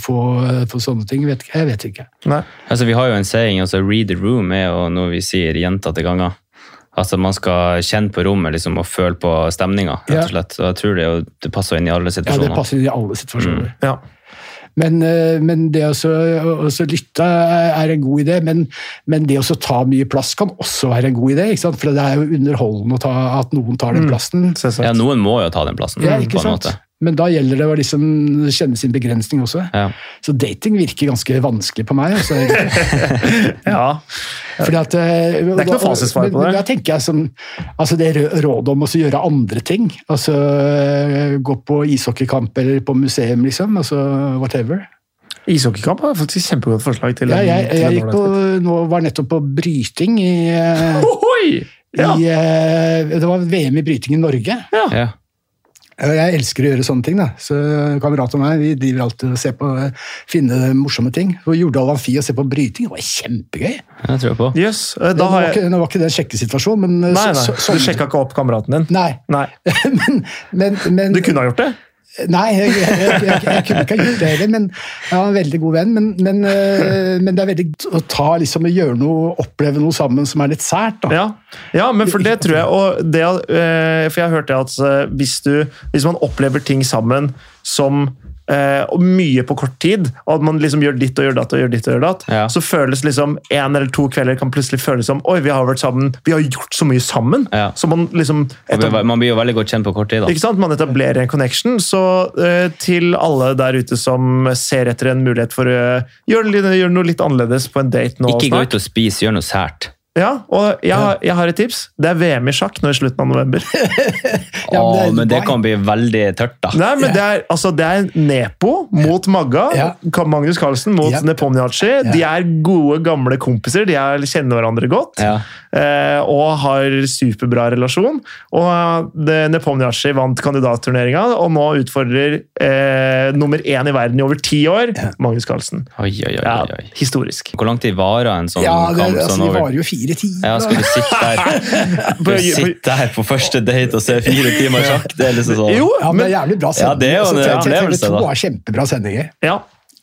[SPEAKER 2] få, eh, få sånne ting, vet ikke. Jeg vet ikke.
[SPEAKER 1] Nei.
[SPEAKER 3] Altså, vi har jo en saying, altså read the room er jo noe vi sier gjentatte ganger. Altså, man skal kjenne på rommet liksom, og føle på stemninga, rett
[SPEAKER 2] Ja.
[SPEAKER 3] og slett. Og jeg tror det, jo, det passer jo inn i alle
[SPEAKER 2] Ja, det
[SPEAKER 3] situasjoner.
[SPEAKER 2] passer inn i
[SPEAKER 1] Mm.
[SPEAKER 2] alle situasjoner.
[SPEAKER 1] Ja.
[SPEAKER 2] Men, eh, men det å så- å- å så lytte er er en god idé, men, men det å så ta mye plass kan også være en god idé. Ikke sant? For det er jo underholdende å ta, at noen tar den
[SPEAKER 1] Mm.
[SPEAKER 2] plassen.
[SPEAKER 1] selvsagt.
[SPEAKER 3] ja, noen må jo ta den plassen,
[SPEAKER 1] Mm,
[SPEAKER 2] Ja,
[SPEAKER 3] på
[SPEAKER 2] ikke
[SPEAKER 3] en
[SPEAKER 2] sant?
[SPEAKER 3] måte.
[SPEAKER 2] Men da gjelder det å liksom kjenne sin begrensning også.
[SPEAKER 3] Ja.
[SPEAKER 2] Så dating virker ganske vanskelig på meg. Altså.
[SPEAKER 1] [LAUGHS] Ja.
[SPEAKER 2] Fordi at, det
[SPEAKER 1] er ikke noe fasitsvar på det.
[SPEAKER 2] Da tenker jeg sånn, altså Det rø- rådet om å så gjøre andre ting. altså eh, Gå på ishockeykamp eller på museum, liksom. altså Whatever.
[SPEAKER 1] Ishockeykamp er faktisk et kjempegodt forslag. til
[SPEAKER 2] Ja,
[SPEAKER 1] en-
[SPEAKER 2] jeg,
[SPEAKER 1] til en
[SPEAKER 2] jeg gikk på,
[SPEAKER 1] ålreit
[SPEAKER 2] nå var nettopp på bryting
[SPEAKER 1] [LAUGHS]
[SPEAKER 2] i, eh,
[SPEAKER 1] Ohoi! Ja.
[SPEAKER 2] i eh, Det var VM i bryting i Norge.
[SPEAKER 3] Ja.
[SPEAKER 2] Og Jeg elsker å gjøre sånne ting. da. Så Kamerat og meg vi driver alltid og ser på eh, finne morsomme ting. Og Jordal Amfi og se på bryting. Det var kjempegøy.
[SPEAKER 3] Jeg tror på.
[SPEAKER 1] Jøs. eh, Da
[SPEAKER 2] nå,
[SPEAKER 1] har
[SPEAKER 2] var
[SPEAKER 1] jeg
[SPEAKER 2] ikke, nå var ikke det en sjekkesituasjon, men eh,
[SPEAKER 1] Nei, nei.
[SPEAKER 2] så- så-
[SPEAKER 1] Du sjekka ikke opp kameraten din?
[SPEAKER 2] [LAUGHS] Nei, [LAUGHS]
[SPEAKER 1] Nei.
[SPEAKER 2] men, men, men
[SPEAKER 1] Du kunne ha gjort det?
[SPEAKER 2] Nei, jeg, jeg, jeg, jeg, kunne ikke ha gjort det heller, men jeg var en veldig god venn. Men, men, eh, men det er veldig godt å ta, liksom, å gjøre noe, oppleve noe sammen som er litt sært. da.
[SPEAKER 1] Ja. ja, men for det tror jeg og det, eh, For jeg hørte at eh, hvis, du, hvis man opplever ting sammen som eh, eh, og mye på kort tid, og at man liksom gjør ditt og gjør datt og gjør ditt og gjør datt,
[SPEAKER 3] Ja.
[SPEAKER 1] så føles liksom en eller to kvelder kan plutselig føles som Oi, vi har vært sammen. Vi har gjort så mye sammen.
[SPEAKER 3] Ja.
[SPEAKER 1] Så man liksom
[SPEAKER 3] Man blir- Man blir jo veldig godt kjent på kort tid. da.
[SPEAKER 1] ikke sant? Man etablerer en connection. Så eh, til alle der ute som ser etter en mulighet for å eh, gjøre, litt- gjøre noe litt annerledes på en date nå
[SPEAKER 3] Ikke gå
[SPEAKER 1] snart
[SPEAKER 3] ut og spise, gjør noe sært.
[SPEAKER 1] ja, og jeg, har- jeg har et tips. Det er VM i sjakk nå i slutten av
[SPEAKER 2] [LAUGHS]
[SPEAKER 1] november.
[SPEAKER 2] Ja, men det er
[SPEAKER 3] Å, men det
[SPEAKER 2] Dubai.
[SPEAKER 3] kan bli veldig tørt, da.
[SPEAKER 1] Nei, men det er, altså, det er Nepo mot Magga.
[SPEAKER 2] Ja.
[SPEAKER 1] Ka- Magnus Carlsen mot
[SPEAKER 2] Ja.
[SPEAKER 1] Nepomniachtchi. De er gode, gamle kompiser. De er, kjenner hverandre godt.
[SPEAKER 3] Ja.
[SPEAKER 1] eh, og har superbra relasjon. Og eh, det- Nepomniachtchi vant kandidatturneringa, og nå utfordrer eh, nummer én i verden i over ti år, Magnus Carlsen.
[SPEAKER 3] Oi, oi, oi,
[SPEAKER 1] Ja,
[SPEAKER 3] oi, oi.
[SPEAKER 1] historisk.
[SPEAKER 3] Hvor lang tid varer en sånn
[SPEAKER 2] Ja, det,
[SPEAKER 3] kamp?
[SPEAKER 2] altså,
[SPEAKER 3] sånn
[SPEAKER 2] de
[SPEAKER 3] over?
[SPEAKER 2] varer jo fire timer.
[SPEAKER 3] Ja, skal du sitte der,
[SPEAKER 2] [LAUGHS]
[SPEAKER 3] skal du sitte der på første date og se fire timer sjakk? Det er liksom sånn.
[SPEAKER 1] Jo,
[SPEAKER 2] Ja, men det er
[SPEAKER 1] men,
[SPEAKER 2] jævlig bra Altså,
[SPEAKER 3] Ja, det er jo en opplevelse,
[SPEAKER 2] TV2
[SPEAKER 3] da.
[SPEAKER 2] har kjempebra sendinger.
[SPEAKER 1] ja.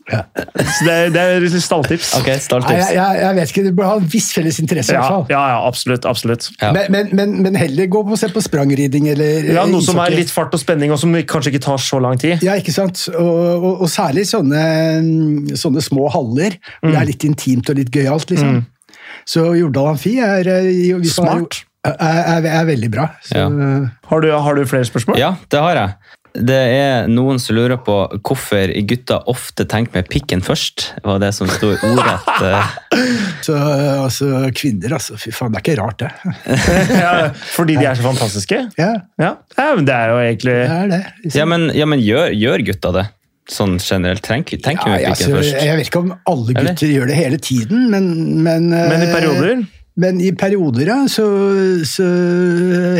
[SPEAKER 2] Ja.
[SPEAKER 1] Så det, det er litt stalltips.
[SPEAKER 3] Ok,
[SPEAKER 2] Nei, jeg,
[SPEAKER 3] stalltips.
[SPEAKER 2] jeg, jeg vet ikke, Det bør ha en viss felles interesse. i
[SPEAKER 1] Ja,
[SPEAKER 2] hvert fall.
[SPEAKER 1] ja, ja, absolutt. absolutt.
[SPEAKER 3] Ja.
[SPEAKER 2] Men, men, men, men heller gå på, se på sprangridning eller
[SPEAKER 1] Ja,
[SPEAKER 2] eh,
[SPEAKER 1] Noe som er
[SPEAKER 2] ishockey.
[SPEAKER 1] litt fart og spenning, og som kanskje ikke tar så lang tid.
[SPEAKER 2] Ja, ikke sant? Og, og, og særlig sånne, mm, sånne små haller. Hvor
[SPEAKER 1] Mm.
[SPEAKER 2] det er litt intimt og litt gøyalt, liksom. Så Jordal Amfi er, eh, i- hvis man har
[SPEAKER 1] Smart.
[SPEAKER 2] gjort- Er, er, er veldig bra. Så,
[SPEAKER 1] Har du, har du flere spørsmål?
[SPEAKER 3] Ja, det har jeg. Det er noen som lurer på hvorfor gutter ofte tenker med pikken først. Det var det som sto i ordrett.
[SPEAKER 2] [LAUGHS]
[SPEAKER 3] eh,
[SPEAKER 2] så eh, altså, kvinner, altså. Fy faen, det er ikke rart, det.
[SPEAKER 1] [LAUGHS] Ja, Fordi de er så fantastiske?
[SPEAKER 2] Ja,
[SPEAKER 1] Ja, ja men det er jo egentlig
[SPEAKER 2] det er det.
[SPEAKER 3] Ja, men, ja, men gjør, gjør gutta det? Sånn generelt. Tenk, tenk med
[SPEAKER 2] Ja,
[SPEAKER 3] pikken
[SPEAKER 2] altså,
[SPEAKER 3] først.
[SPEAKER 2] jeg vet ikke om alle
[SPEAKER 3] Eller?
[SPEAKER 2] gutter gjør det hele tiden, men Men, eh,
[SPEAKER 1] Men i perioder?
[SPEAKER 2] Men i perioder, ja. Så, så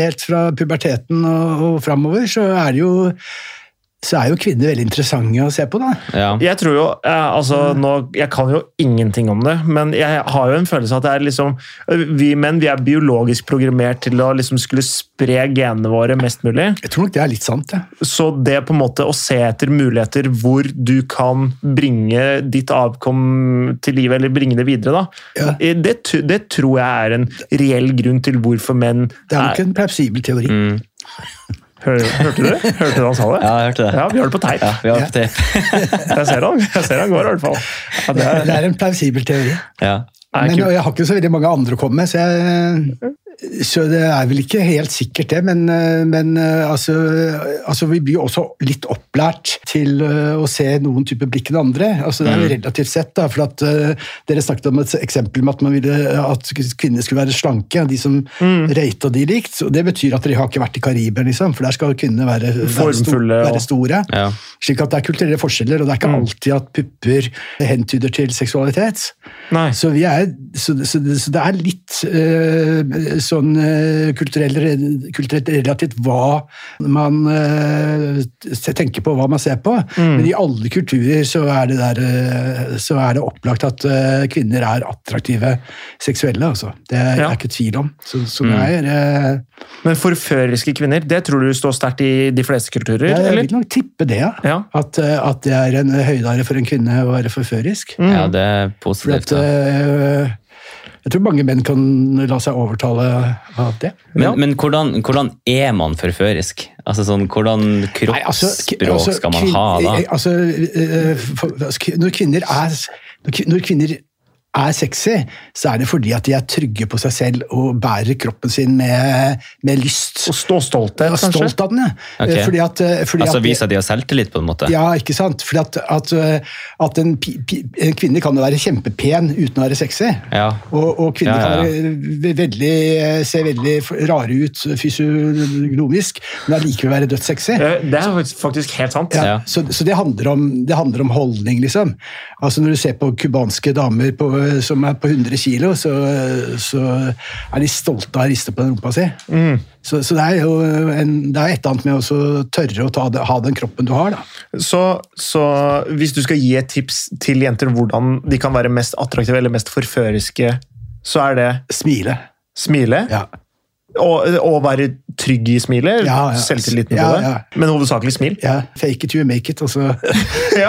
[SPEAKER 2] helt fra puberteten og, og framover, så er det jo så er jo kvinner veldig interessante å se på, da.
[SPEAKER 3] Ja.
[SPEAKER 1] Jeg tror jo, eh, altså nå, jeg kan jo ingenting om det, men jeg har jo en følelse av at det er liksom Vi menn vi er biologisk programmert til å liksom skulle spre genene våre mest mulig.
[SPEAKER 2] Jeg tror nok det er litt sant, det.
[SPEAKER 1] Så det på en måte å se etter muligheter hvor du kan bringe ditt avkom til livet, eller bringe det videre, da, det, t- det tror jeg er en reell grunn til hvorfor menn
[SPEAKER 2] Det er nok
[SPEAKER 1] er
[SPEAKER 2] en plausibel teori.
[SPEAKER 1] Mm. Hør, Hørte du det? Hørte du han sa det?
[SPEAKER 3] Ja, jeg hørte det.
[SPEAKER 1] Ja, vi har det på teip.
[SPEAKER 3] Ja, vi har på tape.
[SPEAKER 1] Jeg ser han, jeg ser han går i hvert fall. Ja, det er,
[SPEAKER 2] Det er en plausibel teori.
[SPEAKER 3] [LAUGHS] Ja.
[SPEAKER 1] er
[SPEAKER 2] Men,
[SPEAKER 1] kult.
[SPEAKER 2] og jeg har ikke så veldig mange andre å komme med, så, jeg, så det er vel ikke helt sikkert det. Men, eh, men eh, altså, altså Vi blir jo også litt opplært til eh, å se noen type blikk enn andre. altså Det er
[SPEAKER 1] Mm.
[SPEAKER 2] jo relativt sett, da, for at eh, dere snakket om et eksempel med at, man ville, at kvinner skulle være slanke. De som
[SPEAKER 1] Mm.
[SPEAKER 2] røyta de likt. og Det betyr at dere har ikke vært i Karibia, liksom, for der skal kvinnene være, være, sto-
[SPEAKER 1] Formfulle og- Mm.
[SPEAKER 2] være store.
[SPEAKER 3] Ja.
[SPEAKER 2] Slik at det er kulturelle forskjeller, og det er ikke alltid at pupper hentyder til seksualitet.
[SPEAKER 1] Nei.
[SPEAKER 2] Så, vi er, så, så, så det er litt eh, sånn eh, kulturell, kulturelt relativt hva man eh, se- tenker på, hva man ser på.
[SPEAKER 1] Mm.
[SPEAKER 2] Men i alle kulturer så er det, der, eh, så er det opplagt at eh, kvinner er attraktive seksuelle. Altså. Det er det
[SPEAKER 1] Ja. Mm.
[SPEAKER 2] er ikke tvil om. Så, så det er eh,
[SPEAKER 1] Men forføreriske kvinner, det tror du står sterkt i de fleste kulturer?
[SPEAKER 2] Jeg
[SPEAKER 1] eller?
[SPEAKER 2] vil nok tippe det, ja.
[SPEAKER 1] Ja.
[SPEAKER 2] At, eh, at det er en høydare for en kvinne å være forførisk.
[SPEAKER 3] ja, det er
[SPEAKER 2] Mm. For at,
[SPEAKER 3] positivt. Ja.
[SPEAKER 2] eh, jeg tror mange menn kan la seg overtale av det.
[SPEAKER 1] Ja.
[SPEAKER 3] Men, men hvordan, hvordan er man forførisk? Altså sånn, Hvordan
[SPEAKER 2] Nei, altså,
[SPEAKER 3] kroppsspråk
[SPEAKER 2] k- altså,
[SPEAKER 3] skal man
[SPEAKER 2] kvin-
[SPEAKER 3] ha da?
[SPEAKER 2] eh, Altså, eh, for- altså, k- når kvinner er når kvi- når kvinner er sexy, så er det fordi at de er trygge på seg selv og bærer kroppen sin med, med lyst.
[SPEAKER 1] Og stå stolthet,
[SPEAKER 2] Og
[SPEAKER 1] kanskje?
[SPEAKER 2] stolt av den, ja.
[SPEAKER 3] Ok.
[SPEAKER 2] Eh, Fordi at, eh, fordi
[SPEAKER 3] Altså
[SPEAKER 2] at-
[SPEAKER 3] Vise at de har selvtillit, på en måte?
[SPEAKER 2] Ja, ikke sant? Fordi at, at, øh, at en, pi, pi, en kvinne kan jo være kjempepen uten å være sexy.
[SPEAKER 3] Ja.
[SPEAKER 2] Og, og kvinner
[SPEAKER 3] Ja, ja, ja.
[SPEAKER 2] kan være veldig, eh, se veldig rare ut fysiognomisk, men allikevel være dødssexy.
[SPEAKER 1] Eh, Det er faktisk- faktisk helt sant.
[SPEAKER 2] Ja,
[SPEAKER 3] Ja.
[SPEAKER 2] Så, så det, handler om, det handler om holdning, liksom. Altså Når du ser på cubanske damer på, eh, som er på 100 kilo, så, så er de stolte av å riste på den rumpa si.
[SPEAKER 3] Mm.
[SPEAKER 2] Så, så det er jo en, det er et eller annet med å også tørre å ta det, ha den kroppen du har. da.
[SPEAKER 1] Så, så hvis du skal gi et tips til jenter hvordan de kan være mest attraktive eller mest forføriske, så er det
[SPEAKER 2] Smile.
[SPEAKER 1] smile.
[SPEAKER 2] Ja.
[SPEAKER 1] Og, og være trygg i smilet.
[SPEAKER 2] Ja, ja.
[SPEAKER 1] Selvtilliten på
[SPEAKER 2] Ja,
[SPEAKER 1] det.
[SPEAKER 2] ja.
[SPEAKER 1] Men hovedsakelig smil.
[SPEAKER 2] [LAUGHS] ja, fake it you make it, og så
[SPEAKER 1] Ja,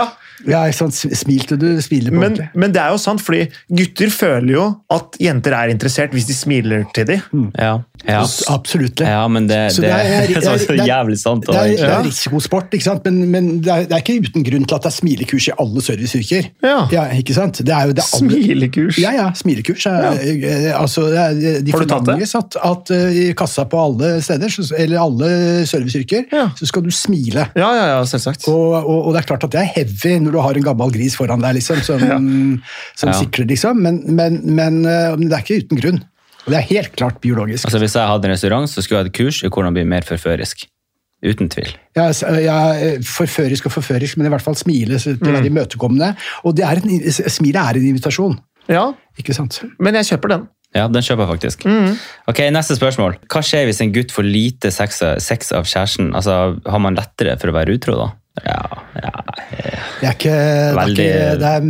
[SPEAKER 2] altså. [LAUGHS] Ja, ikke sant? Smilte du? Smiler på
[SPEAKER 1] Men,
[SPEAKER 2] ordentlig.
[SPEAKER 1] men det er jo sant, fordi gutter føler jo at jenter er interessert hvis de smiler til dem.
[SPEAKER 2] Mm.
[SPEAKER 3] Ja, ja.
[SPEAKER 2] Absolutt. det.
[SPEAKER 3] ja men det,
[SPEAKER 2] Så
[SPEAKER 3] det,
[SPEAKER 2] det er-
[SPEAKER 3] [LAUGHS] det var så
[SPEAKER 2] det er-
[SPEAKER 3] jævlig sant.
[SPEAKER 2] Det
[SPEAKER 3] da,
[SPEAKER 2] er,
[SPEAKER 3] egentlig.
[SPEAKER 2] det er risikosport, ikke sant? men, men det, er, det er ikke uten grunn til at det er smilekurs i alle serviceyrker.
[SPEAKER 1] Ja.
[SPEAKER 2] ikke sant? Det er jo det aller-
[SPEAKER 1] Smilekurs!
[SPEAKER 2] Ja, ja, smilekurs. Er, eh, Altså, det er, de
[SPEAKER 1] Har du tatt det?
[SPEAKER 2] forlanger At, at eh, I kassa på alle steder, så, eller alle serviceyrker,
[SPEAKER 1] Ja.
[SPEAKER 2] så skal du smile.
[SPEAKER 1] Ja, ja, ja, selvsagt.
[SPEAKER 2] Og, og, og det er klart at det er heavy når du har en gammel gris foran deg liksom, som, som
[SPEAKER 3] Ja.
[SPEAKER 2] sikler, liksom. Men, men, men eh, det er ikke uten grunn. Og Det er helt klart biologisk.
[SPEAKER 3] Altså, hvis jeg hadde en restaurant, så skulle jeg hatt kurs i hvordan bli mer forførisk. Uten tvil.
[SPEAKER 2] Jeg, er- jeg er forførisk og forførisk, men i hvert fall smile. så det er imøtekommende. Og det er en, smilet er en invitasjon,
[SPEAKER 1] Ja,
[SPEAKER 2] ikke sant?
[SPEAKER 1] men jeg kjøper den.
[SPEAKER 3] Ja, den kjøper jeg faktisk.
[SPEAKER 2] Mm.
[SPEAKER 3] Ok, Neste spørsmål. Hva skjer hvis en gutt får lite sex, sex av kjæresten? Altså, Har man lettere for å være utro da? Ja, ja.
[SPEAKER 2] Det er ikke, det er,
[SPEAKER 3] Veldig-
[SPEAKER 2] ikke det, er,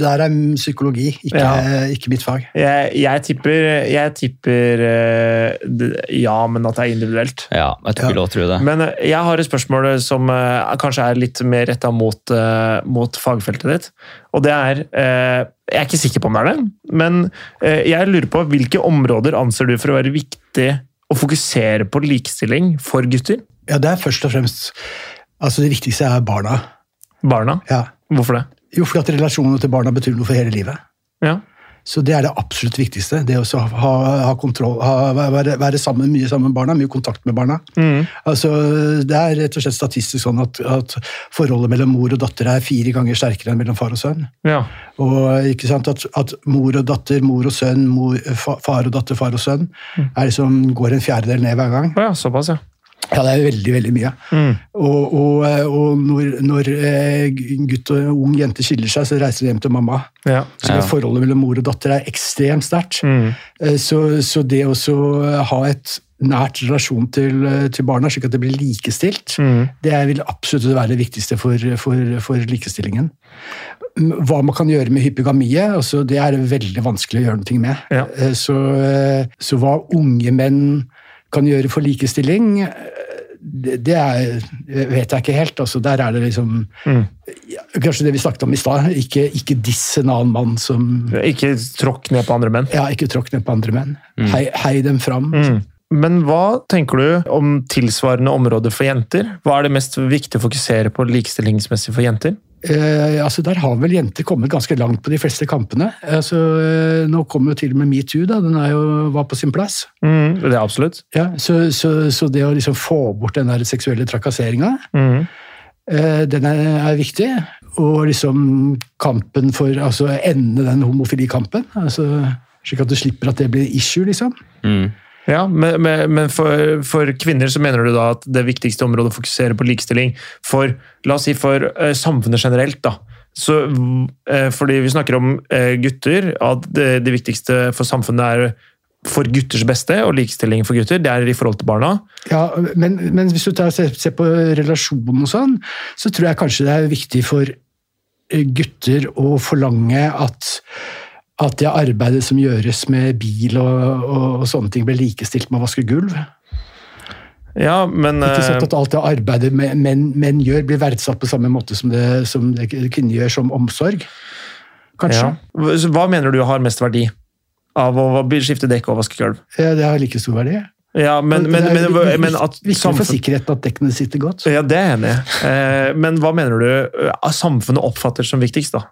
[SPEAKER 2] det er en psykologi, ikke, eh,
[SPEAKER 1] Ja.
[SPEAKER 2] ikke mitt fag.
[SPEAKER 1] Jeg, jeg tipper, jeg tipper eh, d- ja, men at det er individuelt.
[SPEAKER 3] ja jeg tror vi lov til å tro det.
[SPEAKER 1] Men eh, jeg har et spørsmål som eh, kanskje er litt mer retta mot, eh, mot fagfeltet ditt. Og det er eh, Jeg er ikke sikker på om det er det, men eh, jeg lurer på hvilke områder anser du for å være viktig å fokusere på likestilling for gutter?
[SPEAKER 2] Ja, det er først og fremst altså Det viktigste er barna.
[SPEAKER 1] Barna?
[SPEAKER 2] Ja.
[SPEAKER 1] Hvorfor det?
[SPEAKER 2] Jo, fordi at relasjonene til barna betyr noe for hele livet.
[SPEAKER 1] Ja.
[SPEAKER 2] Så det er det absolutt viktigste. Det å så ha, ha kontroll, ha, være, være sammen, mye sammen med barna, mye kontakt med barna.
[SPEAKER 1] Mm.
[SPEAKER 2] Altså, det er rett og slett statistisk sånn at, at forholdet mellom mor og datter er fire ganger sterkere enn mellom far og sønn.
[SPEAKER 1] ja.
[SPEAKER 2] Og ikke sant, at, at mor og datter, mor og sønn, mor, fa- far og datter, far og sønn
[SPEAKER 1] Mm.
[SPEAKER 2] er liksom, går en fjerdedel ned hver gang.
[SPEAKER 1] Å ja, såpass, ja.
[SPEAKER 2] Ja, det er veldig, veldig mye.
[SPEAKER 1] Mm.
[SPEAKER 2] Og, og, og når, når eh, gutt og ung jente skiller seg, så reiser de hjem til mamma.
[SPEAKER 1] ja.
[SPEAKER 2] Så det forholdet mellom mor og datter er ekstremt sterkt.
[SPEAKER 1] Mm.
[SPEAKER 2] Eh, Så, så det å så ha et nært relasjon til, eh, til barna, slik at det blir likestilt,
[SPEAKER 1] Mm.
[SPEAKER 2] det er- vil absolutt være det viktigste for, for, for likestillingen. Mm, Hva man kan gjøre med hypogamie, altså det er det veldig vanskelig å gjøre noe med.
[SPEAKER 1] Ja.
[SPEAKER 2] Eh, Så, eh, så hva unge menn kan gjøre for likestilling, eh, det, det er, vet jeg ikke helt. Altså, der er det liksom
[SPEAKER 1] Mm.
[SPEAKER 2] ja, Kanskje det vi snakket om i stad. Ikke, ikke diss en annen mann som
[SPEAKER 1] Ikke tråkk ned på andre menn.
[SPEAKER 2] ja, ikke tråkk ned på andre menn. Hei, hei dem fram.
[SPEAKER 1] Mm. Men hva tenker du om tilsvarende områder for jenter? Hva er det mest viktig å fokusere på likestillingsmessig for jenter?
[SPEAKER 2] Eh, altså, der har vel jenter kommet ganske langt på de fleste kampene. Altså, eh, nå kommer jo til og med metoo, da. Den er jo, var på sin plass.
[SPEAKER 1] Mm, det er absolutt.
[SPEAKER 2] Ja, så, så, så det å liksom få bort den der seksuelle trakasseringa,
[SPEAKER 1] Mm.
[SPEAKER 2] eh, den er, er viktig. Og liksom kampen for Altså ende den homofilikampen. Altså, slik at du slipper at det blir issue, liksom.
[SPEAKER 3] Mm.
[SPEAKER 1] Ja, men, men, men for, for kvinner så mener du da at det viktigste området å fokusere på likestilling for, la oss si, for eh, samfunnet generelt, da. Så, eh, fordi vi snakker om eh, gutter, at det, det viktigste for samfunnet er for gutters beste, og likestilling for gutter, det er i forhold til barna.
[SPEAKER 2] Ja, men, men hvis du tar, ser, ser på relasjonen og sånn, så tror jeg kanskje det er viktig for eh, gutter å forlange at, at det arbeidet som gjøres med bil og, og, og sånne ting, blir likestilt med å vaske gulv.
[SPEAKER 1] Ja, men
[SPEAKER 2] Ikke sant
[SPEAKER 1] eh,
[SPEAKER 2] at alt det arbeidet me- menn, menn gjør, blir verdsatt på samme måte som det, som det kvinner gjør som omsorg. Kanskje.
[SPEAKER 1] ja. Så Hva mener du har mest verdi av å skifte dekk og vaske gulv?
[SPEAKER 2] Eh, Det har like stor verdi.
[SPEAKER 1] Ja, men, men,
[SPEAKER 2] Det er
[SPEAKER 1] men, men, at
[SPEAKER 2] viktig for
[SPEAKER 1] samfunn-
[SPEAKER 2] sikkerheten at dekkene sitter godt.
[SPEAKER 1] Ja, det er jeg enig i. Eh, Men hva mener du eh, samfunnet oppfatter som viktigst, da?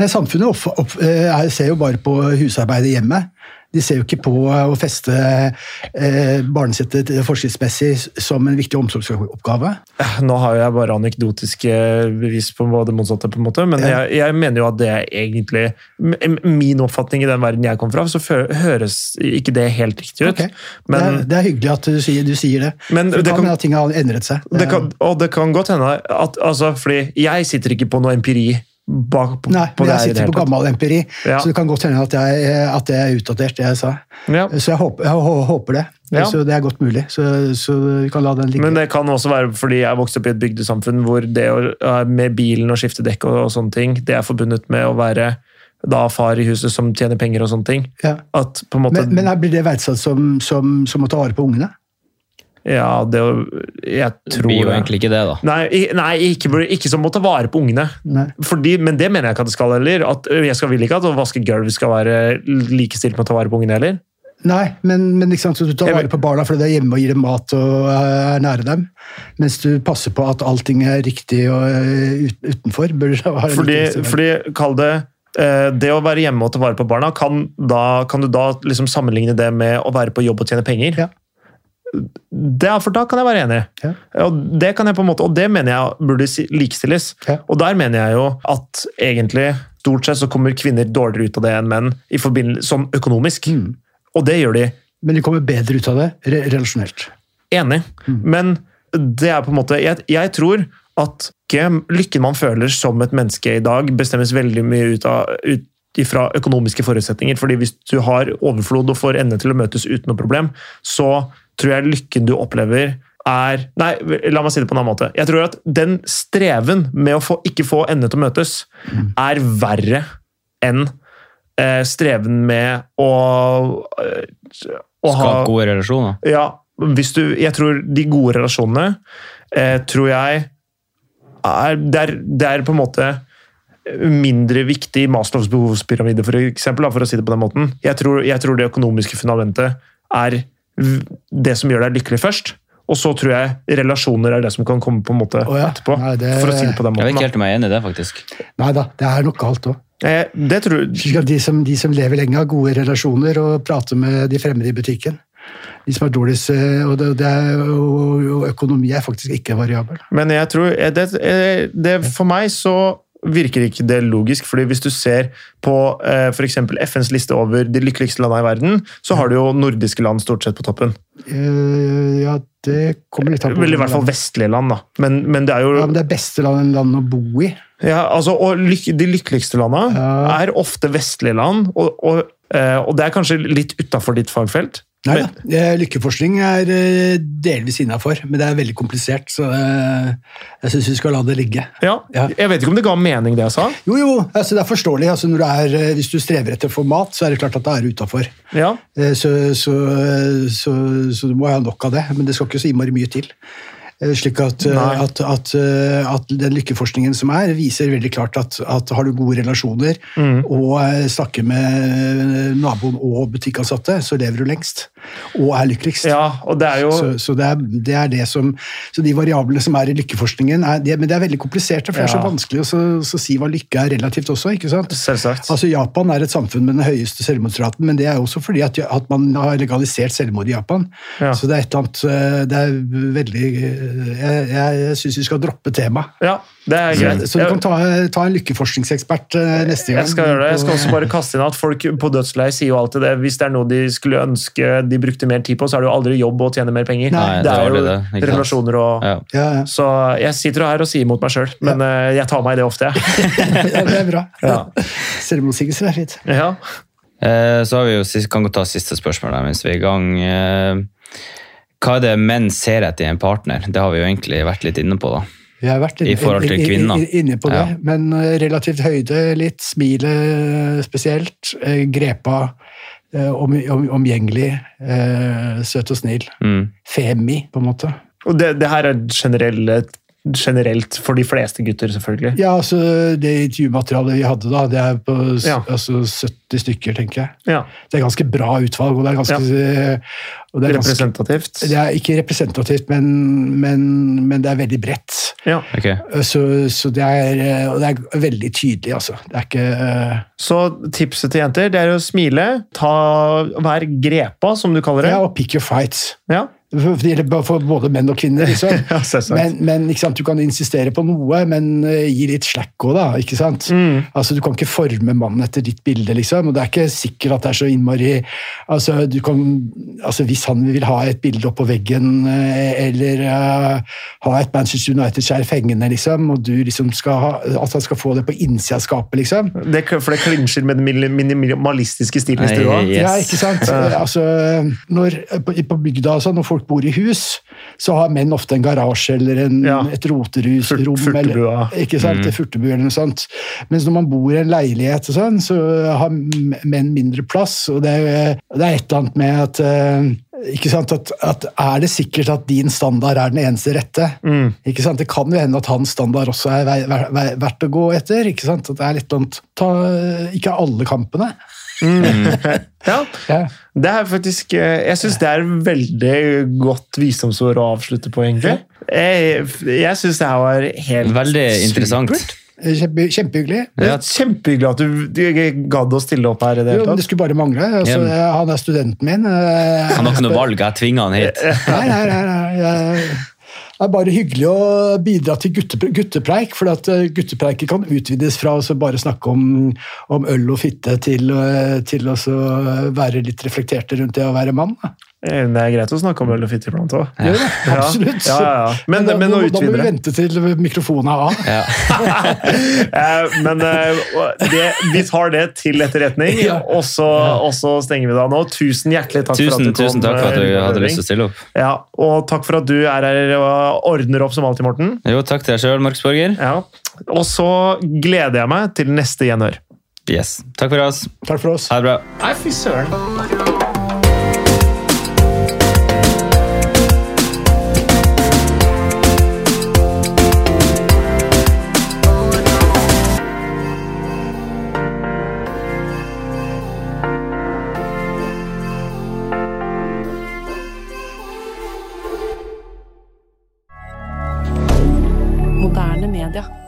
[SPEAKER 2] Nei, Samfunnet opp, opp, eh, er- ser jo bare på husarbeidet hjemme. De ser jo ikke på eh, å feste eh, barnesettet til- forskriftsmessig s- som en viktig omsorgsoppgave.
[SPEAKER 1] Eh, Nå har jo jeg bare anekdotiske bevis på hva det motsatte, på en måte, men
[SPEAKER 2] Ja.
[SPEAKER 1] jeg, jeg mener jo at det er egentlig m- Min oppfatning i den verden jeg kom fra, så fø- høres ikke det helt riktig ut.
[SPEAKER 2] Ok. det,
[SPEAKER 1] Men
[SPEAKER 2] er, det er hyggelig at du sier, du sier det.
[SPEAKER 1] Men
[SPEAKER 2] For
[SPEAKER 1] det
[SPEAKER 2] det
[SPEAKER 1] kan-
[SPEAKER 2] kan hende at ting har endret seg. Eh,
[SPEAKER 1] det kan, og det kan godt hende at altså, Fordi jeg sitter ikke på noe empiri bak på,
[SPEAKER 2] Nei,
[SPEAKER 1] på
[SPEAKER 2] men
[SPEAKER 1] det
[SPEAKER 2] jeg
[SPEAKER 1] her i det
[SPEAKER 2] sitter
[SPEAKER 1] hele
[SPEAKER 2] på
[SPEAKER 1] tatt.
[SPEAKER 2] gammel empiri,
[SPEAKER 1] Ja.
[SPEAKER 2] så det kan godt hende at, jeg, eh, at det er utdatert, det jeg sa.
[SPEAKER 1] Ja.
[SPEAKER 2] Så jeg håper, jeg hå- håper det.
[SPEAKER 1] Ja.
[SPEAKER 2] Så det er godt mulig. Så, så vi kan la den ligge.
[SPEAKER 1] Men det kan også være fordi jeg vokste opp i et bygdesamfunn hvor det å, med bilen og skifte dekk og, og sånne ting, det er forbundet med å være da far i huset som tjener penger og sånne ting.
[SPEAKER 2] ja.
[SPEAKER 1] At på en måte
[SPEAKER 2] men, men her blir det verdsatt som, som, som å ta vare på ungene?
[SPEAKER 1] Ja, det å Jeg
[SPEAKER 3] Det
[SPEAKER 1] tror
[SPEAKER 3] blir jo
[SPEAKER 1] det.
[SPEAKER 3] egentlig ikke det, da.
[SPEAKER 1] Nei, i- nei ikke, burde- ikke som å ta vare på ungene.
[SPEAKER 2] Nei.
[SPEAKER 1] Fordi, men det mener jeg ikke at det skal heller. At ø, jeg skal, vil ikke at å vaske gulv skal være likestilt med å ta vare på ungene heller.
[SPEAKER 2] Nei, men, men ikke sant, så du tar
[SPEAKER 1] Jeg
[SPEAKER 2] vare
[SPEAKER 1] vet-
[SPEAKER 2] på barna fordi du er hjemme og gir dem mat og eh, er nære dem. Mens du passer på at allting er riktig og eh, ut- utenfor. Bør være
[SPEAKER 1] Fordi,
[SPEAKER 2] riktig.
[SPEAKER 1] fordi kall det eh, det å være hjemme og ta vare på barna, kan, da, kan du da liksom sammenligne det med å være på jobb og tjene penger?
[SPEAKER 2] Ja.
[SPEAKER 1] Det er for da kan jeg være enig. i. Og det kan jeg på en måte, og det mener jeg burde si- likestilles.
[SPEAKER 2] Ja.
[SPEAKER 1] Og der mener jeg jo at egentlig stort sett så kommer kvinner dårligere ut av det enn menn, i forbindel- sånn økonomisk.
[SPEAKER 2] Mm.
[SPEAKER 1] Og det gjør de
[SPEAKER 2] Men de kommer bedre ut av det re relasjonelt.
[SPEAKER 1] Enig. Men det er på en måte Jeg, jeg tror at ikke lykken man føler som et menneske i dag, bestemmes veldig mye ut av ut ifra økonomiske forutsetninger. fordi hvis du har overflod og får endene til å møtes uten noe problem, så tror jeg lykken du opplever er Nei, la meg si det på en annen måte. Jeg tror at den streven med å få, ikke få endene til å møtes, er verre enn eh, streven med å, eh, å ha-
[SPEAKER 3] Skap gode relasjoner.
[SPEAKER 1] ja, hvis du, jeg tror de gode relasjonene eh, tror jeg er, det, er, det er på en måte mindre viktig i Maslows behovspyramide, for, eksempel, da, for å si det på den måten. Jeg tror, jeg tror det økonomiske fundamentet er v- det som gjør deg lykkelig først. Og så tror jeg relasjoner er det som kan komme på en måte
[SPEAKER 2] Å ja.
[SPEAKER 1] etterpå.
[SPEAKER 2] Nei, det-
[SPEAKER 1] For å si det på den
[SPEAKER 3] Jeg
[SPEAKER 1] måten.
[SPEAKER 3] vet ikke
[SPEAKER 1] da.
[SPEAKER 3] helt om jeg er enig i det, faktisk.
[SPEAKER 2] Nei da, det er nok galt òg.
[SPEAKER 1] Eh, Det tror
[SPEAKER 2] De, som- de som lever lenge, har gode relasjoner og prater med de fremmede i butikken. De som har dårligst eh, Og, det, det er, og, og økonomi er faktisk ikke variabel.
[SPEAKER 1] Men jeg tror eh, det, eh, det, For meg så virker ikke det logisk. fordi Hvis du ser på eh, for eksempel FNs liste over de lykkeligste landene i verden, så har du jo nordiske land stort sett på toppen.
[SPEAKER 2] Eh, ja, det kommer litt an på
[SPEAKER 1] Vel, I hvert fall vestlige land, da. Men, men det er
[SPEAKER 2] Ja, men
[SPEAKER 1] jo
[SPEAKER 2] det er beste land, land å bo i.
[SPEAKER 1] ja, altså, Og lyk, de lykkeligste landene
[SPEAKER 2] Ja.
[SPEAKER 1] er ofte vestlige land. Og, og, eh, og det er kanskje litt utafor ditt fagfelt.
[SPEAKER 2] Nei da. Eh, Lykkeforskning er eh, delvis innafor, men det er veldig komplisert, så eh, jeg syns vi skal la det ligge.
[SPEAKER 1] Ja,
[SPEAKER 2] Ja.
[SPEAKER 1] Jeg vet ikke om det ga mening, det jeg sa.
[SPEAKER 2] Jo, jo, altså det er forståelig. Altså når du er, eh, hvis du strever etter å få mat, så er det klart at det er utafor.
[SPEAKER 1] Ja,
[SPEAKER 2] Så, så, så, så du må ha nok av det, men det skal ikke så innmari mye til. Eh, Slik at, eh,
[SPEAKER 1] Nei.
[SPEAKER 2] at, at, eh, at den lykkeforskningen som er, viser veldig klart at, at har du gode relasjoner
[SPEAKER 1] Mm.
[SPEAKER 2] og eh, snakker med eh, naboen og butikkansatte, så lever du lengst og er lykkeligst.
[SPEAKER 1] ja og det er jo
[SPEAKER 2] Så, så, det er, det er det som, så de variablene som er i lykkeforskningen er, det, Men det er veldig kompliserte, for det er så
[SPEAKER 1] Ja.
[SPEAKER 2] vanskelig å så- så si hva lykke er relativt også. ikke sant?
[SPEAKER 1] Selvsagt.
[SPEAKER 2] Altså Japan er et samfunn med den høyeste selvmordsraten, men det er også fordi at, at man har legalisert selvmord i Japan.
[SPEAKER 1] Ja.
[SPEAKER 2] Så det er et eller annet eh, Det er veldig eh, Jeg, jeg syns vi skal droppe temaet.
[SPEAKER 1] Ja, det er
[SPEAKER 2] Så,
[SPEAKER 1] greit.
[SPEAKER 2] så du
[SPEAKER 1] Jeg-
[SPEAKER 2] kan ta, ta en lykkeforskningsekspert eh, neste gang.
[SPEAKER 1] Jeg skal gjøre det. Jeg skal også bare kaste inn at folk på dødsleiet sier jo alltid det. Hvis det er noe de skulle ønske de brukte mer tid på, så er det jo aldri jobb å tjene mer penger.
[SPEAKER 2] Nei,
[SPEAKER 1] det er
[SPEAKER 3] aldri
[SPEAKER 1] jo
[SPEAKER 3] det, ikke sant?
[SPEAKER 1] relasjoner og
[SPEAKER 3] Ja.
[SPEAKER 2] Ja, ja.
[SPEAKER 1] Så jeg sitter jo her og sier mot meg sjøl, men eh, jeg tar meg i det ofte, jeg.
[SPEAKER 2] ja, det er bra.
[SPEAKER 1] Ja.
[SPEAKER 2] Selvmotsigelser er fint.
[SPEAKER 1] Ja.
[SPEAKER 3] Eh, Så har vi jo, sist- kan vi ta siste spørsmål da, mens vi er i gang. Eh, Hva er det menn ser etter i en partner? Det har vi jo egentlig vært litt inne på. da.
[SPEAKER 2] Vi har vært inne,
[SPEAKER 3] I forhold til
[SPEAKER 2] i- i-
[SPEAKER 3] kvinner.
[SPEAKER 2] i- inne på det,
[SPEAKER 3] Ja.
[SPEAKER 2] men eh, relativt høyde litt, smilet spesielt, eh, grepa, eh, om, om, omgjengelig, eh, søt og snill.
[SPEAKER 3] Mm.
[SPEAKER 2] Femi, på en måte.
[SPEAKER 1] Og det, det her er generelle, generelt for de fleste gutter, selvfølgelig.
[SPEAKER 2] Ja, altså det intervjumaterialet vi hadde da, det er på s-
[SPEAKER 1] Ja.
[SPEAKER 2] altså, 70 stykker, tenker jeg.
[SPEAKER 1] Ja,
[SPEAKER 2] Det er ganske bra utvalg, og det er ganske, eh, og det er ganske
[SPEAKER 1] Representativt.
[SPEAKER 2] det er ikke representativt, men, men, men det er veldig bredt. Eh,
[SPEAKER 1] Ja.
[SPEAKER 3] Ok.
[SPEAKER 2] Så, så det, er, eh, og det er veldig tydelig, altså. Det er ikke eh,
[SPEAKER 1] Så tipset til jenter det er å smile, ta, vær grepa, som du kaller det.
[SPEAKER 2] Ja, og pick your fights.
[SPEAKER 1] Ja,
[SPEAKER 2] For- Det gjelder for både menn og kvinner. Liksom.
[SPEAKER 1] [LAUGHS] Ja, selvsagt.
[SPEAKER 2] men men ikke sant? du kan insistere på noe, men eh, gi litt slack òg, da. ikke sant?
[SPEAKER 1] Mm.
[SPEAKER 2] Altså, Du kan ikke forme mannen etter ditt bilde, liksom. Og det er ikke sikkert at det er så innmari altså, du kan, altså, Hvis han vil ha et bilde oppå veggen, eh, eller eh, ha et Manchester United-skjerf hengende, liksom, og du liksom skal ha, at han skal få det på innsida av skapet, liksom.
[SPEAKER 1] det, for det klinsjer med den minimalistiske stilen i stua.
[SPEAKER 3] Nei,
[SPEAKER 2] Ja,
[SPEAKER 3] Yes.
[SPEAKER 2] ikke sant? Altså, når, eh, på, på bygda og sånn, når folk bor i hus, så har menn ofte en garasje eller en,
[SPEAKER 1] Ja.
[SPEAKER 2] et roterhus.
[SPEAKER 1] Furt-
[SPEAKER 2] rom,
[SPEAKER 1] furtebua.
[SPEAKER 2] Eller, ikke sant? Furtebu eller noe sånt. Mens når man bor i en leilighet og sånn, så har m- menn mindre plass, og det er, det er et eller annet med at eh, Ikke sant? At, at er det sikkert at din standard er den eneste rette?
[SPEAKER 1] Mm.
[SPEAKER 2] Ikke sant? Det kan jo hende at hans standard også er vei, vei, vei, verdt å gå etter. Ikke sant? At det er litt sånt, ta, eh, ikke alle kampene.
[SPEAKER 1] Ja,
[SPEAKER 2] Ja.
[SPEAKER 1] det er faktisk eh, Jeg syns det er et veldig godt visdomsord å avslutte på, egentlig. Jeg, jeg syns det her var helt
[SPEAKER 3] Veldig
[SPEAKER 1] supert.
[SPEAKER 3] interessant.
[SPEAKER 2] Eh, Kjempe, kjempehyggelig.
[SPEAKER 1] Det
[SPEAKER 3] Ja.
[SPEAKER 1] er Kjempehyggelig at du, du gadd å stille opp her i det
[SPEAKER 2] Jo,
[SPEAKER 1] hele
[SPEAKER 2] men det
[SPEAKER 1] tatt.
[SPEAKER 2] skulle bare mangle. Altså,
[SPEAKER 3] Igjen.
[SPEAKER 2] jeg- han er studenten min. eh,
[SPEAKER 3] Han har ikke noe valg, jeg tvinger han hit.
[SPEAKER 2] Nei, nei, nei, nei. jeg- Det er bare hyggelig å bidra til gutte, guttepreik, for at eh, guttepreiker kan utvides fra å så bare snakke om, om øl og fitte til, eh, til å så være litt reflekterte rundt det å være mann. da.
[SPEAKER 1] Eh, Det er greit å snakke om øl og fitte iblant òg.
[SPEAKER 2] Gjør det, [LAUGHS] absolutt.
[SPEAKER 1] Ja, ja, ja. Men-
[SPEAKER 2] da,
[SPEAKER 1] men å
[SPEAKER 2] da, da må
[SPEAKER 1] utvide [LAUGHS]
[SPEAKER 2] vi
[SPEAKER 1] det.
[SPEAKER 2] vente til mikrofonen er av.
[SPEAKER 3] Ja.
[SPEAKER 1] Eh, Men eh, og det, vi tar det til etterretning,
[SPEAKER 2] Ja.
[SPEAKER 1] og så, og så stenger vi det av nå. Tusen hjertelig takk for at
[SPEAKER 3] Tusen,
[SPEAKER 1] du kom.
[SPEAKER 3] tusen takk for at du
[SPEAKER 1] eh,
[SPEAKER 3] hadde
[SPEAKER 1] Løving.
[SPEAKER 3] lyst til å stille opp.
[SPEAKER 1] Ja, og takk for at du er her og ordner opp som alltid, Morten.
[SPEAKER 3] Jo, takk til deg sjøl, Markus Borger.
[SPEAKER 1] Ja. Og så gleder jeg meg til neste gjenhør.
[SPEAKER 3] Yes. Takk for oss.
[SPEAKER 2] Takk for oss.
[SPEAKER 3] Ha det bra.
[SPEAKER 1] Nei, fy søren.
[SPEAKER 4] Moderne media.